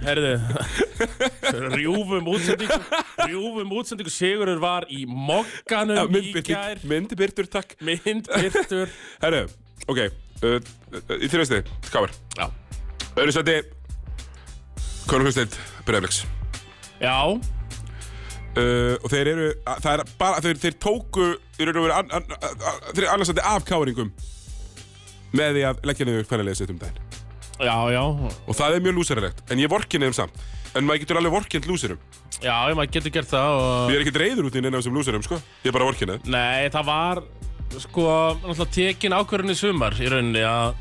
[SPEAKER 3] Herðu, rjúfum útsendingu, rjúfum útsendingu, Sigurður var í
[SPEAKER 2] Já,
[SPEAKER 3] mokkanum í gær,
[SPEAKER 2] myndbirtur- Myndbirtur, takk
[SPEAKER 3] myndbirtur.
[SPEAKER 2] Herru, ok uh, uh, Í þrjóðstæði, káver
[SPEAKER 3] Já.
[SPEAKER 2] Öðru sæti Kóluhjóðstæð, Breiðleiks
[SPEAKER 3] Já,
[SPEAKER 2] uh, Og þeir eru a- Það er bara Þeir, þeir tóku Þeir eru verið an, an, an, Þeir eru annars sæti af káveringum Með því að leggja niður hvernig leðið um daginn
[SPEAKER 3] Já, já,
[SPEAKER 2] Og það er mjög lúsarlegt, en ég vorkinni þeim samt. En maður getur alveg vorkint lúsurum.
[SPEAKER 3] já, ég maður getur gert það og...
[SPEAKER 2] Ég er ekkert reyður út í neina af þessum lúsurum, sko. Ég er bara vorkinnið.
[SPEAKER 3] Nei, það var sko náttúrulega tekin ákvörðin í sumar í rauninni að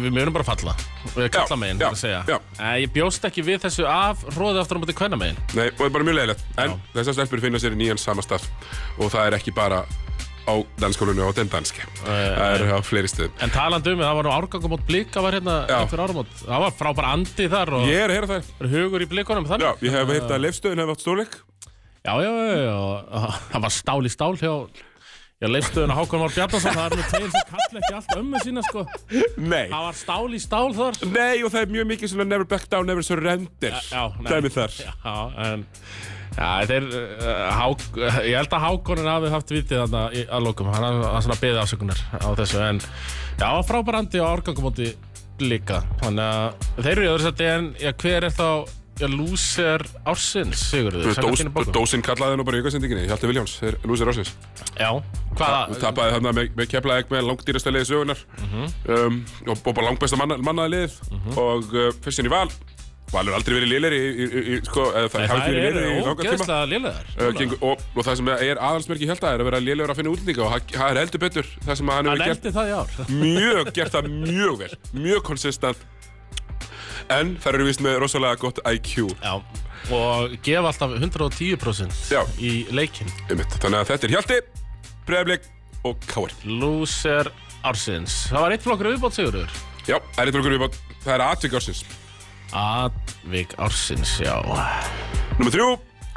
[SPEAKER 3] við mjögum bara falla við kalla megin,
[SPEAKER 2] já,
[SPEAKER 3] það að segja
[SPEAKER 2] já.
[SPEAKER 3] Eh, ég bjóst ekki við þessu af róði aftur á móti kvenna megin
[SPEAKER 2] Nei, og það er bara mjög leiðilegt. En þessar stelpur finna sér í nýjan samastaf og það er ekki bara á danskólunni og den danski. það er á fleiri stöðum.
[SPEAKER 3] en talandi um, það var nú árgangum mót blika var hérna
[SPEAKER 2] Já.
[SPEAKER 3] eftir áramót, það var frábær andi þar og
[SPEAKER 2] Ég er að heyra það.
[SPEAKER 3] yeah. hugur í blikunum
[SPEAKER 2] Já,
[SPEAKER 3] þannig
[SPEAKER 2] ég hef heyrt að leifstöðin hefði átt stórleik.
[SPEAKER 3] já, já, já, já, og það var stál í stál hjá Já, leifstuðun að Hákon Már Bjarnason, það er nú tegir sem kalla ekki allt ömmu sína, sko.
[SPEAKER 2] Nei.
[SPEAKER 3] Það var stál í stál þar.
[SPEAKER 2] Nei, og það er mjög mikið svona never back down, never surrender.
[SPEAKER 3] Já, nei.
[SPEAKER 2] það er mér þar.
[SPEAKER 3] Já, en Já, þeir, uh, hák, ég held að Hákonin hafi haft vitið þarna í- að lókum, hann hafi hafi svona beðið afsökunar á þessu, en já, frábærandi á árgangumóti líka, þannig að þeir eru í öðru sætti, en já, hver er þá, já, lúser ársins, Sigurður, samkvæmt
[SPEAKER 2] Dós,
[SPEAKER 3] þínum bókum?
[SPEAKER 2] dósin kallaði hann nú bara í aukasendinginni, Hjalti Viljáns, er lúsir ásins.
[SPEAKER 3] Já,
[SPEAKER 2] Hún
[SPEAKER 3] hvaða,
[SPEAKER 2] tapaði þarna með, með keflaði ekki með langdýrasta liði sögunar
[SPEAKER 3] Mhm.
[SPEAKER 2] um, og, og bara langbæsta manna, mannaði liðið og uh, fyrst sinni í val Valur aldrei verið lélir í, í, í, í sko, eða það hafi
[SPEAKER 3] þær
[SPEAKER 2] ekki verið
[SPEAKER 3] eru
[SPEAKER 2] lélir í langan tíma
[SPEAKER 3] ógeðslega lélegar,
[SPEAKER 2] Uh, gengur, og, og það sem er aðalsmerki hjálta er að vera lélegur að finna útlendinga og það- það er heldur betur það sem hann hefur
[SPEAKER 3] hann
[SPEAKER 2] gert
[SPEAKER 3] eldi það í ár.
[SPEAKER 2] mjög, gert það mjög vel mjög konsistent en það eru vist með rosalega gott IQ
[SPEAKER 3] Já, og gefa alltaf 110%
[SPEAKER 2] Já.
[SPEAKER 3] í leikinn.
[SPEAKER 2] einmitt. þannig að þetta er Hjalti, Breiðablik og Káar
[SPEAKER 3] Loser ársins Það var eitt flokkur viðbót sigurður
[SPEAKER 2] já, það er eitthvað viðbót. það er atvik ársins
[SPEAKER 3] Atvik ársins, já
[SPEAKER 2] Númer þrjú,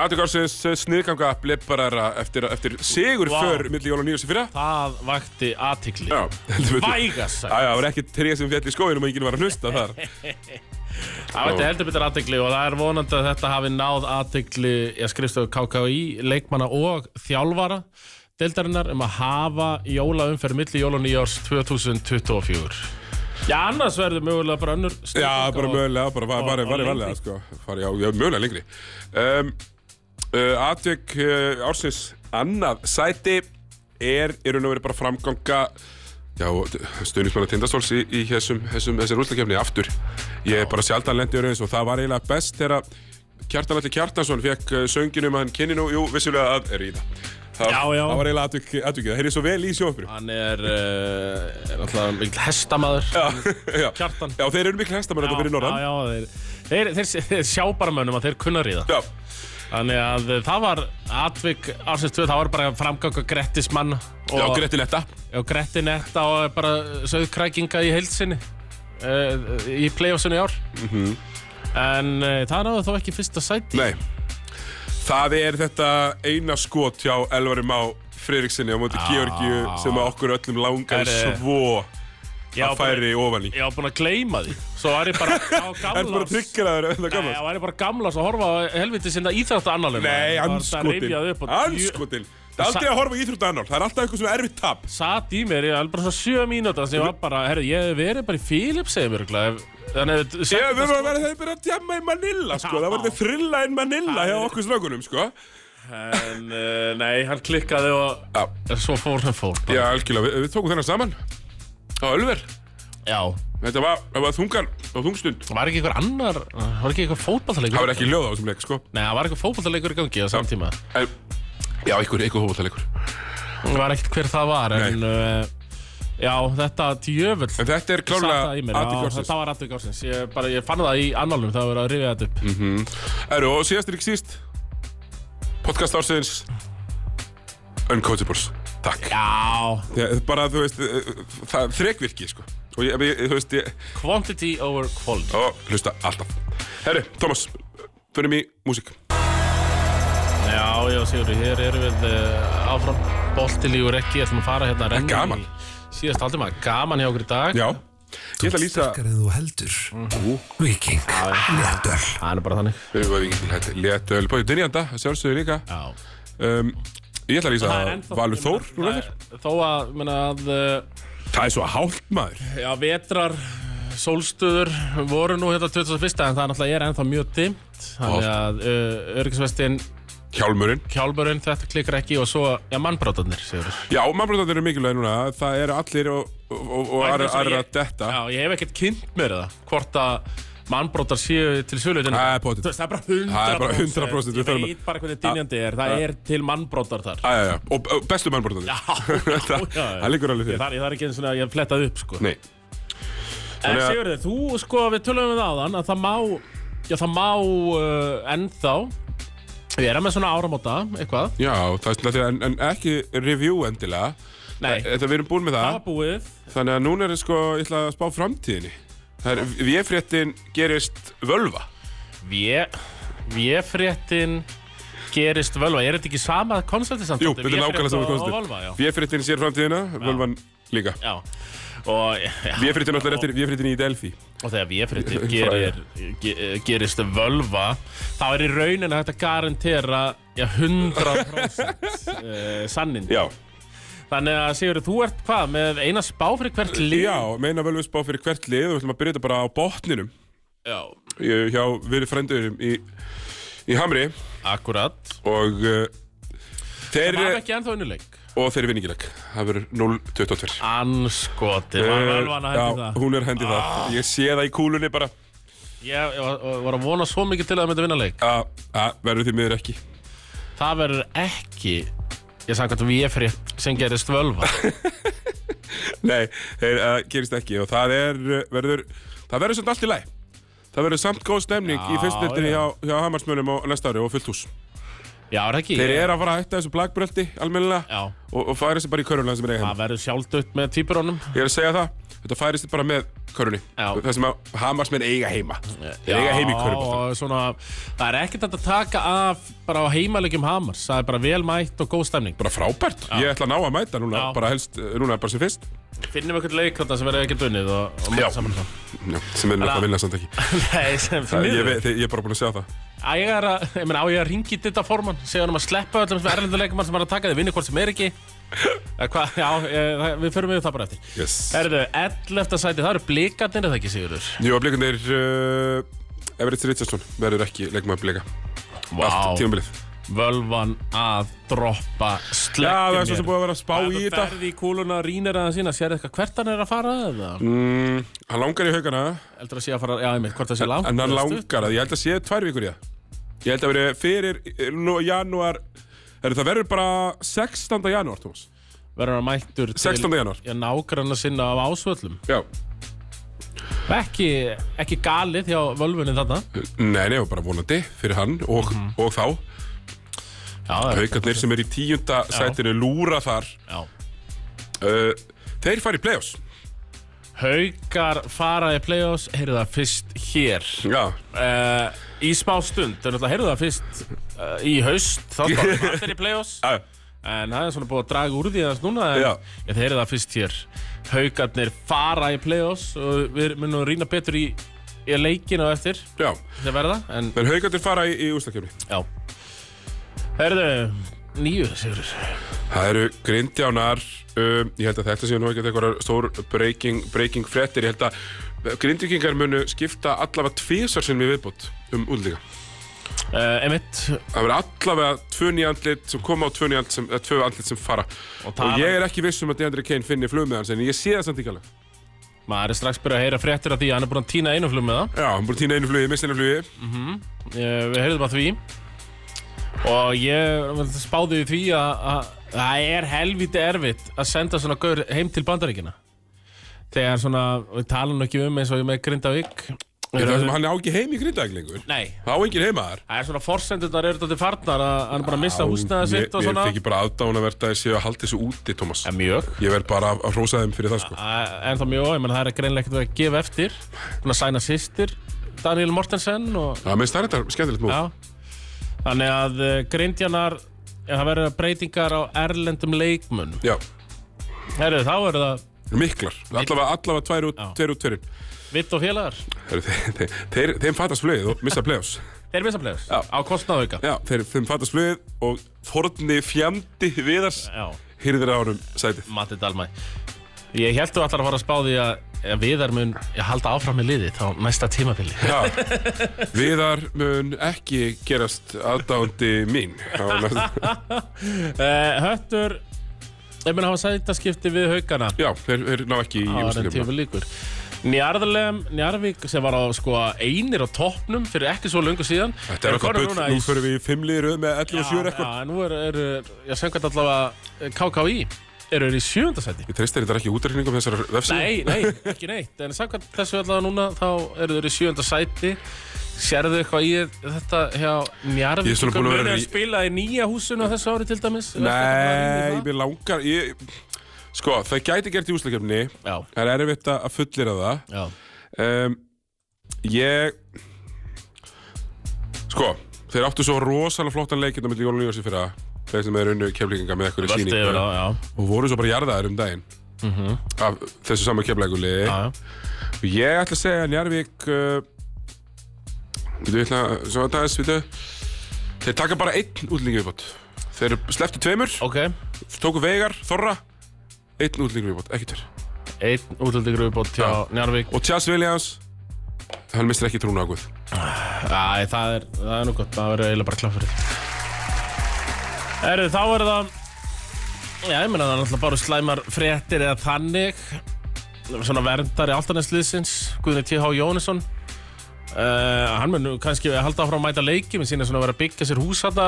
[SPEAKER 2] aðtökarsins sniðganga blipparara eftir, eftir sigur
[SPEAKER 3] Vá.
[SPEAKER 2] för milli jól og nýjus í fyrra.
[SPEAKER 3] Það vakti athygli
[SPEAKER 2] Já, heldur betur.
[SPEAKER 3] Vægast
[SPEAKER 2] Já,
[SPEAKER 3] sagt.
[SPEAKER 2] já, það var ekki tré sem fjall í skóinum og enginn var að hlusta þar.
[SPEAKER 3] Það vakti heldur betur athygli og það er vonandi að þetta hafi náð athygli ég skrifstöðu KKÍ, leikmanna og þjálfara deildarinnar um að hafa jólaumferð milli jól og nýjárs 2024 Já, annars verður mögulega bara önnur
[SPEAKER 2] Já,
[SPEAKER 3] styrking
[SPEAKER 2] bara
[SPEAKER 3] á-
[SPEAKER 2] mögulega, bara var, var,
[SPEAKER 3] og
[SPEAKER 2] var,
[SPEAKER 3] lengri.
[SPEAKER 2] varlega, sko. Fari, já, já, mögulega lengri. Um, uh, atvik uh, ársins annað sæti er, eru nú verið bara framganga Já, stuðnismanna tindastóls í, í þessum, þessum, þessum rúslakefni aftur. Ég er bara sjaldan lendi í raunins og það var eiginlega best þegar Kjartan Alli Kjartansson fekk sönginum um að hann kynni nú, jú, vissulega að ríða. Það,
[SPEAKER 3] Já, já.
[SPEAKER 2] það var eiginlega atvik, atvikið, það heyrði svo vel í sjófru.
[SPEAKER 3] Hann er, uh, er alltaf mikil hestamaður
[SPEAKER 2] Já, já.
[SPEAKER 3] Kjartan.
[SPEAKER 2] Já, þeir eru miklu hestamenn þetta fyrir norðan.
[SPEAKER 3] Já, já, þeir, þeir, þeir, þeir sjá bara mönnum að þeir kunna ríða.
[SPEAKER 2] Já,
[SPEAKER 3] Þannig að það var atvik ársins 2, það var bara framgang að Grettismann
[SPEAKER 2] já,
[SPEAKER 3] og,
[SPEAKER 2] Grettinetta.
[SPEAKER 3] og Grettinetta og bara söðkrækinga í heilsinni uh, í playoffsinu í ár.
[SPEAKER 2] Mhm.
[SPEAKER 3] En uh, það náðu þó ekki fyrsta sæti.
[SPEAKER 2] Nei. Það er þetta eina skot hjá Elvari Má Friðriksinni á móti Georgiu sem að okkur öllum langar
[SPEAKER 3] Herri.
[SPEAKER 2] svo
[SPEAKER 3] Ég var
[SPEAKER 2] að
[SPEAKER 3] bara-
[SPEAKER 2] færi ofan í.
[SPEAKER 3] Ég var búinn að gleyma því. Svo var ég bara á
[SPEAKER 2] Er bara
[SPEAKER 3] gamlás.
[SPEAKER 2] tryggaraður en það
[SPEAKER 3] Nei,
[SPEAKER 2] gamla?
[SPEAKER 3] það var ég bara gamlás að horfa á helviti sinna íþrættu annalum.
[SPEAKER 2] Nei,
[SPEAKER 3] Það rifjaði upp
[SPEAKER 2] anskotin.
[SPEAKER 3] og
[SPEAKER 2] Anskotin. Það er aldrei að horfa í íþrótta annar. Það er alltaf eitthvað svona erfitt tap.
[SPEAKER 3] satt í mér, ég var bara svona sjö mínúta sem ég var bara, herru, ég hef verið bara í Philips segir mér örugglega, ef- þannig að
[SPEAKER 2] Já, við varum að vera þeir byrja að djamma í Manila, sko. Það var þetta thrilla in Manila hjá okkur slökunum, sko.
[SPEAKER 3] en, uh, nei, hann klikkaði og
[SPEAKER 2] Já,
[SPEAKER 3] en svo fór hann fór
[SPEAKER 2] já,
[SPEAKER 3] bara.
[SPEAKER 2] algjörlega. Við, við tókum þennan saman á Ölver.
[SPEAKER 3] já,
[SPEAKER 2] Þetta var, það var þungan og þungstund.
[SPEAKER 3] var ekki einhver annar var ekki einhver fótballtaleikur
[SPEAKER 2] Það var ekki ljóð á þessum leik, sko.
[SPEAKER 3] nei, það var einhver fótballtaleikur í gangi á samtíma
[SPEAKER 2] En, já, einhver, einhver hófaldalegur.
[SPEAKER 3] það var ekkert hver það var en uh, já, þetta djöfull
[SPEAKER 2] En þetta er
[SPEAKER 3] Satt það í
[SPEAKER 2] klálega
[SPEAKER 3] mér, já,
[SPEAKER 2] aðtíkorsins.
[SPEAKER 3] þetta var atvik ársins ég, bara, ég fann það í annálum, það var verið að rifja þetta upp
[SPEAKER 2] Eru, og síðast er ekki síst, podcast ársins, Uncoachables. Takk.
[SPEAKER 3] Já,
[SPEAKER 2] Já, bara, þú veist, eh, það er þrekvirki, sko. Og ég, ég- þú veist, ég,
[SPEAKER 3] quantity over quality
[SPEAKER 2] og hlusta alltaf. Herri, Thomas, förum í músík.
[SPEAKER 3] Já, já, Sigurður, hér erum við uh, áfram boltilígur ekki, ætlum að fara hérna að renna
[SPEAKER 2] gaman.
[SPEAKER 3] í síðast halvdíma, gaman hjá okkur í dag
[SPEAKER 2] Já. Ég ætla að lýsa...
[SPEAKER 1] Sterkar en þú heldur Viking Léttöl
[SPEAKER 3] Það er nú bara þannig
[SPEAKER 2] Við varum ekki til hætti. Léttöl, bóðið dynjanda, að sjálfsögðu líka.
[SPEAKER 3] Já
[SPEAKER 2] Um, ég ætla að lýsa
[SPEAKER 3] Það er ennþá-
[SPEAKER 2] Valur Þór núna
[SPEAKER 3] Það
[SPEAKER 2] eftir.
[SPEAKER 3] er- Þó að, menna að, uh,
[SPEAKER 2] Það er svo hálft maður.
[SPEAKER 3] já, vetrar, sólstöður voru nú hérna 21. en það er náttúrulega er ennþá mjög dimmt Þannig að uh, eh, öryggisvestin
[SPEAKER 2] Hjálmurinn
[SPEAKER 3] Kjálmurinn, þetta klikkar ekki og svo, já, mannbrátarnir, segur þú.
[SPEAKER 2] Já, mannbrotandir eru mikilvæg núna Það eru allir og, og, og, og aðra aðra að detta
[SPEAKER 3] Já, ég hef ekkert kynnt mér það, hvort að mannbrótar séu til sölu hérna.
[SPEAKER 2] Það er pottþétt.
[SPEAKER 3] Þú veist, Það er bara 100%.
[SPEAKER 2] Það er bara 100%, við
[SPEAKER 3] Ég
[SPEAKER 2] þurfum að-
[SPEAKER 3] veit bara hvernig dynjandi er, það er til mannbrótar þar.
[SPEAKER 2] Æ, já, já, og og bestu mannbrotandir
[SPEAKER 3] Já, já,
[SPEAKER 2] Það-
[SPEAKER 3] já, já.
[SPEAKER 2] það liggur alveg fyrir.
[SPEAKER 3] Ég þarf- Ég þarf ekki eins og að ég hef flettað upp, sko.
[SPEAKER 2] Nei,
[SPEAKER 3] En
[SPEAKER 2] Þannig að-
[SPEAKER 3] Sigurður, þú sko, við tölum við áðan að það má, já það má uh, ennþá, við erum með svona áramóta, eitthvað,
[SPEAKER 2] já, það er svona því að- en, en ekki review endilega Eh,
[SPEAKER 3] Nei.
[SPEAKER 2] Þetta við erum búin með
[SPEAKER 3] það
[SPEAKER 2] það
[SPEAKER 3] var búið,
[SPEAKER 2] Þannig að núna er það sko, ég ætla að spá framtíðinni Það er, véfréttin gerist völva
[SPEAKER 3] við, við fréttin gerist völva, er þetta ekki sama koncepti samt?
[SPEAKER 2] Jú, þetta er nákvæmlega saman
[SPEAKER 3] Og völva, já.
[SPEAKER 2] konstant Véfréttin sér framtíðina, völvan líka
[SPEAKER 3] já. Og, já.
[SPEAKER 2] Véfréttin alltaf eftir, véfréttin í Delphi
[SPEAKER 3] og þegar véfréttin gerir, ge, gerist völva, þá er í rauninni hægt að garantera já, 100% uh, sannin.
[SPEAKER 2] Já,
[SPEAKER 3] Þannig að Sigurður, þú ert hvað, með eina spá fyrir hvert lið?
[SPEAKER 2] já, meina völvu spá fyrir hvert lið og við ætlum að byrja þetta bara á botninum
[SPEAKER 3] Já,
[SPEAKER 2] eh, hjá við frendurum í, í Hamri
[SPEAKER 3] akkurat
[SPEAKER 2] og uh, þeir,
[SPEAKER 3] Það var ekki ennþá unnuleik
[SPEAKER 2] og þeir vinningileg Það verður 0-22
[SPEAKER 3] Anskoti, var völvan að hendi
[SPEAKER 2] Já,
[SPEAKER 3] það Ah.
[SPEAKER 2] hún er hendi það Ég sé það í kúlunni bara
[SPEAKER 3] Ég ég var, var að vona svo mikið til að það myndi vinna leik
[SPEAKER 2] að að verður því miður ekki
[SPEAKER 3] Það verður ekki Ég sagði hvað við ég frétt sem gerist völva
[SPEAKER 2] Nei, þeir uh, gerist ekki og það er, eh, verður, það verður samt allt í læg. Það verður samt góð stemning í
[SPEAKER 3] Já,
[SPEAKER 2] fyrstnildinni
[SPEAKER 3] já.
[SPEAKER 2] hjá, hjá Hamarsmönum á næsta ári og fullt hús.
[SPEAKER 3] Já, er það ekki
[SPEAKER 2] Þeir eru að fara að hætta þessu blagbröldi almennilega
[SPEAKER 3] Já,
[SPEAKER 2] og, og færi sig bara í körunlega sem er eiginlega.
[SPEAKER 3] það verður sjálfdött með týpurunum
[SPEAKER 2] Ég er að segja það, þetta færi sig bara með körunni.
[SPEAKER 3] Já.
[SPEAKER 2] Það sem að Hamarsmön eiga heima. Þeir eiga heima í körunni.
[SPEAKER 3] og svona, það er ekkert hægt að taka af bara á heimalegjum Hamars Það er bara vel mætt og góð stemning
[SPEAKER 2] Bara frábært. Ég ætla að ná að mæta núna,
[SPEAKER 3] Já.
[SPEAKER 2] bara helst, eh, núna bara sem fyrst.
[SPEAKER 3] Finnum einhvern leik þarna sem verður ekkert unnið og, og
[SPEAKER 2] Já.
[SPEAKER 3] mæta saman það
[SPEAKER 2] Já, sem er náttúrulega að vinna samt ekki.
[SPEAKER 3] Nei, sem
[SPEAKER 2] Það,
[SPEAKER 3] fyrir
[SPEAKER 2] ég, veit- ég er bara búin að segja það.
[SPEAKER 3] Á ég er að, ég meina, á ég að ringi ditta formann, segja hann um að sleppa öllum sem erlenduleikumann sem er að taka þið, vinni hvort sem er ekki. Eða hvað, já, ég, það- við förum við það bara eftir.
[SPEAKER 2] Yes.
[SPEAKER 3] Herðu, 11. sæti, það eru blikarnir, er það ekki, Sigurður?
[SPEAKER 2] Jú, blikundir uh, Everett Richardson verður ekki leikmaður blika Allt tímabilið
[SPEAKER 3] Völvan að droppa slekkjum
[SPEAKER 2] Já, það er svo sem búið að vera að spá í
[SPEAKER 3] Þú
[SPEAKER 2] þetta
[SPEAKER 3] ferði í kúluna og rínir aðeins sína, sér eitthvað hvert hann er að fara, eða?
[SPEAKER 2] mm, Hann langar í haugana
[SPEAKER 3] Eldur að sé að fara, já, ég meint, hvort það sé langt.
[SPEAKER 2] En hann
[SPEAKER 3] eða stutt.
[SPEAKER 2] langar að, ég held að sé tvær vikur í það Ég held að verið fyrir eh, nú, janúar er, Það verður bara 16. janúar, Thomas
[SPEAKER 3] Verður hann mættur til...
[SPEAKER 2] 16. janúar
[SPEAKER 3] Já, nágranna sinna af ásvöllum.
[SPEAKER 2] Já,
[SPEAKER 3] Ekki, ekki galið hjá völvunni þarna.
[SPEAKER 2] nei, nei, og bara vonandi fyrir hann og, og þá
[SPEAKER 3] Já, það er...
[SPEAKER 2] Haukarnir sem er í tíunda sætinu lúra þar
[SPEAKER 3] Já.
[SPEAKER 2] uh, Þeir fara í play-offs
[SPEAKER 3] Haukar fara í play-offs, heyrðu það fyrst hér
[SPEAKER 2] Já,
[SPEAKER 3] uh, Í smá stund, en alltaf heyrðu það fyrst uh, í haust Þá spáðum við allir í play-offs
[SPEAKER 2] já,
[SPEAKER 3] En það er svona búið að draga úr því aðeins núna En
[SPEAKER 2] Já.
[SPEAKER 3] ég það heyrðu það fyrst hér Haukarnir fara í play-offs Og við munum rýna betur í, í leikina á eftir
[SPEAKER 2] já
[SPEAKER 3] Þegar verða, en
[SPEAKER 2] En haugarnir fara í, í úslakefni
[SPEAKER 3] já Heyrðu, nýju sigur
[SPEAKER 2] Það eru grindjánar, um, ég held að þetta séu nú ekki eitthvað stór breaking, breaking frettir, ég held að uh, grindvíkingar munu skipta allavega tvísar sem við viðbútt um útlíka.
[SPEAKER 3] uh, Emitt
[SPEAKER 2] Það verður allavega tvö nýjandlit sem koma og tvö, nýjandlit sem, eh, tvö andlit sem fara.
[SPEAKER 3] Og
[SPEAKER 2] Og,
[SPEAKER 3] það-
[SPEAKER 2] ég er ekki viss um að Deandre Kane finni flug með hans, en ég sé það samt ekki alveg.
[SPEAKER 3] Maður er strax byrjað að heyra fréttir af því að hann er búin að týna einuflum með það
[SPEAKER 2] Já, hann búið að týna einu flugi, mista einu flugi.
[SPEAKER 3] Eh, við heyrðum að því og ég spáði því að að- það er helviti erfitt að senda svona gaur heim til bandaríkina þegar svona, við talum nú ekki um eins og ég með Grindavík
[SPEAKER 2] Það er sem hann á ekki heim í grindavík lengur.
[SPEAKER 3] Nei,
[SPEAKER 2] Þá enginn heima þar.
[SPEAKER 3] það er svona forsendunar eru þetta farnar að hann er bara að missa húsnaða
[SPEAKER 2] Mér-
[SPEAKER 3] sitt og
[SPEAKER 2] Mér
[SPEAKER 3] svona
[SPEAKER 2] þykir bara aðdánavert að ég sé að halda þessu úti, Thomas.
[SPEAKER 3] ja, Mjög
[SPEAKER 2] Ég verð bara að, að hrósa þeim fyrir það, sko.
[SPEAKER 3] Eh, En það mjög, ég menn það er greinlega ekkert verið að gefa eftir Svona sæna sýstir Daniel Mortensen og
[SPEAKER 2] Já, mér starf þetta skemmtilegt múl.
[SPEAKER 3] Já Þannig að eh, grindjanar eh, Það verður breytingar á erlendum leikmunum
[SPEAKER 2] Já.
[SPEAKER 3] Herru, þá eru það
[SPEAKER 2] Miklar, allavega, allavega tvær út,
[SPEAKER 3] Já.
[SPEAKER 2] tveir út tveirinn
[SPEAKER 3] vitt og félagar.
[SPEAKER 2] Heru, þeir, þeir, þeir, Þeim fattast flugið og missa play-offs
[SPEAKER 3] Þeir missa play-offs
[SPEAKER 2] Já.
[SPEAKER 3] á kostnaðauka.
[SPEAKER 2] Já, þeir, þeim fattast flugið og forni fjandi viðars
[SPEAKER 3] Já,
[SPEAKER 2] hýrðir ánum sætið
[SPEAKER 3] Matti Dalmæ. Ég held þú allar að fara að spá því að að Viðar mun halda áfram með liði þá næsta tímabili.
[SPEAKER 2] Já, viðar mun ekki gerast aðdándi mín á næsta-
[SPEAKER 3] Uh, höttur, ef mun hafa sætaskipti við haugana
[SPEAKER 2] Já, þeir, þeir ná ekki í
[SPEAKER 3] á þannig
[SPEAKER 2] úrslitum
[SPEAKER 3] tíma líkur. Njarðarlem, Njarðvík sem var á sko einir á toppnum fyrir ekki svo lungu síðan.
[SPEAKER 2] Þetta er
[SPEAKER 3] Eru
[SPEAKER 2] eitthvað
[SPEAKER 3] konur
[SPEAKER 2] bull,
[SPEAKER 3] núna í-
[SPEAKER 2] nú fyrir við í fimmliðir með 11 og 7 eitthvað
[SPEAKER 3] Já, en nú eru, er, ég söngat allavega eh, KKÍ, eru þeir í sjöundasæti.
[SPEAKER 2] Ég treystir þetta ekki útreikningum þessar vefsíð
[SPEAKER 3] Nei, nei, ekki neitt, en samkvæmt þessu allavega núna þá eru þeir í sjöundasæti. Sérðu eitthvað í þetta hjá Njarðvík?
[SPEAKER 2] Ég er svona búinn að vera
[SPEAKER 3] að
[SPEAKER 2] í-
[SPEAKER 3] spila í nýja húsinu á þessu ári til dæmis?
[SPEAKER 2] Nei, mér langar ég, Sko, það gæti gert í úslakefni
[SPEAKER 3] Já,
[SPEAKER 2] Það er erfitt að fullir að það
[SPEAKER 3] já.
[SPEAKER 2] um, Ég Sko, þeir áttu svo rosalega flottan leikinn á milli Jólun Jósi fyrir að þeir sem er unnu keflinga með ekkur í
[SPEAKER 3] Völdi yfir á, já.
[SPEAKER 2] og voru svo bara jarðaðir um daginn af þessu sama keflækuliði
[SPEAKER 3] já, já.
[SPEAKER 2] Ég ætla að segja að Njarvík uh, Við ætla að Svo að þess, við Þeir taka bara einn útlendingu viðbót Þeir sleftu tveimur,
[SPEAKER 3] Ok,
[SPEAKER 2] tóku vegar, þorra Einn útlendingu viðbót, ekki tveir
[SPEAKER 3] einn útlöldingur upp á tjá
[SPEAKER 2] Já.
[SPEAKER 3] Njarvík.
[SPEAKER 2] Og Tjás Williams Hann mistir ekki trúna á Guð
[SPEAKER 3] Æ, það er, það er nú gott, það verður eiginlega bara klaffurinn. Erðu, þá verður það... Já, ég meina það er náttúrulega bara slæmar fréttir eða þannig. Svona verndari altanesliðsins, Guðni T.H. Jónesson. Uh, hann mun nú kannski halda áfram að mæta leiki, minn sína svona að vera að byggja sér hús þetta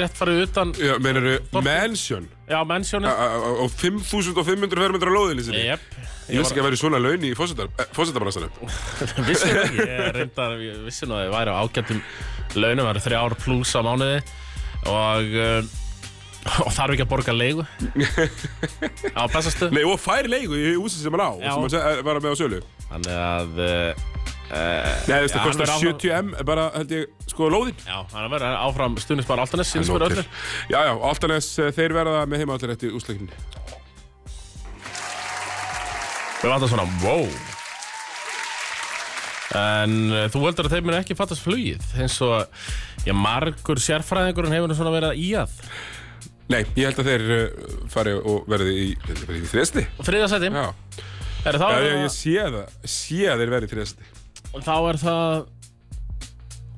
[SPEAKER 3] rétt farið utan,
[SPEAKER 2] Já, meinarðu Mansion
[SPEAKER 3] já, mennsjónin.
[SPEAKER 2] á- á á 5500 fermetra lóðinni sinni
[SPEAKER 3] Jep.
[SPEAKER 2] Ég veist ekki að vera svona laun í eh, fósendabransanum
[SPEAKER 3] vissi það ekki, ég reyndar ég vissi nú að ég væri á ágættum launum, það eru þrjá ár pluss á mánuði og, uh, og þarf ekki að borga leigu á bestastu
[SPEAKER 2] Nei, og fær leiku í húsi sem hann á
[SPEAKER 3] Já.
[SPEAKER 2] sem hann se- eh, var með á sölu
[SPEAKER 3] þannig að uh,
[SPEAKER 2] Nei, þú veist, það
[SPEAKER 3] hann
[SPEAKER 2] kostar
[SPEAKER 3] verður áfram-
[SPEAKER 2] 70M bara, held ég, sko, lóðin
[SPEAKER 3] já, hann verður áfram stuðnismar Altanes síns fyrir
[SPEAKER 2] Nóg til.
[SPEAKER 3] öllu
[SPEAKER 2] Já, já, Altanes, eh, þeir verða með heima allir eftir úsleikinni
[SPEAKER 3] við vantar svona, wow en uh, þú heldur að þeim muni ekki fattast flugið eins og, já, margur sérfræðingurinn hefur nú svona verið að í að
[SPEAKER 2] Nei, ég held að þeir uh, fari og verði í, verði í þresti
[SPEAKER 3] þriðasæti,
[SPEAKER 2] Já,
[SPEAKER 3] er það
[SPEAKER 2] já ég, ég sé það, sé að þeir verði í þresti
[SPEAKER 3] Og þá er það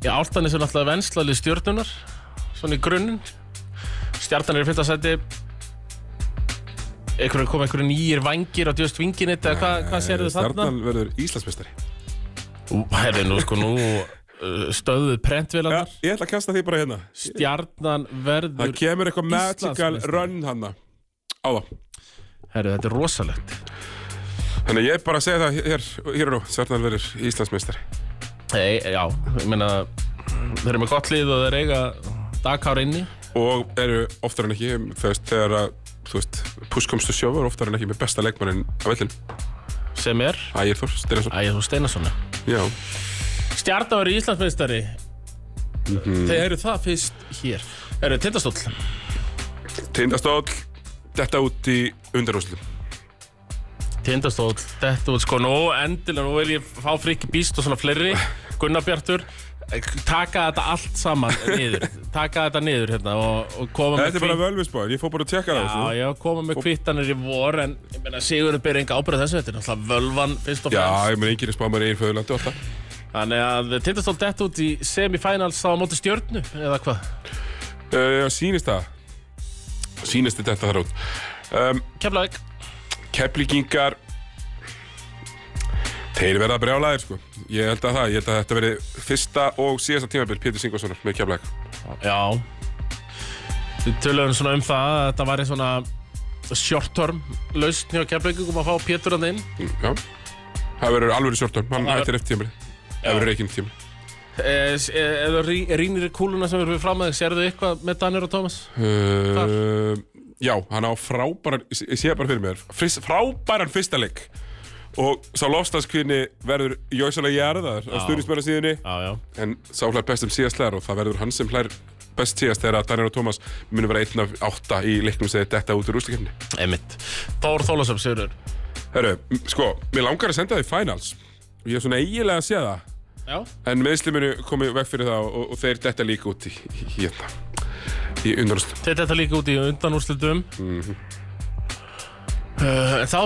[SPEAKER 3] Já, Áltanis er náttúrulega vennslaðlið stjórnunar Svona í grunninn Stjartan er í fyrsta seti Einhverjum kom einhverjum nýjir vangir á djöst vinginit eða hvað, hvað sérðu þarna?
[SPEAKER 2] Stjarnan Eh, verður Íslandsmeistari
[SPEAKER 3] Herri, nú sko nú uh, stöðuð
[SPEAKER 2] Já,
[SPEAKER 3] prentvélarnar
[SPEAKER 2] ég ætla að kasta því bara hérna
[SPEAKER 3] Stjarnan
[SPEAKER 2] Það
[SPEAKER 3] verður
[SPEAKER 2] kemur eitthvað magical
[SPEAKER 3] Íslandsmeistari.
[SPEAKER 2] run hana Á það
[SPEAKER 3] Herri, þetta er rosalegt
[SPEAKER 2] Þannig að ég bara segi það hér, hér og nú Stjarnan verður Íslandsmeistari
[SPEAKER 3] Nei, já, ég meina Þeir eru með gott lið og þeir eiga dagkár inni
[SPEAKER 2] Og eru oftar en ekki Þú veist, þegar að Þú veist, push comes to shove er oftar en ekki með besta leikmannin á vellin
[SPEAKER 3] sem er
[SPEAKER 2] Ægir Þór, Styrjansson
[SPEAKER 3] Ægir Þú Steinarssoni
[SPEAKER 2] Já,
[SPEAKER 3] Stjarnan verður Íslandsmeistari Þeir eru það fyrst hér Eru tindastóll
[SPEAKER 2] Tindastóll, þetta út í undarúslu
[SPEAKER 3] Tindastóll, þetta var sko nú endilega Nú vil ég fá friki býst og svona fleiri Gunnar Bjartur eh, Taka þetta allt saman niður Taka þetta niður hérna og, og koma
[SPEAKER 2] Þetta er
[SPEAKER 3] með
[SPEAKER 2] bara sko. völvisbáður, ég fór bara að tjekka það
[SPEAKER 3] Já,
[SPEAKER 2] þessu.
[SPEAKER 3] já, koma með kvittanir í vor En ég meina Sigurður ber enga ábyrða þessu Þetta er náttúrulega völvan fyrst og
[SPEAKER 2] Já,
[SPEAKER 3] fremst
[SPEAKER 2] ég menn enginn er spámaður í einn föðurlandi alltaf
[SPEAKER 3] Þannig að Tindastóll dett út í semifinals á móti stjörnu Eða hvað?
[SPEAKER 2] uh, Sýnist það Sýnist þetta þar út um,
[SPEAKER 3] Keflavík
[SPEAKER 2] Keflíkingar Þeir verða brjálæðir sko Ég held að það, ég held að þetta verði fyrsta og síðasta tímabil Pétur Singvarssonar með Keflæk
[SPEAKER 3] Já Við töluðum svona um það að þetta væri svona short term lausn hjá keflaugum að fá Pétur hann inn
[SPEAKER 2] Já Það verður alveg sjórtun, hann
[SPEAKER 3] Það-
[SPEAKER 2] hættir eftir tímabili Það verður ekki tímabili
[SPEAKER 3] Eh, s- eh, Ef þú rýnir í kúluna sem eru við fram að þig sérðu eitthvað með Danir og Tómas
[SPEAKER 2] uh, Já, hann á frábæran Ég sé það bara fyrir mér fyrst, Frábæran fyrsta leik Og sá lofstafskvinni verður Jósalega jarðar á stuðnismæra síðunni
[SPEAKER 3] Já, já
[SPEAKER 2] En sá hlær best um síðast hlær og það verður hann sem hlær best síðast þegar að Daniel og Thomas munum vera einn af átta í leiknum sem þetta út úr úrslikefni
[SPEAKER 3] Einmitt Þór Þólasöf, Sigurður
[SPEAKER 2] Herru, m- sko, mér langar að senda þið finals og ég er svona eiginlega að sé það
[SPEAKER 3] Já
[SPEAKER 2] en meðsli munu komið veg fyrir það og, og, og þeir detta líka út í í- hérna í undanústum Mhm.
[SPEAKER 3] Þetta er þetta líka út í undanúrslitum mm -hmm. Uh, en þá,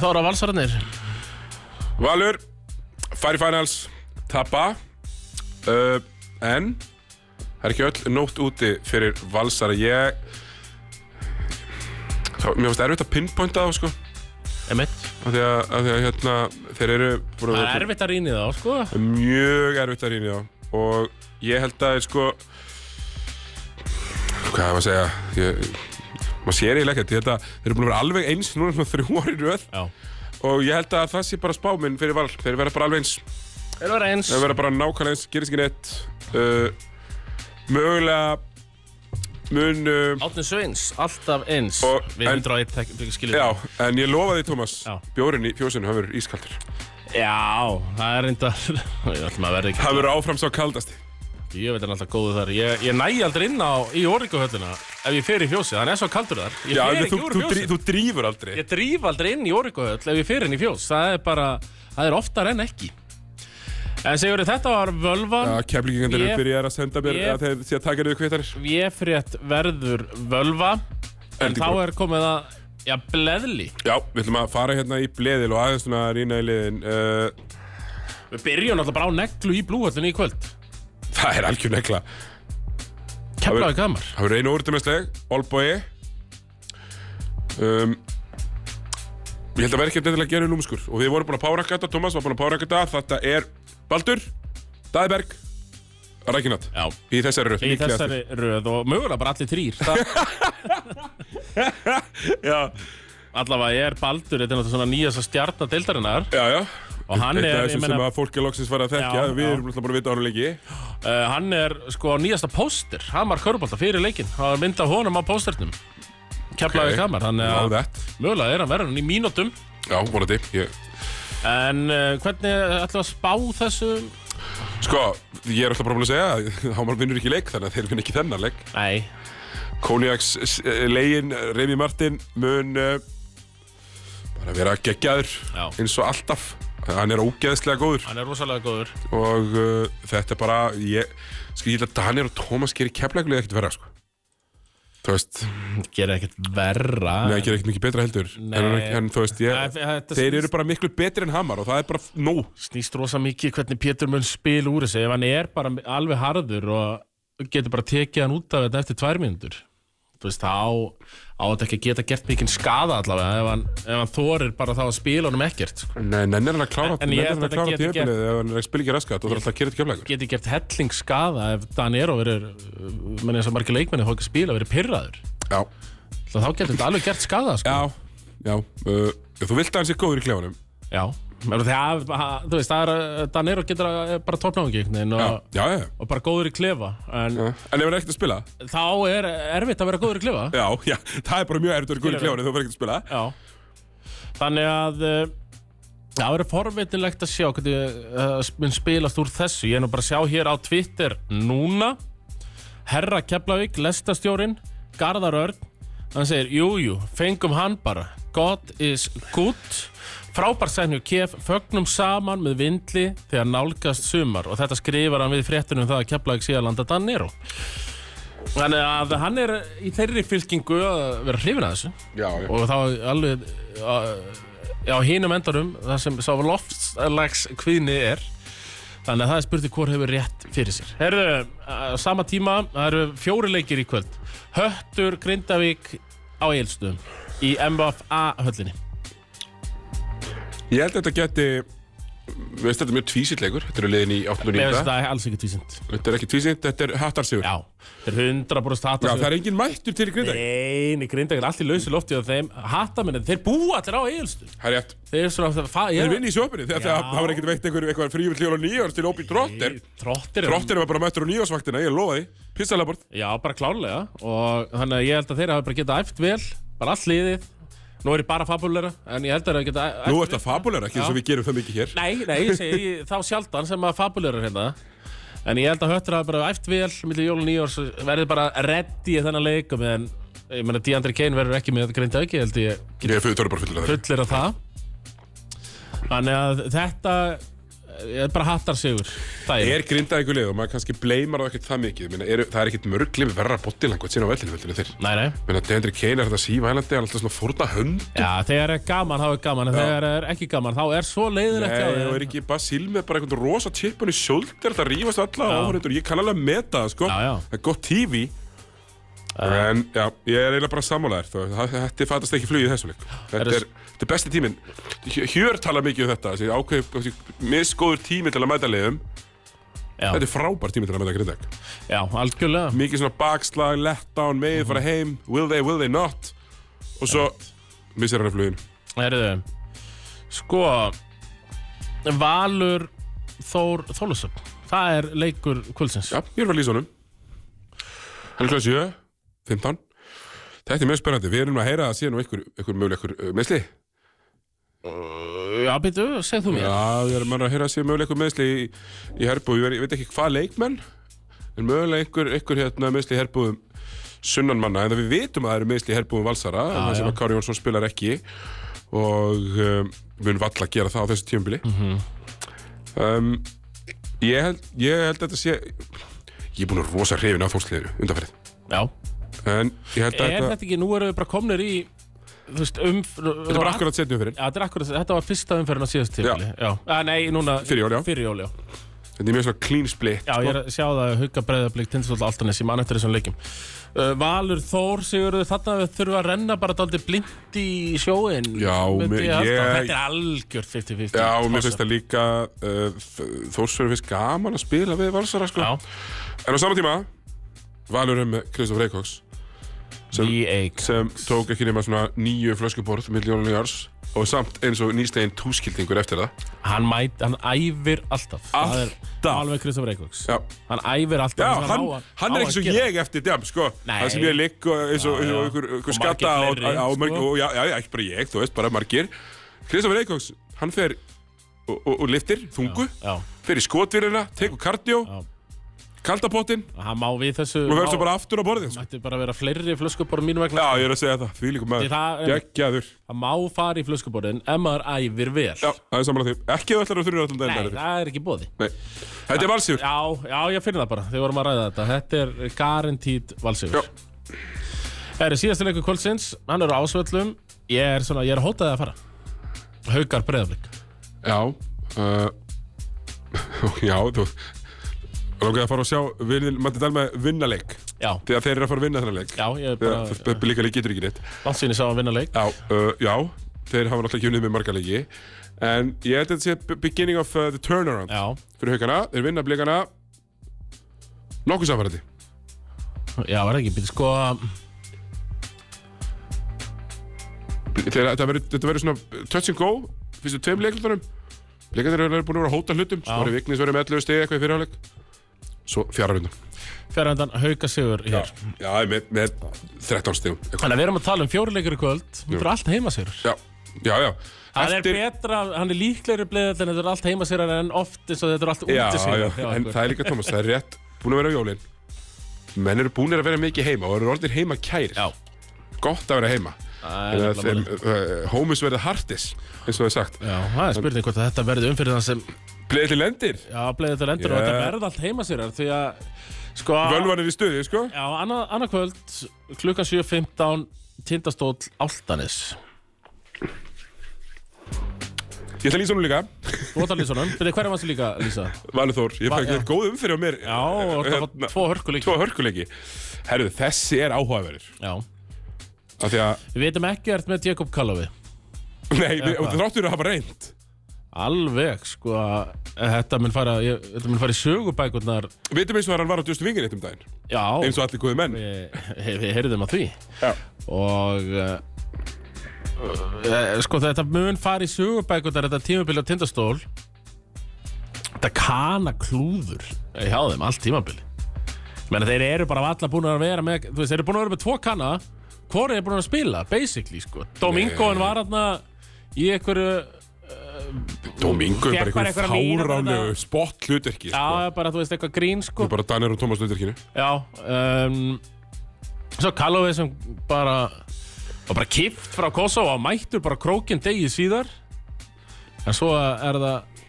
[SPEAKER 3] þá eru að valsararnir.
[SPEAKER 2] Valur fær í finals Tapa uh, En Það er ekki öll nótt úti fyrir valsara Ég þá, Mér finnst erfitt að pinpointa þá sko
[SPEAKER 3] Emitt.
[SPEAKER 2] af því að, af því að hérna, þeir eru búin að
[SPEAKER 3] Það
[SPEAKER 2] vera-
[SPEAKER 3] er erfitt að rýna í þá, sko.
[SPEAKER 2] mjög erfitt að rýna í þá og ég held að sko hvað er maður að segja ég, maður sér eiginlega ekkert ég held að þeir eru búin að vera alveg eins núna svona þrjú ári röð
[SPEAKER 3] Já.
[SPEAKER 2] og ég held að það sé bara spáminn fyrir val þeir verða bara alveg eins
[SPEAKER 3] Þeir eru að vera eins.
[SPEAKER 2] þeir verða bara nákvæmlega eins gerist ekki neitt uh, mögulega mun uh,
[SPEAKER 3] Átni Sveins, alltaf eins.
[SPEAKER 2] Og-
[SPEAKER 3] Við
[SPEAKER 2] en-
[SPEAKER 3] höfum dráðið tekk, skiljum.
[SPEAKER 2] já en ég lofa því Tómas
[SPEAKER 3] Já.
[SPEAKER 2] bjórin í fjósinu hafa verið ískaldur
[SPEAKER 3] Já, það er reyndar Ég ætlum að verða ekki
[SPEAKER 2] hafa verið áfram sá kaldasti
[SPEAKER 3] Ég veit hann alltaf góðu þar Ég, ég næ aldrei inn á í orðinguhöllina Ef ég fer í fjósið, hann er svo kaldur þar
[SPEAKER 2] já
[SPEAKER 3] Ég fer
[SPEAKER 2] en
[SPEAKER 3] ekki
[SPEAKER 2] þú,
[SPEAKER 3] úr
[SPEAKER 2] þú, drí,
[SPEAKER 3] fjósið
[SPEAKER 2] þú drífur aldrei
[SPEAKER 3] Ég drýf aldrei inn í orðinguhöll Ef ég fer inn í fjós Það er bara, það er oftar en ekki En segjur þetta var völvan
[SPEAKER 2] Já, keflingingandir eru
[SPEAKER 3] Ég-
[SPEAKER 2] byrjar að senda mér
[SPEAKER 3] ég-
[SPEAKER 2] að þeir sé að taka niður kvittanir.
[SPEAKER 3] Véfrétt verður völva En
[SPEAKER 2] Eldingur.
[SPEAKER 3] þá er komið að Já, bleðli
[SPEAKER 2] Já, við ætlum að fara hérna í bleðil og aðeins svona rýna í liðin. Uh,
[SPEAKER 3] Við byrjum alltaf bara á neglu í blúhöllinu í kvöld
[SPEAKER 2] það er algjör negla.
[SPEAKER 3] Keflaði kamar
[SPEAKER 2] Það verður einu úrdumessleg, Olboi. Um, ég held að vera ekki að gera um lúmskur. Og við vorum búin að párakka þetta, Tómas var búin að párakka þetta. Þetta er Baldur, Dæðberg, Rækinat.
[SPEAKER 3] Já
[SPEAKER 2] Í þessari röð.
[SPEAKER 3] Í
[SPEAKER 2] líklegast.
[SPEAKER 3] þessari röð og mögulega bara allir þrýr
[SPEAKER 2] Já,
[SPEAKER 3] Allavega ég er Baldur, þetta er náttúrulega svona nýjasta stjarnar deildarinnar
[SPEAKER 2] já, já.
[SPEAKER 3] og hann
[SPEAKER 2] Eitt af
[SPEAKER 3] er, ég
[SPEAKER 2] þessum
[SPEAKER 3] meina,
[SPEAKER 2] sem að fólk er loksins farið að þekkja.
[SPEAKER 3] Já,
[SPEAKER 2] við
[SPEAKER 3] já.
[SPEAKER 2] erum alltaf búin að vita á hann lengi.
[SPEAKER 3] uh, hann er sko á nýjasta póster, Hamar Körbólta fyrir leikinn, það var mynd af honum á pósternum
[SPEAKER 2] Ok.
[SPEAKER 3] Keflaði okay. kamar, þannig
[SPEAKER 2] Love
[SPEAKER 3] að
[SPEAKER 2] Eh, that.
[SPEAKER 3] mögulega er hann verður hann í mínútum
[SPEAKER 2] Já, vonandi. Ég,
[SPEAKER 3] En uh, hvernig ætlum við að spá þessu?
[SPEAKER 2] Sko, ég er alltaf bara búin að segja að Hámar vinnur ekki leik þannig að þeir vinn ekki þennan leik.
[SPEAKER 3] Nei,
[SPEAKER 2] Kóniaks eh, legin, Remi Martin mun uh, bara vera geggjaður
[SPEAKER 3] Já.
[SPEAKER 2] eins og alltaf. Hann er ógeðslega góður
[SPEAKER 3] hann er rosalega góður
[SPEAKER 2] og uh, þetta er bara, ég, sko ég held að Daniel og Tómas gerir keflækulega ekkert verra, sko. Þú veist,
[SPEAKER 3] Gerir ekkert verra
[SPEAKER 2] neða gerir ekkert mikið betra heldur.
[SPEAKER 3] Nei.
[SPEAKER 2] En, hann- en þú veist,
[SPEAKER 3] Nei,
[SPEAKER 2] ég,
[SPEAKER 3] þetta
[SPEAKER 2] þeir eru bara miklu betri en Hamar og það er bara f- nóg. sko.
[SPEAKER 3] snýst rosa mikið hvernig Pétur mun spil úr þessu ef hann er bara alveg harður og getur bara tekið hann út af þetta eftir tvær mínútur þú veist, þá á þetta ekki að geta gert mikinn skada allavega ef hann, ef hann þorir bara þá að spila honum ekkert sko.
[SPEAKER 2] Nei, nennir hann að klára,
[SPEAKER 3] En- en ég
[SPEAKER 2] nennir
[SPEAKER 3] held
[SPEAKER 2] hann
[SPEAKER 3] að
[SPEAKER 2] að klára
[SPEAKER 3] þetta geti
[SPEAKER 2] tíðabilið ef hann er að spila ekki raskat og það er alltaf að gera þetta keflækur.
[SPEAKER 3] getur gert helling skada ef Danero verður, eh, menn eins og margir leikmenni hókið spila, verður pyrraður
[SPEAKER 2] Já.
[SPEAKER 3] þá getur þetta alveg gert skada sko.
[SPEAKER 2] Já, já, uh, þú vilt að hann sé góður í klefanum
[SPEAKER 3] já, menn það, þú veist, það er Danero getur að- eh, bara topnáðingi
[SPEAKER 2] Já,
[SPEAKER 3] og,
[SPEAKER 2] já, já,
[SPEAKER 3] og bara góður í klefa en
[SPEAKER 2] já. En ef hann er ekkert að spila
[SPEAKER 3] þá er erfitt að vera góður í klefa
[SPEAKER 2] Já, já, það er bara mjög erfitt að vera góður í
[SPEAKER 3] Skilurðu?
[SPEAKER 2] klefanum þú verður ekkert að spila
[SPEAKER 3] Já Þannig að eh, Það verður forvitinlegt að sjá hvernig uh, mun spilast úr þessu Ég er nú bara að sjá hér á Twitter núna Herra Keflavík, lestastjórin Garðar Örn Hann segir, jújú, jú, fengum hann bara God is good Frábær sætnu kef, fögnum saman með vindli þegar nálgast sumar og þetta skrifar hann við fréttunum um það að Keflavík sé að landa Danero Þannig að hann er í þeirri fylkingu að vera hrifin að þessu
[SPEAKER 2] Já, já,
[SPEAKER 3] og þá alveg á- já, hínum endanum það sem sá loftslags kvíðni er þannig að það er spurning hvort hefur rétt fyrir sér Herðu, á sama tíma það eru fjóri leikir í kvöld Höttur Grindavík á Egilstöðum í MFA höllinni
[SPEAKER 2] Ég held að þetta geti Við veist þetta er mjög tvísitleikur Þetta eru liðin í 8 og
[SPEAKER 3] Mér
[SPEAKER 2] 9
[SPEAKER 3] finnst þetta alls ekki tvísind
[SPEAKER 2] Þetta er ekki tvísitt, þetta er hattarsigur Já,
[SPEAKER 3] Já, þeir hundra brúst hata
[SPEAKER 2] það er engin mættur til í grindag
[SPEAKER 3] Neini, Grindavík er allt í lausi lofti og þeim hattamennið, þeir búa allir á Egilstöðum
[SPEAKER 2] Það er rétt
[SPEAKER 3] Þeir eru svona Þeir
[SPEAKER 2] Þeir vinni í sjópinni Þegar
[SPEAKER 3] Já.
[SPEAKER 2] það það var ekkert veitt einhverjum eitthvað frívill hljól og nýjórs til Óbí Trotter
[SPEAKER 3] Trottir eru-
[SPEAKER 2] Trotter var bara mættur á nýjórsvaktina, ég lofa því Pissalega bort
[SPEAKER 3] Já, bara klárlega og þannig að ég held að þeir hafa bara getað æft vel bara allt liðið Nú er ég bara fabulera, en ég held að þeir hafa getað æft
[SPEAKER 2] Nú ert að fabulega ekki eins og
[SPEAKER 3] Já.
[SPEAKER 2] við gerum það mikið hér
[SPEAKER 3] Nei, nei, ég segi þá sjaldan sem að fabulera hérna En ég held að höttur hafa bara æft vel millir jól og nýjórs verðið bara ready í þennan leik og meðan, ég meina, Deandre Kane verður ekki með greinda ekki, held ég
[SPEAKER 2] Ég er fullt- þú eru bara fullir af þeim.
[SPEAKER 3] fullir af það Þannig að þetta Ég er bara hattar sigur Það
[SPEAKER 2] Er grindaði ykkur lið og maður kannski bleimar það ekkert það mikið Minna, er, Það er ekkert mörgli með verra bottilangot sín á vellinu heldur en þeir
[SPEAKER 3] Nei, nei
[SPEAKER 2] Minna, Deandre Kane er þetta sívælandi, hann er alltaf svona fórna hönd
[SPEAKER 3] Já, þegar er gaman, þá er gaman En þegar er ekki gaman, þá er svo leiðilegt hjá
[SPEAKER 2] Nei,
[SPEAKER 3] þeim.
[SPEAKER 2] og er ekki Basíl með bara einhvern rosa chipun í sjóldir Það rífast alla áhörundur, ég kann alveg að meta það sko
[SPEAKER 3] Já, já.
[SPEAKER 2] Það er gott TV En já, ég er eiginlega bara sammálaðir Það þetta fattast ekki flugið í þessu leik
[SPEAKER 3] Er
[SPEAKER 2] Þetta
[SPEAKER 3] þess-
[SPEAKER 2] er, þetta er besti tíminn Hjör tala mikið um þetta þessi ákveð, þessi misgóður tími til að mæta leiðum Þetta
[SPEAKER 3] Já,
[SPEAKER 2] er frábær tími til að mæta grindæk
[SPEAKER 3] já, algjörlega
[SPEAKER 2] mikið svona bakslag, letdown, megið
[SPEAKER 3] Mhm.
[SPEAKER 2] fara heim, will they, will they not og svo missir hann af flugin
[SPEAKER 3] Herðu, sko Valur Þór Þólusöp Það er leikur kvöldsins
[SPEAKER 2] Já, ég er fyrir að lýsa honum Hann er klás 7, 15 Þetta er mjög spennandi, við erum að heyra að síðan og ykkur, ykkur möguleg ykkur uh, meðsli
[SPEAKER 3] Já, býtu, segð þú mér
[SPEAKER 2] Já, við erum að heyra að síðan möguleg ykkur meðsli í, í herbúi, ég veit ekki hvað leikmenn en möguleg ykkur, ykkur hérna meðsli í herbúum sunnanmanna, en það við vitum að það eru meðsli í herbúum valsara, en það sem
[SPEAKER 3] já.
[SPEAKER 2] að Kári Jónsson spilar ekki og um, mun valla að gera það á þessu tíumbili
[SPEAKER 3] Mhm.
[SPEAKER 2] um, ég, held, ég held að þetta sé ég er búin að rosa hrifin af fólksliðinu undanferð
[SPEAKER 3] Já,
[SPEAKER 2] En ég held að
[SPEAKER 3] er
[SPEAKER 2] þetta
[SPEAKER 3] þetta ekki, nú erum við bara komnir í Þú veist, um
[SPEAKER 2] Þetta er bara akkurat setjum fyrir
[SPEAKER 3] Já, þetta er akkurat, þetta var fyrsta umferðin á síðast tímli Já, já. nei, núna
[SPEAKER 2] Fyrir jól, já. Sko-
[SPEAKER 3] Fyrir jól, já
[SPEAKER 2] Þetta er mjög svona clean split
[SPEAKER 3] Já, ég er að sjá það að hugga breyðablík tindastóll Altanes í mann eftir þessum leikjum uh, Valur Þór, Sigurður, þarna við þurfum að renna bara daldi blind í sjóin
[SPEAKER 2] Já, mér- ég-
[SPEAKER 3] Þetta er algjör 50-50
[SPEAKER 2] Já, og mér finnst það líka uh, Þórsfjörður finnst gaman að spila við Valsara sko.
[SPEAKER 3] Já,
[SPEAKER 2] En á sama tíma Valur er með Kristof Reykjóks Sem-
[SPEAKER 3] í eik
[SPEAKER 2] sem tók ekki nema svona nýju flöskuborð miljónu nýjars og samt eins og nýstegin túskildingur eftir það
[SPEAKER 3] Hann mæt, hann æfir alltaf Það er Alveg Kristofur Eikvöks
[SPEAKER 2] Já,
[SPEAKER 3] Hann æfir alltaf
[SPEAKER 2] Já
[SPEAKER 3] það sem
[SPEAKER 2] hann,
[SPEAKER 3] á að-
[SPEAKER 2] hann
[SPEAKER 3] á
[SPEAKER 2] er
[SPEAKER 3] að
[SPEAKER 2] ekki svo
[SPEAKER 3] gera.
[SPEAKER 2] ég eftir djám sko.
[SPEAKER 3] Nei.
[SPEAKER 2] Það sem ég ligg og eins og,
[SPEAKER 3] Já,
[SPEAKER 2] eins
[SPEAKER 3] já.
[SPEAKER 2] og ykkur, ykkur
[SPEAKER 3] Og
[SPEAKER 2] skatta
[SPEAKER 3] margir
[SPEAKER 2] á,
[SPEAKER 3] fleiri,
[SPEAKER 2] á, á margir,
[SPEAKER 3] sko.
[SPEAKER 2] og, já, já, ekki bara ég, þú veist, bara margir Kristoffer Eikóks, hann fer og, og, og liftir, þungu
[SPEAKER 3] Já,
[SPEAKER 2] fer í skotvirina, tekur kardió
[SPEAKER 3] Já.
[SPEAKER 2] kaldapottin
[SPEAKER 3] hann má við þessu
[SPEAKER 2] og verður svo
[SPEAKER 3] má-
[SPEAKER 2] bara aftur á borðið sko.
[SPEAKER 3] Mætti bara vera fleiri flöskubor
[SPEAKER 2] Já,
[SPEAKER 3] mínu vegna
[SPEAKER 2] ég er að segja það, því líkum
[SPEAKER 3] Því það
[SPEAKER 2] maður
[SPEAKER 3] er-
[SPEAKER 2] Gekkjaður,
[SPEAKER 3] Það má fara í flöskuborin ef maður æfir vel
[SPEAKER 2] já, það er samanlega því Ekki að þú ætlar að þurfa allan daginn
[SPEAKER 3] Nei,
[SPEAKER 2] Dagur.
[SPEAKER 3] það er ekki bóði
[SPEAKER 2] Nei, Þetta er valsjur
[SPEAKER 3] Já, já, ég finn það bara, þið vorum að ræða þetta Þetta er garantít valsigur
[SPEAKER 2] Já.
[SPEAKER 3] Það er síðasta leikur kvöldsins Hann er á ásvöllum Ég er svona, ég er hótaði að fara Haukar breyðaflik
[SPEAKER 2] Já uh, Já, þú Lókaði að fara og sjá Vinil, Matti Dalma vinna leik
[SPEAKER 3] Já,
[SPEAKER 2] Þegar þeir eru að fara að vinna þennan leik
[SPEAKER 3] já, ég er
[SPEAKER 2] Þegar
[SPEAKER 3] bara
[SPEAKER 2] Böbbi líka leik getur ekki neitt
[SPEAKER 3] Látt sín ég sá að vinna leik
[SPEAKER 2] Já, uh, já þeir hafa náttúrulega ekki unnið með marga leiki En ég held að þetta sé b- beginning of uh, the turnaround
[SPEAKER 3] Já,
[SPEAKER 2] Fyrir haugana, þeir vinna blikana Nokkuð samfærandi
[SPEAKER 3] já, var ekki býtt sko
[SPEAKER 2] Þegar þetta verður- þetta verður svona touch and go Fyrstu tveim leiklutunum Leikandir eru búin að vera að hóta hlutum Svo
[SPEAKER 3] Já.
[SPEAKER 2] eru Vignis verið með 11 stegi eitthvað í fyrirháleik Svo fjara vinna
[SPEAKER 3] Fjárhendan hauka sigur hér
[SPEAKER 2] Já, með, með 13 stegum
[SPEAKER 3] Þannig að við erum að tala um fjóruleikur í kvöld Þetta er allt heima sigur
[SPEAKER 2] Já, já, já
[SPEAKER 3] Það er betra, hann er líklegri bleðall en þetta er allt heima sigur en oft eins og þetta er allt úti
[SPEAKER 2] já, já,
[SPEAKER 3] sigur
[SPEAKER 2] en það er líka Thomas, það er rétt búin að vera á jólin menn eru búinir að vera mikið heima og eru orðin heima kærir
[SPEAKER 3] Já,
[SPEAKER 2] gott að vera heima
[SPEAKER 3] það
[SPEAKER 2] Eða
[SPEAKER 3] er
[SPEAKER 2] þeim, uh, homies verða hardis eins og það er sagt
[SPEAKER 3] Já, það er spurning hvort að þetta verði umfyrir sem
[SPEAKER 2] Bleðið til lendir,
[SPEAKER 3] Já, bleið þetta lendur og
[SPEAKER 2] Yeah.
[SPEAKER 3] þetta verði allt heima sér því að sko
[SPEAKER 2] völvan er í stuði, sko
[SPEAKER 3] Já, annað, annað kvöld klukkan 7.15 tindastóll Áltanis
[SPEAKER 2] Ég ætla að lýsa honum líka,
[SPEAKER 3] Bóta Lýsonum, byrði hverja mannstu líka Lýsa?
[SPEAKER 2] Valur Þór Ég
[SPEAKER 3] Va-
[SPEAKER 2] fæk
[SPEAKER 3] já.
[SPEAKER 2] þér góð umfyrir á mér
[SPEAKER 3] Já, og það var
[SPEAKER 2] Hérna,
[SPEAKER 3] tvo hörku líka
[SPEAKER 2] tvo hörkuleiki Herðu, þessi er áhugaverður
[SPEAKER 3] Já,
[SPEAKER 2] Af því að,
[SPEAKER 3] við veitum ekkert með Jakob Kallofi
[SPEAKER 2] nei, við- og þráttur að hafa reynd
[SPEAKER 3] Alveg, sko að þetta mun fara, ég, þetta mun fara í sögubækurnar
[SPEAKER 2] Vitum eins og hann var á djustu vingin eitt um daginn
[SPEAKER 3] Já,
[SPEAKER 2] Eins og allir góði menn
[SPEAKER 3] við, við heyrðum að því
[SPEAKER 2] Já.
[SPEAKER 3] og uh, uh, sko þetta mun fara í sögubækundar þetta tímabili á tindastól þetta kana klúður hjá þeim allt tímabili Ég meina þeir eru bara alla búin að vera með þú veist, þeir eru búin að vera með tvo kana hvori er búin að spila, basically sko Domingoen var hérna í einhverju
[SPEAKER 2] Domingo er bara
[SPEAKER 3] Fékk bara
[SPEAKER 2] einhver
[SPEAKER 3] einhverja mína
[SPEAKER 2] fáránlegu
[SPEAKER 3] þarna.
[SPEAKER 2] spott hlutverki sko.
[SPEAKER 3] já, bara þú veist, eitthvað grín
[SPEAKER 2] Það
[SPEAKER 3] sko
[SPEAKER 2] er bara Danir og Thomas hlutverkinu
[SPEAKER 3] Já um, Svo Kallófi sem bara var bara kipt frá Kosovo og mættur bara krókin degi síðar en svo er það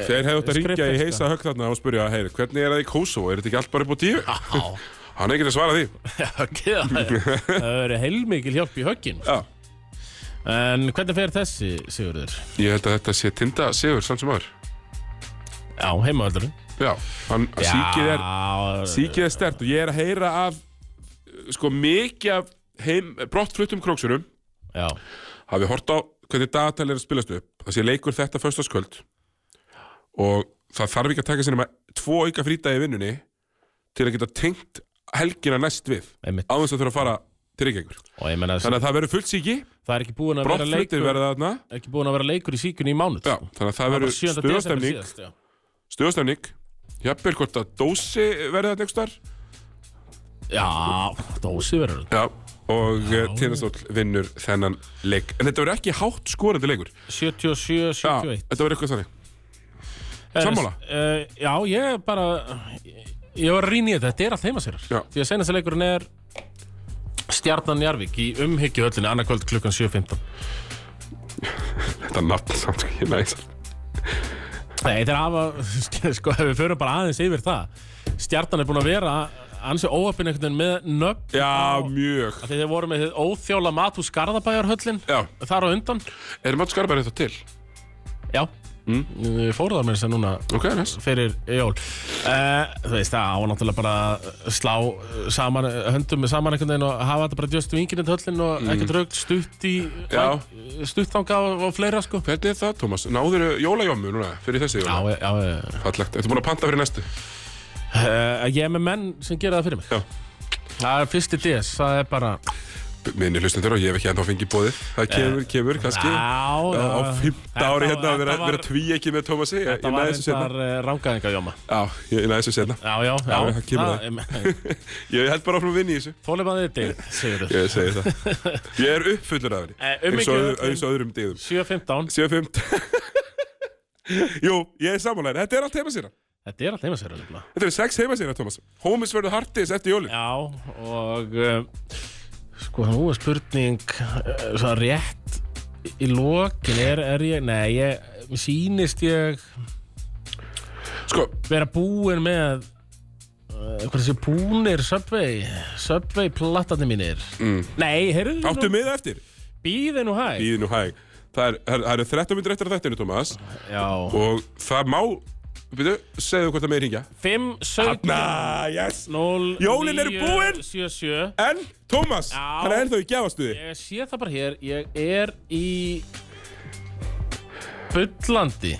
[SPEAKER 2] Þeir hefðu átt að ringja í
[SPEAKER 3] skriffiska.
[SPEAKER 2] heisa högg þarna og spurja, heyr, hvernig er það í Kosovo? Er þetta ekki allt bara upp á tíu?
[SPEAKER 3] Já.
[SPEAKER 2] Hann er ekki að svara því.
[SPEAKER 3] höggið að það er- það hefur verið heilmikil hjálp í höggin
[SPEAKER 2] Já.
[SPEAKER 3] en hvernig fer þessi Sigurður?
[SPEAKER 2] Ég held að þetta sé tinda sigur, samt sem aður.
[SPEAKER 3] Já, heimavöldurinn
[SPEAKER 2] Já, hann, síkið er,
[SPEAKER 3] Já,
[SPEAKER 2] síkið er stert og ég er að heyra af, uh, sko, mikið af heim, brottfluttum króksurum
[SPEAKER 3] já,
[SPEAKER 2] hafi hort á hvernig dagatal er að spilast upp það sé leikur þetta föstaskvöld og það þarf ekki að taka sér nema tvo auka frítagi í vinnunni til að geta tengt helgina næst við
[SPEAKER 3] einmitt
[SPEAKER 2] á þess að þurfa að fara til Reykjavíkur
[SPEAKER 3] og ég menna
[SPEAKER 2] þannig að það verður fullsíki,
[SPEAKER 3] það er ekki búin að vera
[SPEAKER 2] brottflutir
[SPEAKER 3] leikur
[SPEAKER 2] verða þarna
[SPEAKER 3] ekki búin að vera leikur í síkunni í mánuð
[SPEAKER 2] Já, þannig að það
[SPEAKER 3] Það var
[SPEAKER 2] verður
[SPEAKER 3] 7. desember
[SPEAKER 2] stöðastemning
[SPEAKER 3] síðast, já.
[SPEAKER 2] stöðastemning, jafnvel hvort að dósi verði þarna einhvers þar
[SPEAKER 3] Já, dósi verður
[SPEAKER 2] Já, og eh, Tindastóll vinnur þennan leik en þetta verður ekki hátt skorandi leikur Já,
[SPEAKER 3] 77-71
[SPEAKER 2] þetta verður eitthvað þannig sammála?
[SPEAKER 3] Eh, Já, ég er bara Ég var að rýna í þetta, þetta er allt heima sér
[SPEAKER 2] Já.
[SPEAKER 3] Því að senast leikurinn er Stjarnan Jarvik í umhyggju höllinni annarkvöld klukkan 7.15
[SPEAKER 2] Þetta nafn samt ekki næs
[SPEAKER 3] Nei, þetta er hafa Sko, ef við förum bara aðeins yfir það Stjarnan er búin að vera ansi óöppin einhvern veginn með nöfn
[SPEAKER 2] Já,
[SPEAKER 3] á-
[SPEAKER 2] mjög
[SPEAKER 3] af því Þeir voru með þið óþjóla matús Garðabæjarhöllin
[SPEAKER 2] Já,
[SPEAKER 3] Þar á undan
[SPEAKER 2] er Mats Garbar eitthvað til?
[SPEAKER 3] Já, mm. fóru það með þess að núna
[SPEAKER 2] Ok, næst
[SPEAKER 3] fyrir jól uh, þú veist það á náttúrulega bara að slá eh, saman, eh, höndum með saman einhvern veginn og hafa þetta bara just vingirinn höllin og ekkert raugt stutt í
[SPEAKER 2] Já.
[SPEAKER 3] stuttanga og, og fleira sko
[SPEAKER 2] Hvernig er það, Tómas? Náður jólajómu núna fyrir þessi
[SPEAKER 3] Já,
[SPEAKER 2] jóla?
[SPEAKER 3] já, já.
[SPEAKER 2] Fallegt, ertu búin að panta fyrir næstu?
[SPEAKER 3] Uh, ég er með menn sem gera það fyrir mig
[SPEAKER 2] Já.
[SPEAKER 3] Það er fyrsti DS, það er bara
[SPEAKER 2] Minni hlustendur og ég hef ekki enda að fengi bóðið Það kemur, kemur, kannski
[SPEAKER 3] Já,
[SPEAKER 2] Á fymta ári hérna að
[SPEAKER 3] Þetta var-
[SPEAKER 2] vera,
[SPEAKER 3] þetta var-
[SPEAKER 2] vera tví ekki með Tómasi Ég ég
[SPEAKER 3] Þetta var
[SPEAKER 2] næði þessu senna
[SPEAKER 3] reyndar rangaðinga jóma
[SPEAKER 2] Já, ég ég næði þessu senna
[SPEAKER 3] hérna. Já, já,
[SPEAKER 2] Já,
[SPEAKER 3] já,
[SPEAKER 2] það kemur Ég held bara áfram að vinna í þessu
[SPEAKER 3] Þólimaðið þetta, segir þú
[SPEAKER 2] Ég segi það Ég er uppfullur af henni
[SPEAKER 3] Eh,
[SPEAKER 2] Eins og öðru-
[SPEAKER 3] umhyggju öllum.
[SPEAKER 2] eins og öðrum dýðum
[SPEAKER 3] 7.15,
[SPEAKER 2] 7.5 Jú, ég er sammálaðin Þetta er allt heima sína
[SPEAKER 3] þetta er allt heima sér alveg
[SPEAKER 2] Þetta eru sex heima sína, Tómas Hómis verður hardis eftir jólin
[SPEAKER 3] Já, og um, sko, nú er spurning uh, svona rétt í lokin, er, er ég, nei, ég, mér sýnist ég
[SPEAKER 2] Sko,
[SPEAKER 3] vera búinn með uh, hvað þessi búnir Subway, Subway plattarnir mínir. Mm. Nei, heyrðu
[SPEAKER 2] áttu miða eftir
[SPEAKER 3] býði nú hæg.
[SPEAKER 2] Bíði nú hæg Það er- það er- það eru 13 myndir eftir að þættinu, Tómas
[SPEAKER 3] Já,
[SPEAKER 2] Og það má Býtu, segðu hvort það meði ringja
[SPEAKER 3] 5, 17,
[SPEAKER 2] Na, yes
[SPEAKER 3] 0,
[SPEAKER 2] Jólin eru búin.
[SPEAKER 3] 7, 7.
[SPEAKER 2] En, Tómas, hann er ennþá í gefastuði
[SPEAKER 3] Ég sé það bara hér, ég er í Bullandi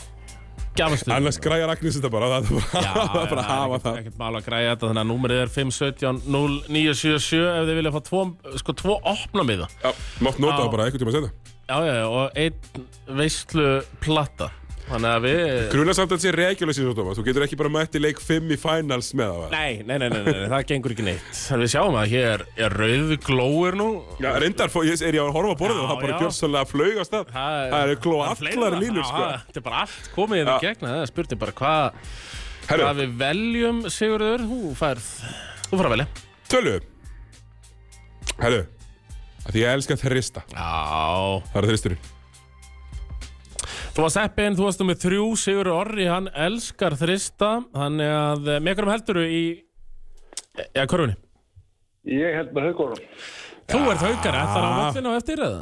[SPEAKER 3] Gjafastuð
[SPEAKER 2] Annars græjar Agnes þetta bara Það er bara,
[SPEAKER 3] Já,
[SPEAKER 2] það er bara
[SPEAKER 3] já,
[SPEAKER 2] að hafa
[SPEAKER 3] ekkert-
[SPEAKER 2] það
[SPEAKER 3] Ekkert mál að græja þetta, þannig að númerið er 517 0977 ef þið vilja fá tvo, sko, tvo opna miða.
[SPEAKER 2] Já, mátt nota
[SPEAKER 3] Já.
[SPEAKER 2] það bara einhvern tíma að segja
[SPEAKER 3] Já, já, já, og einn veislu platta. Þannig að við...
[SPEAKER 2] Gruna samt að þetta sé regjuleysi svo, Tómas Þú getur ekki bara mætt í leik 5 í finals með það
[SPEAKER 3] Nei, nei, nei, nei, nei, nei, það gengur ekki neitt. Þannig við sjáum að hér er rauð glóir nú.
[SPEAKER 2] Já, reyndar fó- ég er ég að horfa á borðið
[SPEAKER 3] Já,
[SPEAKER 2] og það bara
[SPEAKER 3] já.
[SPEAKER 2] gjörsalega flaug á stað Það eru gló
[SPEAKER 3] það er
[SPEAKER 2] allar
[SPEAKER 3] fleira.
[SPEAKER 2] línur,
[SPEAKER 3] Já,
[SPEAKER 2] sko
[SPEAKER 3] það- Þetta er bara allt komið inn í
[SPEAKER 2] Já.
[SPEAKER 3] gegna. Það er spurning bara hvað hva
[SPEAKER 2] Herru,
[SPEAKER 3] við veljum, Sigurður. Þú færð, þú færð að velja.
[SPEAKER 2] tölu Herru, að því ég elska þrista
[SPEAKER 3] Já,
[SPEAKER 2] Það er þristurinn
[SPEAKER 3] Þú varst eppin, þú varst nummið þrjú, Sigur Orri, hann elskar þrista, þannig að eh, með hverjum heldur í, eh, já, korfunni.
[SPEAKER 4] Ég held með haugunum.
[SPEAKER 3] Þú ert haugari, ætlar á vallinu á eftir eða?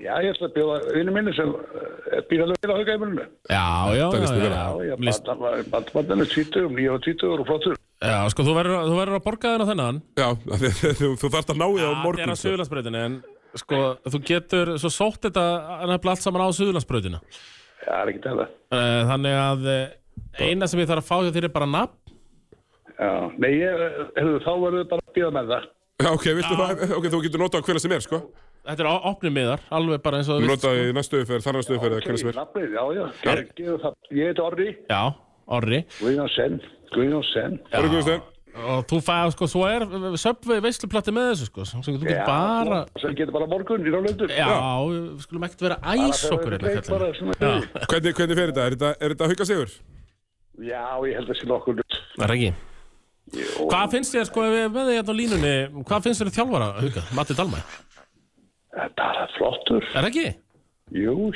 [SPEAKER 4] Já, ég ætla að bjóða vinnu minni sem eh, býr alveg vel á haugaimunum.
[SPEAKER 3] Já, já,
[SPEAKER 2] Þetta líst mér
[SPEAKER 3] já,
[SPEAKER 2] vel á.
[SPEAKER 4] Já,
[SPEAKER 3] já,
[SPEAKER 4] ég
[SPEAKER 3] List-
[SPEAKER 4] bandmann er tvítugum, nýja og um tvítugur og flottur.
[SPEAKER 3] já, sko, þú verður, þú verður að borga þennan á þennan.
[SPEAKER 2] Já, af því að þú, þú þarft að ná því á
[SPEAKER 3] Það er
[SPEAKER 2] morgun
[SPEAKER 3] á
[SPEAKER 2] sko.
[SPEAKER 3] Suðurlandsbröðinu, en sko, þú getur svo sótt þetta nefnilega allt saman á Suðurlandsbröðinu.
[SPEAKER 4] Já, það er ekki það.
[SPEAKER 3] Eh, Þannig að eh, eina sem ég þarf að fá hjá þér er bara nafn.
[SPEAKER 4] Já, nei, ég, eh, hefðu, þá verður bara að bjóða með það.
[SPEAKER 2] Já, ok, viltu það? Ok, þú getur notað á hverja sem er, sko
[SPEAKER 3] Þetta er á- opnir miðar, alveg bara eins og þú vilt.
[SPEAKER 2] Notað í næstu öðuferð, þar næstu öðuferð, hverja sem er
[SPEAKER 4] Nafnið, já, já. Ég, ég, ég heiti Orri,
[SPEAKER 3] Já, Orri.
[SPEAKER 4] Guðjónsson, Guðjónsson.
[SPEAKER 2] Orri Guðstein
[SPEAKER 3] Og þú fæði, sko, svo er Subway veisluplatti með þessu, sko, sem þú getur bara...
[SPEAKER 4] Sem getur bara morgun í ráðlöndu.
[SPEAKER 3] Já, við skulum ekkert vera æs okkur hérna, kallar.
[SPEAKER 4] kallar.
[SPEAKER 2] Hvernig, hvernig fer þetta? Er þetta, er þetta hauka sigur?
[SPEAKER 4] Já, ég held að sé nokkur.
[SPEAKER 3] Það er ekki. Hvað finnst þér, sko, ef við erum með þig hérna á línunni, hvað finnst þér þjálfara, Huga, Matti Dalmæ?
[SPEAKER 4] Bara flottur.
[SPEAKER 3] Er það ekki?
[SPEAKER 4] Jú,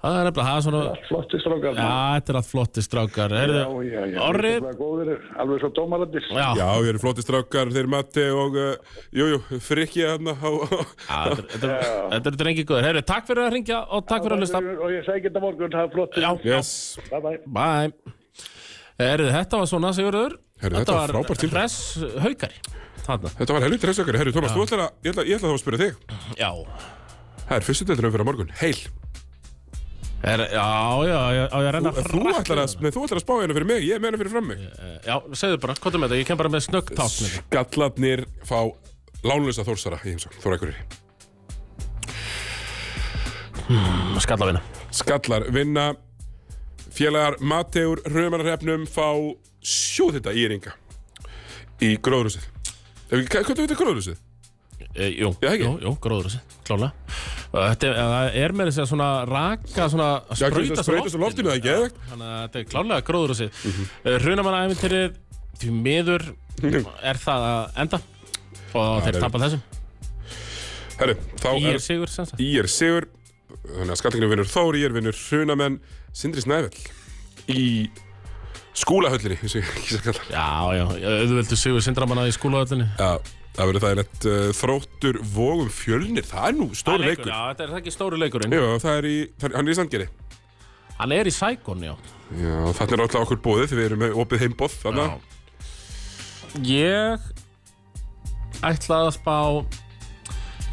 [SPEAKER 3] Það er nefnilega, það er svona
[SPEAKER 4] flotti strákar
[SPEAKER 3] Já, þetta er allt flotti strákar Heyrðu,
[SPEAKER 4] já, já
[SPEAKER 3] Orri
[SPEAKER 4] þetta var góður, Alveg svo dómarandir
[SPEAKER 3] Já,
[SPEAKER 2] Já, við erum flóti strákar, þeir Matti og, uh, jú, jú, frikki hérna á, á,
[SPEAKER 3] Já, þetta er- þetta er- þetta eru drengi góður Heyrðu, takk fyrir að ringja og takk fyrir að hlusta
[SPEAKER 4] Og ég segi þetta morgun, það er flotti
[SPEAKER 3] Já,
[SPEAKER 2] yes.
[SPEAKER 4] Bye bye
[SPEAKER 3] bæ Heyrðu, þetta var svona, Sigurður
[SPEAKER 2] Heyrðu, þetta var frábært tilboð.
[SPEAKER 3] Hress haukari Þarna
[SPEAKER 2] Þetta var helvítið resökari, herru, Tómas, þú ætlar að, ég ætla, ég ætla þá að spyrja þig.
[SPEAKER 3] Já,
[SPEAKER 2] Það er fyrstu deildinu fyrir morgun, heil.
[SPEAKER 3] er, já, já, já, á ég að renna
[SPEAKER 2] Þú
[SPEAKER 3] hratt
[SPEAKER 2] ætlar að, nei, þú ætlar að spá hérna fyrir mig, ég meina fyrir fram mig.
[SPEAKER 3] Já, segðu bara, hvað er með þetta? Ég kem bara með snögg tásnir
[SPEAKER 2] Gallarnir fá lánlösa þórsara í heimsókn, Þórakurri.
[SPEAKER 3] Skalla vinna
[SPEAKER 2] Skallar vinna, félagar Mateur Römanarhefnum fá sjóðhita í ringa í gróðrúsið. Hvernig veitir gróðrúsið?
[SPEAKER 3] e, Jú,
[SPEAKER 2] Já, ekki?
[SPEAKER 3] jú, jú, gróður þessi, klálega Þetta er, það er með þess að svona raka, svona
[SPEAKER 2] Já, ekki Mhm. þetta
[SPEAKER 3] sprauta
[SPEAKER 2] sprauta svo loftinu, það er geðvegt.
[SPEAKER 3] Þannig að þetta er klálega gróður þessi mm -hmm. Hrunamannæfintyrið, því miður er það að enda og þeir
[SPEAKER 2] er-
[SPEAKER 3] tapa þessum
[SPEAKER 2] Herru, þá
[SPEAKER 3] Ír
[SPEAKER 2] er
[SPEAKER 3] Sigur sem sagt
[SPEAKER 2] Ír Sigur, þannig að skallinginu vinnur Þór, Ír vinnur Hrunamenn, Sindri Snæfell í skúlahöllinni, eins og ég kýsa að kalla. það.
[SPEAKER 3] Já, já, auðvöldu Sigur Sindramanna í skúlaöðlinni
[SPEAKER 2] Já, það verður það er nett uh, þróttur vógum fjölnir, það er nú stór leikur.
[SPEAKER 3] Já, þetta er það ekki stóri leikurinn
[SPEAKER 2] Já, það er í, það er, hann er í Sandgeri.
[SPEAKER 3] Hann er í Sækon, já
[SPEAKER 2] Já, þarna er alltaf okkur bóðið því við erum með opið heimboð þarna.
[SPEAKER 3] Ég ætla að spá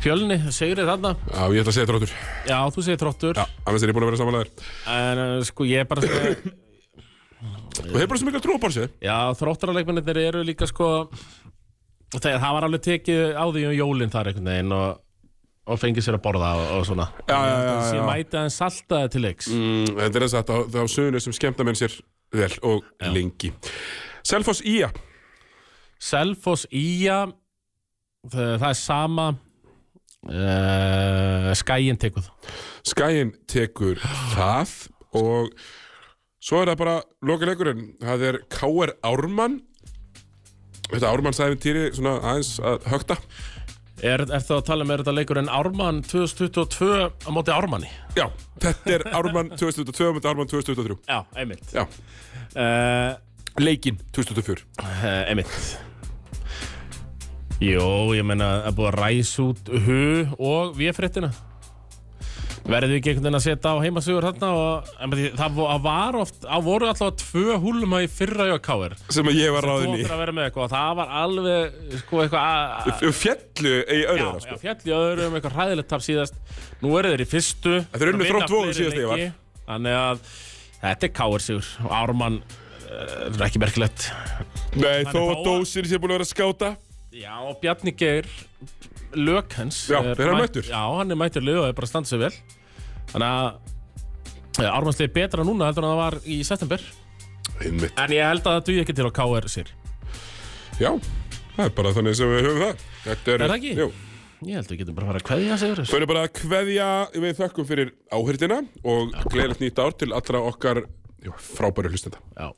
[SPEAKER 3] Fjölni, Sigrið þarna
[SPEAKER 2] Já, ég ætla að segja þróttur.
[SPEAKER 3] Já, þú segir tróttur
[SPEAKER 2] Já, annars er ég búin að vera samanlegaður.
[SPEAKER 3] En uh, sko, ég er bara sko,
[SPEAKER 2] Þú hefur bara svo mikla trú á Borsi.
[SPEAKER 3] Já, þróttaraleikmennir eru líka sko Þegar það var alveg tekið á því um jólinn þar einhvern veginn og, og fengið sér að borða og, og svona
[SPEAKER 2] Já, já, já,
[SPEAKER 3] Þessi
[SPEAKER 2] já.
[SPEAKER 3] mæti aðeins saltaði til leiks
[SPEAKER 2] Mm, þetta er þess að það á sögunu sem skemmta menn sér vel og lengi. Selfoss Ía.
[SPEAKER 3] Selfoss Ía Það það er sama uh, Skæin tekuð
[SPEAKER 2] Skæin tekur það og svo er það bara loka leikurinn. Það er K.R. Ármann. Þetta Ármannsæfintýri svona aðeins að högta.
[SPEAKER 3] Er, er það að tala með þetta leikurinn Ármann 2022 á móti Ármanni?
[SPEAKER 2] Já, þetta er Ármann 2022 og Ármann 2023.
[SPEAKER 3] Já, einmitt
[SPEAKER 2] Já,
[SPEAKER 3] uh,
[SPEAKER 2] leikinn 2024.
[SPEAKER 3] Eh, einmitt Jó, ég meina að búið að ræsa út hu og véfréttina Verðu ekki einhvern veginn að setja á heimasugur þarna og en bara því- það vo- það var oft, það voru alltaf tvö húlma í fyrra hjá Káir
[SPEAKER 2] Sem að ég var
[SPEAKER 3] Þú
[SPEAKER 2] ráðinn í.
[SPEAKER 3] áttir að vera með eitthvað, og það var alveg sko eitthvað að- að-
[SPEAKER 2] Fjallu í
[SPEAKER 3] Já,
[SPEAKER 2] öðruðar,
[SPEAKER 3] já,
[SPEAKER 2] sko.
[SPEAKER 3] fjall í öðrum, eitthvað hræðilegt tap síðast Nú eru þeir í fyrstu
[SPEAKER 2] Þetta er unnu
[SPEAKER 3] Vinna
[SPEAKER 2] Þrótt Vogum
[SPEAKER 3] fleiri
[SPEAKER 2] síðast þegar ég var.
[SPEAKER 3] leiki. Þannig að þetta er Káir sigur og Ármann eh, er ekki merkilegt
[SPEAKER 2] Nei, þó
[SPEAKER 3] er
[SPEAKER 2] að
[SPEAKER 3] fáar.
[SPEAKER 2] dósir sé búin að vera að skáta
[SPEAKER 3] Já, og Bjarni Geir Lök hans
[SPEAKER 2] Já,
[SPEAKER 3] er
[SPEAKER 2] er hann
[SPEAKER 3] mætt-
[SPEAKER 2] mættur?
[SPEAKER 3] Já, hann er mættur lið og er bara að standa sig vel Þannig að Ármannslega er betra núna heldur en það var í september
[SPEAKER 2] Einmitt
[SPEAKER 3] En ég held að það duði ekki til að KR sér
[SPEAKER 2] Já, það er bara þannig sem við höfum það Þetta
[SPEAKER 3] Er það ekki?
[SPEAKER 2] Jú,
[SPEAKER 3] Ég held að við getum bara að fara að kveðja sigur
[SPEAKER 2] þau eru bara að kveðja við þökkum fyrir áhyrtina og gleðilegt nýtt ár til allra okkar já, frábæru hlustenda
[SPEAKER 3] Já